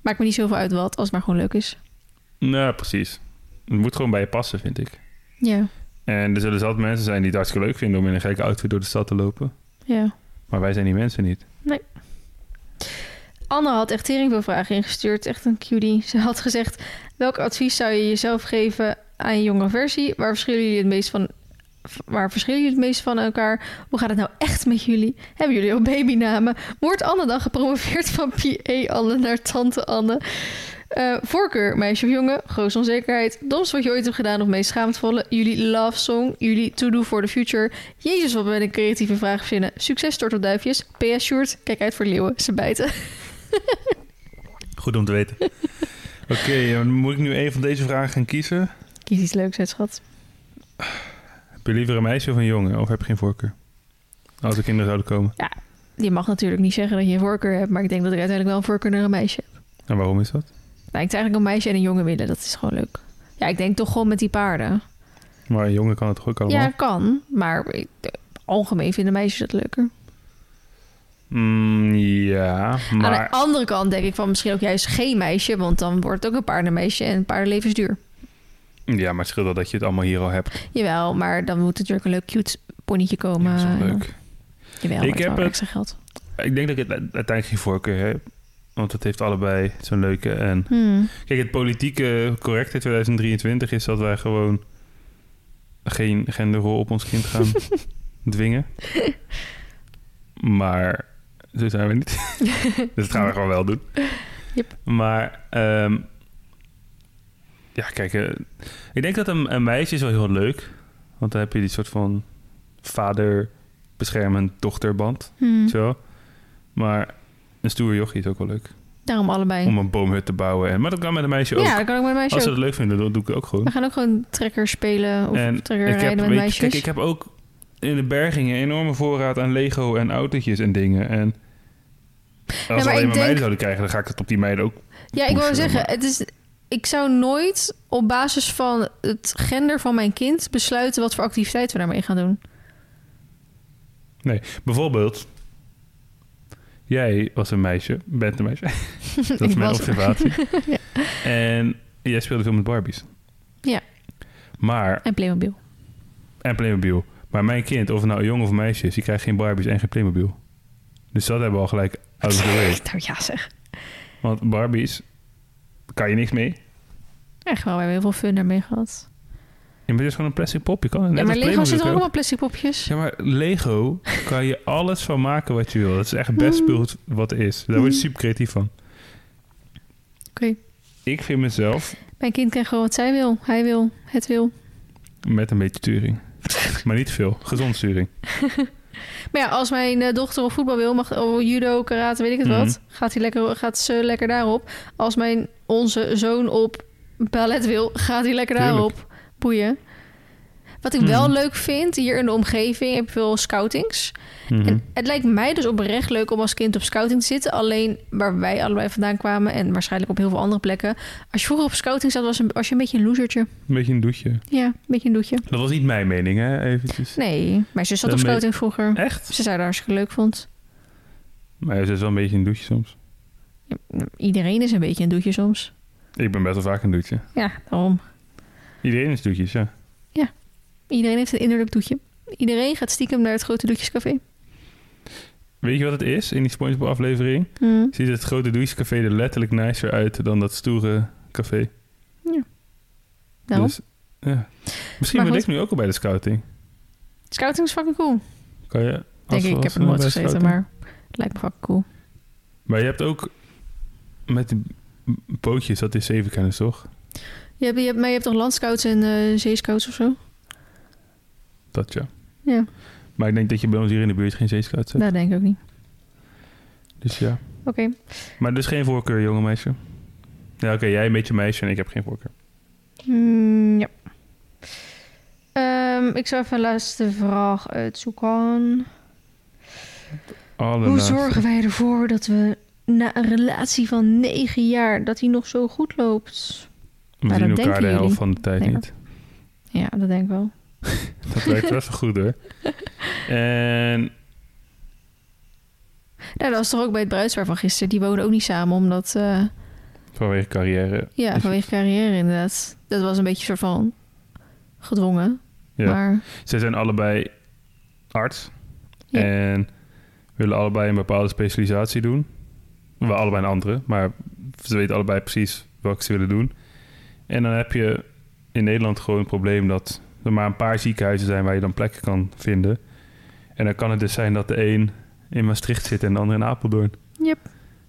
S2: Maakt me niet zoveel uit wat, als het maar gewoon leuk is.
S1: Nou, precies. Het moet gewoon bij je passen, vind ik.
S2: Ja,
S1: En er zullen zat mensen zijn die het hartstikke leuk vinden om in een gekke outfit door de stad te lopen.
S2: ja.
S1: Maar wij zijn die mensen niet.
S2: Anne had echt tering veel vragen ingestuurd. Echt een cutie. Ze had gezegd: welk advies zou je jezelf geven aan je jonge versie? Waar verschillen jullie het meest van? Waar verschillen jullie het meest van elkaar? Hoe gaat het nou echt met jullie? Hebben jullie al babynamen? Wordt Anne dan gepromoveerd van PA Anne naar tante Anne? Eh, voorkeur, meisje of jongen, grootste onzekerheid. Domst wat je ooit hebt gedaan of meest schaamtvolle. Jullie love song, jullie to do for the future. Jezus, wat ben ik creatieve vraag verzinnen. Succes, tortelduifjes. PS Sjoerd, kijk uit voor leeuwen, ze bijten.
S1: Goed om te weten. Oké, eh, moet ik nu een van deze vragen gaan kiezen?
S2: Kies iets leuks uit, schat.
S1: Heb je liever een meisje of een jongen? Of heb je geen voorkeur? Als er kinderen zouden komen.
S2: Je mag natuurlijk niet zeggen dat je een voorkeur hebt, maar ik denk dat ik uiteindelijk wel een voorkeur naar een meisje heb.
S1: En waarom is dat?
S2: Nou, ik zou eigenlijk een meisje en een jongen willen, dat is gewoon leuk. Ja, ik denk toch gewoon met die paarden.
S1: Maar een jongen kan het toch ook allemaal?
S2: Ja, kan, maar ik, eh, algemeen vinden meisjes dat leuker.
S1: Mm, ja,
S2: Aan
S1: maar...
S2: de andere kant denk ik van misschien ook juist geen meisje, want dan wordt het ook een paardenmeisje en paardenleven is duur.
S1: Ja, maar het scheelt wel dat je het allemaal hier al hebt.
S2: Jawel, maar dan moet natuurlijk een leuk cute ponytje komen.
S1: Ja, dat is wel
S2: en dan-
S1: leuk.
S2: Jawel,
S1: Ik
S2: ik
S1: heb
S2: heb
S1: het-
S2: extra geld.
S1: Ik denk dat ik het u- uiteindelijk geen voorkeur heb. Want het heeft allebei zo'n leuke en...
S2: Hmm.
S1: Kijk, het politieke correcte 2023 is dat wij gewoon geen genderrol op ons kind gaan dwingen. Maar zo zijn we niet. dus dat gaan we gewoon wel doen.
S2: Yep.
S1: Maar ehm, ja, kijk, eh, ik denk dat een, een meisje is wel heel leuk. Want dan heb je die soort van vader-beschermend dochterband.
S2: Hmm.
S1: weet je wel. Maar een stoer jochie is ook wel leuk.
S2: Daarom allebei.
S1: Om een boomhut te bouwen. En, maar dat kan met een meisje ook.
S2: Ja, dan kan ik met een meisje
S1: Als ze
S2: ook.
S1: dat leuk vinden, dan doe ik het ook gewoon.
S2: We gaan ook gewoon trekker spelen of
S1: En
S2: trekker
S1: ik
S2: rijden
S1: heb,
S2: met
S1: weet-
S2: meisjes.
S1: kijk, ik heb ook in de bergingen een enorme voorraad aan Lego en autootjes en dingen. En als we
S2: maar
S1: alleen maar
S2: ik denk-
S1: meiden zouden krijgen, dan ga ik het op die meiden ook.
S2: Ja, ik wil
S1: pushen,
S2: zeggen,
S1: maar-
S2: het is, ik zou nooit op basis van het gender van mijn kind besluiten wat voor activiteit we daarmee gaan doen.
S1: Bijvoorbeeld, jij was een meisje, bent een meisje. dat is
S2: Ik
S1: mijn
S2: was-
S1: observatie. En jij speelde veel met Barbies.
S2: Ja.
S1: Maar Oh,
S2: En Playmobil.
S1: en Playmobil. Maar mijn kind, of het nou jong of meisje is, die krijgt geen Barbies en geen Playmobil. Dus dat hebben we al gelijk out of the way.
S2: Nou ja zeg.
S1: Want Barbies, kan je niks mee.
S2: Echt wel, we hebben heel veel fun daarmee gehad.
S1: En het is gewoon een plastic pop. Je kan het net
S2: ja, maar
S1: als
S2: Lego
S1: Playmobil
S2: zit toch ook
S1: kopen.
S2: allemaal plastic popjes?
S1: Ja, maar Lego kan je alles van maken wat je wil. Dat is echt het best
S2: Hmm.
S1: spul wat er is. Daar word je super creatief van.
S2: Oké.
S1: Ik vind mezelf
S2: Mijn kind krijgt gewoon wat zij wil. Hij wil. Het wil.
S1: met een beetje turing. Maar niet veel. Gezond sturing.
S2: Maar ja, als mijn eh, dochter op voetbal wil, mag oh, judo, karate, weet ik het
S1: Mhm.
S2: wat. Gaat, hij lekker, gaat ze lekker daarop. Als mijn, onze zoon op ballet wil, gaat hij lekker
S1: Tuurlijk.
S2: daarop. Boeien. Wat ik
S1: Mhm.
S2: wel leuk vind, hier in de omgeving heb je veel scoutings.
S1: Mhm.
S2: En het lijkt mij dus oprecht leuk om als kind op scouting te zitten. Alleen waar wij allebei vandaan kwamen en waarschijnlijk op heel veel andere plekken. Als je vroeger op scouting zat, was, een, was je een beetje een losertje.
S1: Een beetje een doetje.
S2: Ja, een beetje een doetje.
S1: Dat was niet mijn mening, hè? Eventjes.
S2: Nee, mijn zus zat
S1: Dan
S2: op
S1: ben-
S2: scouting vroeger.
S1: Echt?
S2: Ze zei dat hartstikke leuk vond.
S1: Maar ja, ze is wel een beetje een doetje soms.
S2: Iedereen is een beetje een doetje soms.
S1: Ik ben best wel vaak een doetje.
S2: Ja, daarom.
S1: Iedereen is doetjes, ja.
S2: Iedereen heeft een innerlijk doetje. Iedereen gaat stiekem naar het grote doetjescafé.
S1: Weet je wat het is in die SpongeBob-aflevering?
S2: Hm.
S1: Ziet het grote douchecafé er letterlijk nicer uit dan dat stoere café.
S2: Daarom.
S1: Dus, ja. Misschien
S2: Maar
S1: wil
S2: goed.
S1: ik nu ook al bij de scouting.
S2: Scouting is fucking cool.
S1: Kan je... als-
S2: Denk ik, ik
S1: als-
S2: heb er nooit
S1: bij
S2: gezeten,
S1: scouting?
S2: maar het lijkt me fucking cool.
S1: Maar je hebt ook met die b- bootjes, dat is zevenkennis toch?
S2: Je hebt, je hebt, maar je hebt toch landscouts en eh, zeescouts of zo?
S1: Dat ja.
S2: Ja,
S1: Maar ik denk dat je bij ons hier in de buurt geen zeescouts hebt.
S2: dat denk ik ook niet.
S1: Dus ja.
S2: Oké.
S1: Maar dus geen voorkeur, jonge meisje. Ja, oké, jij een beetje meisje en ik heb geen voorkeur.
S2: Mm, ja. Ehm, ik zou even een laatste vraag uitzoeken. Hoe
S1: Allerlaatste.
S2: zorgen wij ervoor dat we na een relatie van negen jaar... dat die nog zo goed loopt?
S1: We
S2: Maar
S1: zien
S2: Nou, dat
S1: elkaar de
S2: denken
S1: helft
S2: jullie.
S1: van de tijd
S2: Nee,
S1: niet.
S2: Ja, dat denk ik wel.
S1: Dat werkt best wel goed hoor. En
S2: Nou, dat was toch ook bij het bruidspaar van gisteren. Die woonden ook niet samen, omdat... eh,
S1: vanwege carrière.
S2: ja, vanwege carrière inderdaad. Dat was een beetje een soort van gedwongen.
S1: Ja.
S2: Maar
S1: Ze zijn allebei arts.
S2: Ja.
S1: En willen allebei een bepaalde specialisatie doen. Wel allebei een andere, maar ze weten allebei precies wat ze willen doen. En dan heb je in Nederland gewoon een probleem dat er maar een paar ziekenhuizen zijn waar je dan plekken kan vinden. En dan kan het dus zijn dat de een in Maastricht zit en de ander in Apeldoorn.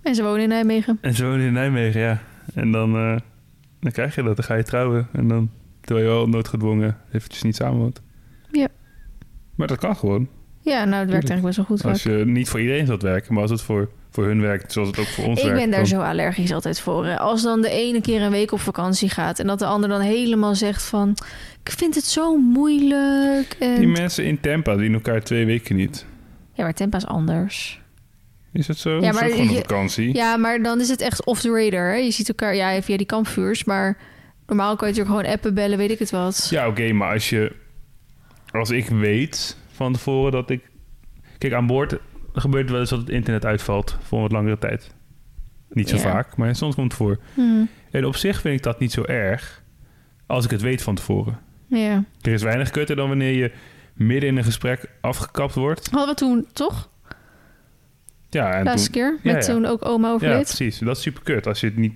S2: en ze wonen in Nijmegen.
S1: En zo in Nijmegen, ja. En dan, eh, dan krijg je dat, dan ga je trouwen. En dan, terwijl je wel noodgedwongen eventjes niet samen woont.
S2: Ja.
S1: Maar dat kan gewoon.
S2: Ja, nou, het werkt eigenlijk best wel goed.
S1: Als je niet voor iedereen zult werken, maar als het voor, voor hun werkt, zoals het ook voor ons
S2: Ik
S1: werkt.
S2: ben daar
S1: dan-
S2: zo allergisch altijd voor. hè. Als dan de ene keer een week op vakantie gaat en dat de ander dan helemaal zegt van, ik vind het zo moeilijk. En...
S1: Die mensen in Tampa die in elkaar twee weken niet.
S2: Ja, maar tempa is anders.
S1: Is dat zo?
S2: maar
S1: dat is ook gewoon
S2: je-
S1: een vakantie.
S2: Ja, maar dan is het echt off the radar. Hè? Je ziet elkaar, ja, via die kampvuurs, maar normaal kan je natuurlijk gewoon appen, bellen, weet ik het wat.
S1: Ja, oké, maar als je. Als ik weet van tevoren dat ik. Kijk, aan boord gebeurt het wel eens dat het internet uitvalt voor een wat langere tijd. Niet zo
S2: Ja.
S1: vaak, maar soms komt het voor.
S2: Hmm,
S1: En op zich vind ik dat niet zo erg als ik het weet van tevoren.
S2: ja.
S1: Er is weinig kutter dan wanneer je midden in een gesprek afgekapt wordt.
S2: Hadden we toen toch?
S1: Ja, en
S2: Laatste
S1: toen,
S2: keer.
S1: Ja,
S2: Met
S1: ja.
S2: toen ook oma
S1: ja
S2: overleed.
S1: precies. Dat is super kut als je het niet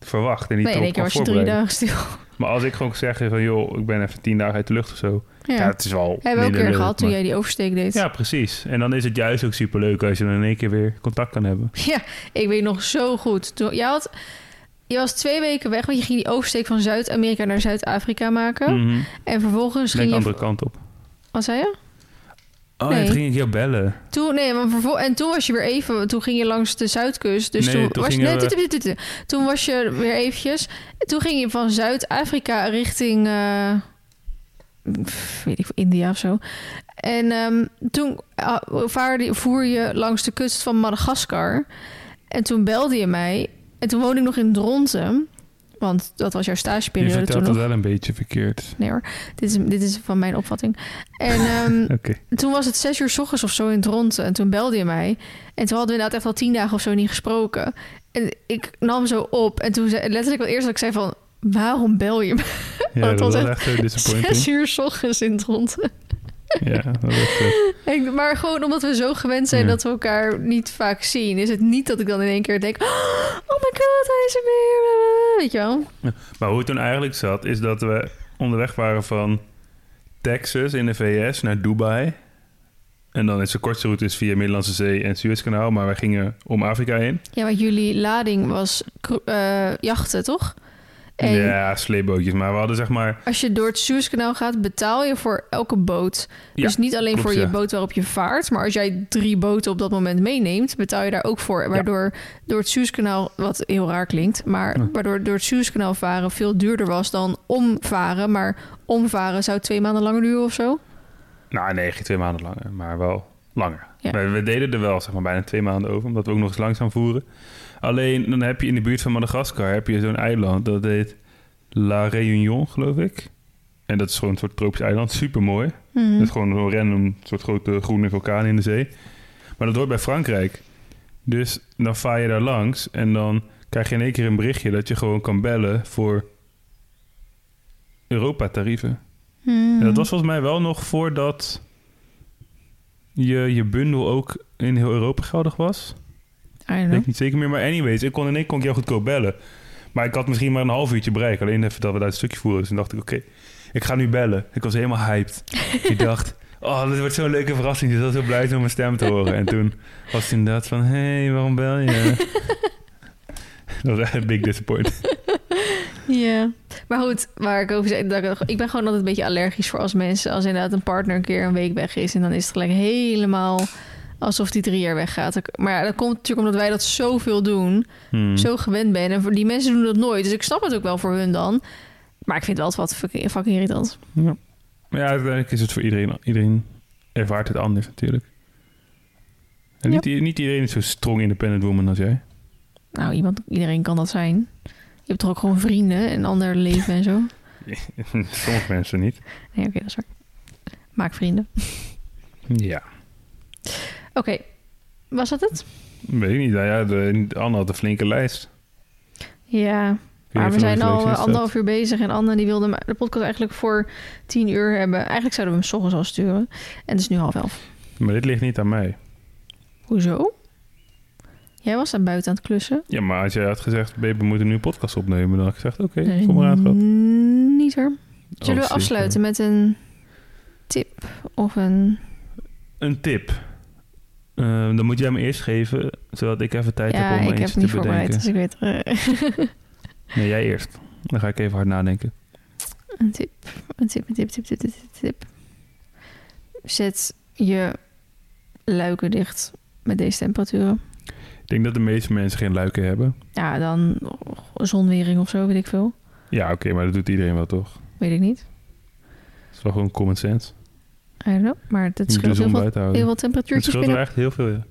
S1: verwacht en niet
S2: nee, in één
S1: erop
S2: keer
S1: kan
S2: was je drie
S1: voorbereiden.
S2: dagen stil.
S1: Maar als ik gewoon zeg van joh, ik ben even tien dagen uit de lucht of zo.
S2: Ja.
S1: Ja, het is wel.
S2: Hebben we ook
S1: minder
S2: een keer
S1: leuk,
S2: gehad toen
S1: maar-
S2: jij die oversteek deed.
S1: Ja, precies. En dan is het juist ook superleuk als je dan in één keer weer contact kan hebben.
S2: Ja, ik weet nog zo goed. Toen, jij had, je was twee weken weg, want je ging die oversteek van Zuid-Amerika naar Zuid-Afrika maken.
S1: Mhm.
S2: En
S1: Denk
S2: vervolgens ging
S1: de
S2: je...
S1: andere kant op.
S2: Wat zei je?
S1: Oh,
S2: Nee.
S1: ja, toen ging ik jou bellen.
S2: Toen, nee, want vervol, en toen was je weer even... Toen ging je langs de Zuidkust. Dus
S1: Nee,
S2: toen,
S1: toen
S2: was je...
S1: gingen
S2: Nee,
S1: we-
S2: dit- dit- dit- dit. Toen was je weer eventjes... Toen ging je van Zuid-Afrika richting... eh, pff, weet ik, India of zo. En ehm, toen ah, vaarde, voer je langs de kust van Madagaskar. En toen belde je mij. En toen woonde ik nog in Dronten. Want dat was jouw
S1: Je
S2: stageperiode toen
S1: vertelt het
S2: nog.
S1: wel een beetje verkeerd.
S2: Nee hoor, dit is, dit is van mijn opvatting. En ehm,
S1: Oké.
S2: toen was het zes uur s ochtends of zo in Dronten. En toen belde je mij. En toen hadden we inderdaad echt al tien dagen of zo niet gesproken. En ik nam zo op. En toen zei letterlijk wel eerst dat ik zei van... waarom bel je me?
S1: Ja,
S2: dat
S1: dat was
S2: was
S1: echt eh,
S2: Zes
S1: disappointing.
S2: uur 's ochtends in het rond.
S1: ja, dat was echt, eh,
S2: Ik- maar gewoon omdat we zo gewend zijn
S1: Ja.
S2: dat we elkaar niet vaak zien, is het niet dat ik dan in één keer denk: Oh my god, hij is er weer. Weet je wel?
S1: Maar hoe het toen eigenlijk zat, is dat we onderweg waren van Texas in de VS naar Dubai. En dan is de kortste route is via Middellandse Zee en het Suezkanaal. Maar wij gingen om Afrika heen.
S2: Ja, maar jullie lading was kro- eh, jachten, toch? En
S1: Ja, sleepbootjes. Maar we hadden zeg maar...
S2: als je door het Suezkanaal gaat, betaal je voor elke boot.
S1: Ja,
S2: dus niet alleen
S1: klopt,
S2: voor je
S1: ja.
S2: boot waarop je vaart, maar als jij drie boten op dat moment meeneemt, betaal je daar ook voor. Waardoor door het Suezkanaal, wat heel raar klinkt, maar
S1: Ja.
S2: waardoor door het Suezkanaal varen veel duurder was dan omvaren. Maar omvaren zou twee maanden langer duren of zo.
S1: Nou nee, geen twee maanden langer. Maar wel langer.
S2: Ja.
S1: We, we deden er wel zeg maar bijna twee maanden over. Omdat we ook nog eens langzaam voeren. Alleen dan heb je in de buurt van Madagaskar heb je zo'n eiland. Dat heet La Réunion geloof ik. En dat is gewoon een soort tropisch eiland. Super mooi.
S2: Mhm.
S1: Het is gewoon een random soort grote groene vulkaan in de zee. Maar dat hoort bij Frankrijk. Dus dan vaar je daar langs en dan krijg je in één keer een berichtje dat je gewoon kan bellen voor Europa-tarieven.
S2: Mhm.
S1: En dat was volgens mij wel nog voordat je, je bundel ook in heel Europa geldig was.
S2: I don't
S1: Ik
S2: know.
S1: weet niet zeker meer, maar anyways, ik kon in één keer kon ik jou goedkoop bellen. Maar ik had misschien maar een half uurtje bereik. Alleen even dat we daar een stukje voeren. Dus toen dacht ik, oké, ik ga nu bellen. Ik was helemaal hyped. ik dacht, oh, dit wordt zo'n leuke verrassing. Dus ik was heel blij om mijn stem te horen. En toen was het inderdaad van, hé, hey, waarom bel je? dat was echt een big disappointment.
S2: Ja, maar goed, waar ik over zei, dat ik, ik ben gewoon altijd een beetje allergisch voor als mensen, als inderdaad een partner een keer een week weg is en dan is het gelijk helemaal alsof die drie jaar weggaat. Ik- Maar ja, dat komt natuurlijk omdat wij dat zoveel doen,
S1: Hmm.
S2: zo gewend ben en voor die mensen doen dat nooit, dus ik snap het ook wel voor hun dan. Maar ik vind het wel wat fucking, fucking irritant.
S1: Maar ja, uiteindelijk is het voor iedereen. Iedereen ervaart het anders natuurlijk. En
S2: Ja.
S1: niet, i- niet iedereen is zo strong independent woman als jij.
S2: Nou, iemand, iedereen kan dat zijn. Je hebt toch ook gewoon vrienden en ander leven en zo.
S1: Sommige mensen niet.
S2: Nee, oké, dat is waar. Maak vrienden.
S1: Ja.
S2: Oké, was dat het?
S1: Weet ik niet. Nou ja, de, Anne had een flinke lijst. Ik
S2: Ja,
S1: weet niet
S2: Maar we
S1: of er
S2: zijn
S1: nog iets
S2: al
S1: in
S2: eh,
S1: staat.
S2: anderhalf uur bezig en Anne die wilde hem- de podcast eigenlijk voor tien uur hebben. Eigenlijk zouden we hem 's ochtends al sturen. En het is nu half elf.
S1: Maar dit ligt niet aan mij.
S2: Hoezo? Jij was daar buiten aan het klussen.
S1: Ja, maar als jij had gezegd, baby, we moeten nu een podcast opnemen. Dan had ik gezegd, oké,
S2: Nee,
S1: kom maar aan. schat.
S2: Niet hoor.
S1: Oh,
S2: Zullen we
S1: shit.
S2: afsluiten met een tip of een...
S1: Een tip. Eh, dan moet jij me eerst geven, zodat ik even tijd
S2: ja,
S1: heb om
S2: ik
S1: eentje
S2: heb het
S1: te
S2: niet
S1: bedenken.
S2: voorbereid, dus ik weet eh,
S1: Nee, jij eerst. Dan ga ik even hard nadenken.
S2: een tip. Een tip, een tip, tip, tip, tip, tip, tip. Zet je luiken dicht met deze temperaturen.
S1: Ik denk dat de meeste mensen geen luiken hebben.
S2: Ja, dan zonwering of zo, weet ik veel.
S1: Ja, oké, maar dat doet iedereen wel, toch?
S2: Weet ik niet.
S1: Dat is wel gewoon common sense. dus
S2: I don't know. Maar
S1: Je
S2: dat
S1: moet de
S2: scheelt heel
S1: zon
S2: veel,
S1: buiten houden.
S2: heel veel
S1: Het
S2: temperatuurtjes
S1: scheelt wel
S2: binnen.
S1: echt heel veel, ja.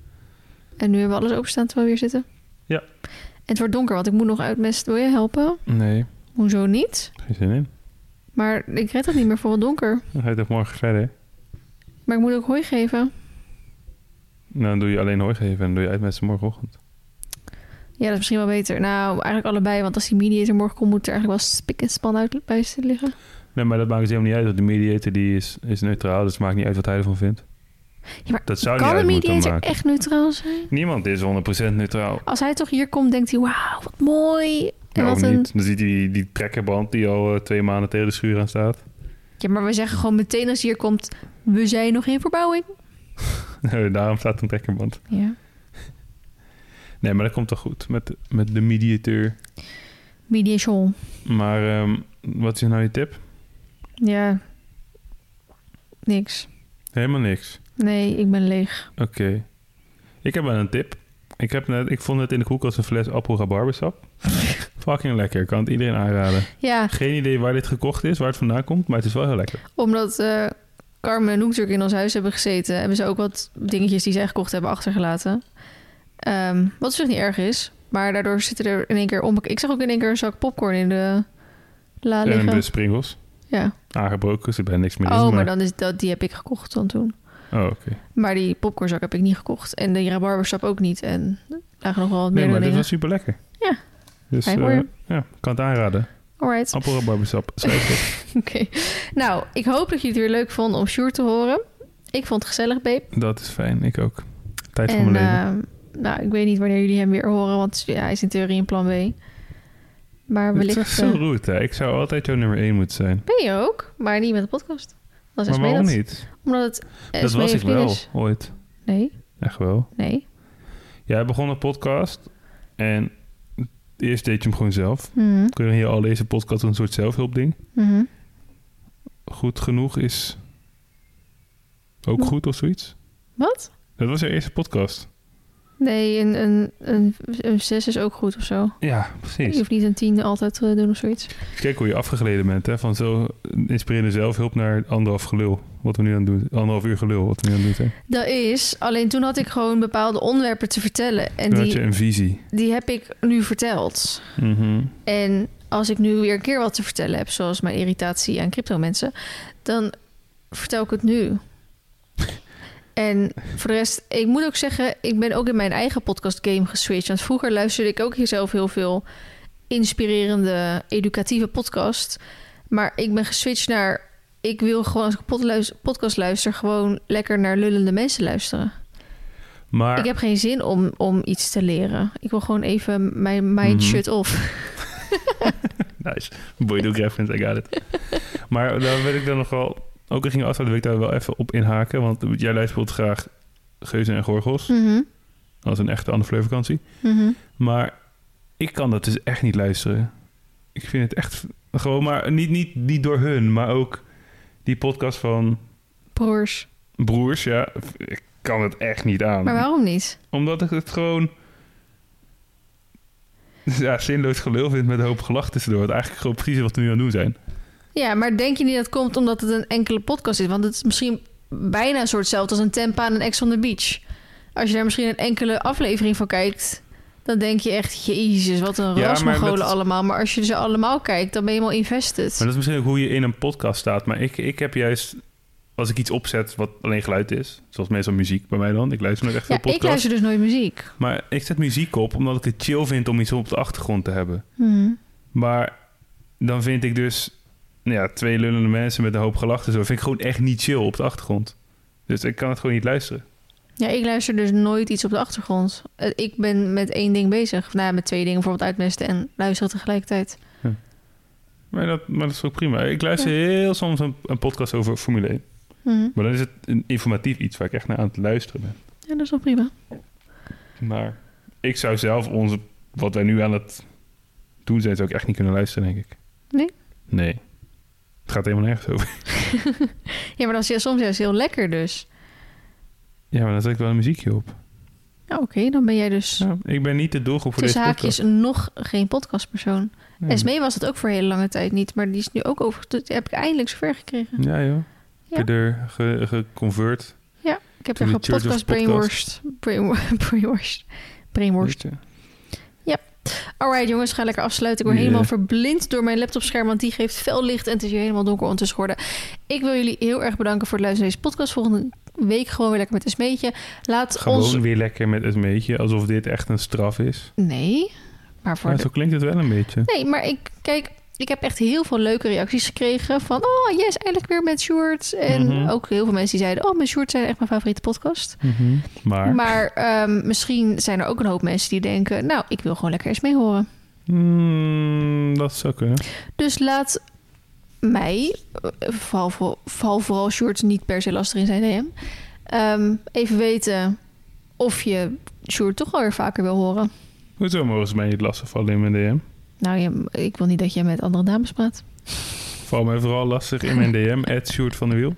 S2: En nu hebben we alles openstaan terwijl we hier zitten.
S1: Ja.
S2: En het wordt donker, want ik moet nog uitmesten. Wil je helpen?
S1: Nee,
S2: Hoezo niet?
S1: geen zin in.
S2: Maar ik red het niet meer voor het donker.
S1: Dan ga je toch morgen verder.
S2: Maar ik moet ook hooi geven.
S1: Nou, dan doe je alleen hooi geven en dan doe je uit met z'n morgenochtend.
S2: Ja, dat is misschien wel beter. Nou, eigenlijk allebei. Want als die mediator morgen komt, moet er eigenlijk wel spik en span uit bij zitten
S1: Oh,
S2: liggen.
S1: Nee, maar dat maakt dus helemaal niet uit. Want de mediator die is, is neutraal, dus het maakt niet uit wat hij ervan vindt.
S2: Ja, maar
S1: Dat zou niet
S2: kan
S1: uit
S2: een
S1: moeten
S2: mediator
S1: maken.
S2: echt neutraal zijn?
S1: Niemand is 100% neutraal.
S2: Als hij toch hier komt, denkt hij, wauw, wat mooi. En
S1: Nou,
S2: wat
S1: of
S2: een
S1: niet. Dan ziet hij die, die trekkerband die al eh, twee maanden tegen de schuur aan staat.
S2: Ja, maar we zeggen gewoon meteen als hij hier komt... we zijn nog geen verbouwing.
S1: Eh, Daarom staat een trekkerband.
S2: Ja.
S1: Nee, maar dat komt toch goed met, met de mediator.
S2: Mediation.
S1: Maar ehm, wat is nou je tip?
S2: Ja. Niks.
S1: Helemaal niks.
S2: Nee, ik ben leeg.
S1: Oké. Ik heb wel een tip. Ik, heb net, ik vond net in de koelkast een fles appel rabarbersap. Fucking lekker. Kan het iedereen aanraden.
S2: Ja,
S1: Geen idee waar dit gekocht is, waar het vandaan komt, maar het is wel heel lekker.
S2: omdat eh, Carmen en Hoek natuurlijk in ons huis hebben gezeten... hebben ze ook wat dingetjes die zij gekocht hebben achtergelaten. Ehm, wat op zich niet erg is. Maar daardoor zitten er in één keer... Onbek- ik zag ook in één keer een zak popcorn in de la
S1: en
S2: liggen.
S1: de springels.
S2: ja.
S1: Aangebroken, dus er bijna niks meer in.
S2: Oh, maar
S1: maar-
S2: dan is dat, die heb ik gekocht dan toen.
S1: Oh, oké.
S2: Maar die popcornzak heb ik niet gekocht. En de rabarbersap ook niet. En daar nog wel wat
S1: Nee,
S2: meer
S1: maar dit
S2: dingen.
S1: was super lekker.
S2: Ja.
S1: Dus
S2: Fijn voor
S1: eh,
S2: je.
S1: ja, kan het aanraden.
S2: Alright.
S1: Appel, barbersap, schrijf
S2: Oké. Nou, ik hoop dat jullie het weer leuk vonden om Sjoerd te horen. Ik vond het gezellig, babe.
S1: het. Dat is fijn, ik ook. Tijd van
S2: En
S1: mijn leven.
S2: eh, nou, ik weet niet wanneer jullie hem weer horen, want ja, hij is in theorie in plan B. Maar
S1: Het is
S2: wellicht...
S1: echt zo
S2: eh,
S1: roet, hè. Ik zou altijd jouw nummer 1 moeten zijn.
S2: ben je ook, maar niet met de podcast. Dat is
S1: Maar
S2: Esmee
S1: waarom
S2: dat.
S1: niet?
S2: Omdat het
S1: dat
S2: Esmee
S1: was ik
S2: een vriend
S1: wel,
S2: is.
S1: ooit.
S2: Nee,
S1: Echt wel.
S2: nee.
S1: Jij begon een podcast en eerst deed je hem gewoon zelf.
S2: Mhm,
S1: Kun je hier al deze podcast een soort zelfhulpding?
S2: mhm.
S1: Goed genoeg is ook
S2: Wat?
S1: goed of zoiets.
S2: Wat?
S1: Dat was je eerste podcast.
S2: Nee, een, een, een, een 6 is ook goed of zo.
S1: Ja,
S2: Je
S1: precies.
S2: hoeft niet een 10 altijd eh, te doen of zoiets.
S1: Kijk hoe je afgegleden bent, hè? Van zo inspirerende zelfhulp naar anderhalf gelul. Wat we nu aan het doen. Anderhalf uur gelul, wat we nu aan het doen zijn.
S2: Dat is, alleen toen had ik gewoon bepaalde onderwerpen te vertellen. En
S1: Toen had
S2: die,
S1: je een visie.
S2: die heb ik nu verteld.
S1: Mhm.
S2: En als ik nu weer een keer wat te vertellen heb, zoals mijn irritatie aan crypto mensen, dan vertel ik het nu. En voor de rest, ik moet ook zeggen, ik ben ook in mijn eigen podcast game geswitcht. Want vroeger luisterde ik ook hier zelf heel veel inspirerende, educatieve podcast. Maar ik ben geswitcht naar, ik wil gewoon als ik een pod- luis- podcast luister, gewoon lekker naar lullende mensen luisteren.
S1: Maar
S2: Ik heb geen zin om, om iets te leren. Ik wil gewoon even mijn mind
S1: Mhm.
S2: shut off.
S1: Nice. Boyduk reference, I got it. maar daar wil ik dan nog wel... Ook richting Asta wil ik daar wel even op inhaken. Want jij luistert graag Geuzen en Gorgels.
S2: Mhm,
S1: Als een echte Anne Fleur vakantie.
S2: mhm.
S1: Maar ik kan dat dus echt niet luisteren. Ik vind het echt... Gewoon maar... Niet, niet, niet door hun, maar ook die podcast van
S2: Broers.
S1: Oh, broers. Ja, ik kan het echt niet aan.
S2: Maar waarom niet?
S1: Omdat ik het gewoon... Ja, zinloos gelul vind met een hoop gelach tussendoor. Wat eigenlijk gewoon precies wat we nu aan het doen zijn.
S2: Ja, maar denk je niet dat het komt omdat het een enkele podcast is? Want het is misschien bijna een soort hetzelfde als een Tempa en een Ex on the Beach. Als je daar misschien een enkele aflevering van kijkt, dan denk je echt, jezus, wat een
S1: Ja, maar
S2: rasmogolen
S1: dat-
S2: allemaal. Maar als je ze allemaal kijkt, dan ben je helemaal invested.
S1: Maar dat is misschien ook hoe je in een podcast staat. Maar ik, ik heb juist, als ik iets opzet wat alleen geluid is, zoals meestal muziek bij mij dan. Ik luister nooit echt
S2: Ja,
S1: veel
S2: ik
S1: podcasts.
S2: luister dus nooit muziek.
S1: Maar ik zet muziek op omdat ik het chill vind om iets op de achtergrond te hebben.
S2: Hm.
S1: Maar dan vind ik dus nou ja, twee lullende mensen met een hoop gelachten zo. Vind ik gewoon echt niet chill op de achtergrond. Dus ik kan het gewoon niet luisteren.
S2: Ja, ik luister dus nooit iets op de achtergrond. Eh, Ik ben met één ding bezig. Nou, ja, met twee dingen, bijvoorbeeld uitmesten en luisteren tegelijkertijd.
S1: Maar dat, maar dat is ook prima. Ik luister heel soms een, een podcast over Formule 1.
S2: Hm.
S1: Maar dan is het een informatief iets waar ik echt naar aan het luisteren ben.
S2: Ja, dat is wel prima.
S1: Maar ik zou zelf onze, wat wij nu aan het doen zijn, zou ik echt niet kunnen luisteren, denk ik.
S2: Nee?
S1: Nee. Het gaat helemaal nergens over.
S2: Ja, maar dat is soms juist heel lekker dus.
S1: Ja, maar dan zet ik wel een muziekje op.
S2: Ja, Nou, Oké, dan ben jij dus...
S1: Ja, ik ben niet de doelgroep voor
S2: Tussen
S1: deze
S2: haakjes
S1: podcast. Hmm.
S2: nog geen podcastpersoon.
S1: Nee.
S2: Esmee was dat ook voor een hele lange tijd niet, maar die is nu ook over. Die heb ik eindelijk zover gekregen.
S1: Ja, joh.
S2: Ja.
S1: Ik heb er ge- geconvert.
S2: Ik heb
S1: To
S2: er
S1: the church of
S2: gepodcast brainwashed. Brainwa- Brainwashed. Brainwashed.
S1: Weet je.
S2: Alright jongens, ga lekker afsluiten. Ik word
S1: Hmm. Ja.
S2: helemaal verblind door mijn laptopscherm, want die geeft fel licht en het is hier helemaal donker ondertussen geworden. Ik wil jullie heel erg bedanken voor het luisteren naar deze podcast. Volgende week gewoon weer lekker met Esmeetje. Laat
S1: Gewoon
S2: ons...
S1: weer lekker met het meetje, alsof dit echt een straf is.
S2: Nee, maar voor
S1: Maar
S2: de
S1: zo klinkt het wel een beetje.
S2: Nee, maar ik kijk, ik heb echt heel veel leuke reacties gekregen van oh yes, eindelijk weer met Sjoerd. En
S1: Mhm.
S2: ook heel veel mensen die zeiden oh met Sjoerd zijn echt mijn favoriete podcast.
S1: Mhm. Maar,
S2: Maar ehm, misschien zijn er ook een hoop mensen die denken nou ik wil gewoon lekker eens mee horen.
S1: Mm, dat zou kunnen.
S2: Dus laat mij, eh, vooral, voor- vooral, vooral Sjoerd niet per se lastig in zijn DM, ehm, even weten of je Sjoerd toch wel weer vaker wil horen.
S1: Hoezo mogen ze mij niet lastig vallen in mijn DM?
S2: Nou, je- ik wil niet dat je met andere dames praat.
S1: Val mij vooral lastig in mijn DM, at Sjoerd van de Wiel.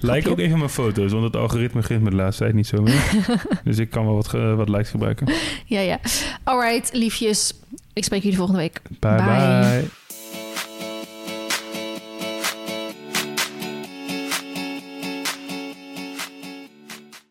S1: Like ook even mijn foto's, want het algoritme begint met de laatste tijd niet zo meer. dus ik kan wel wat, ge- wat likes gebruiken.
S2: Ja, ja. Alright, liefjes. Ik spreek jullie volgende week.
S1: bye.
S2: Bye.
S1: bye.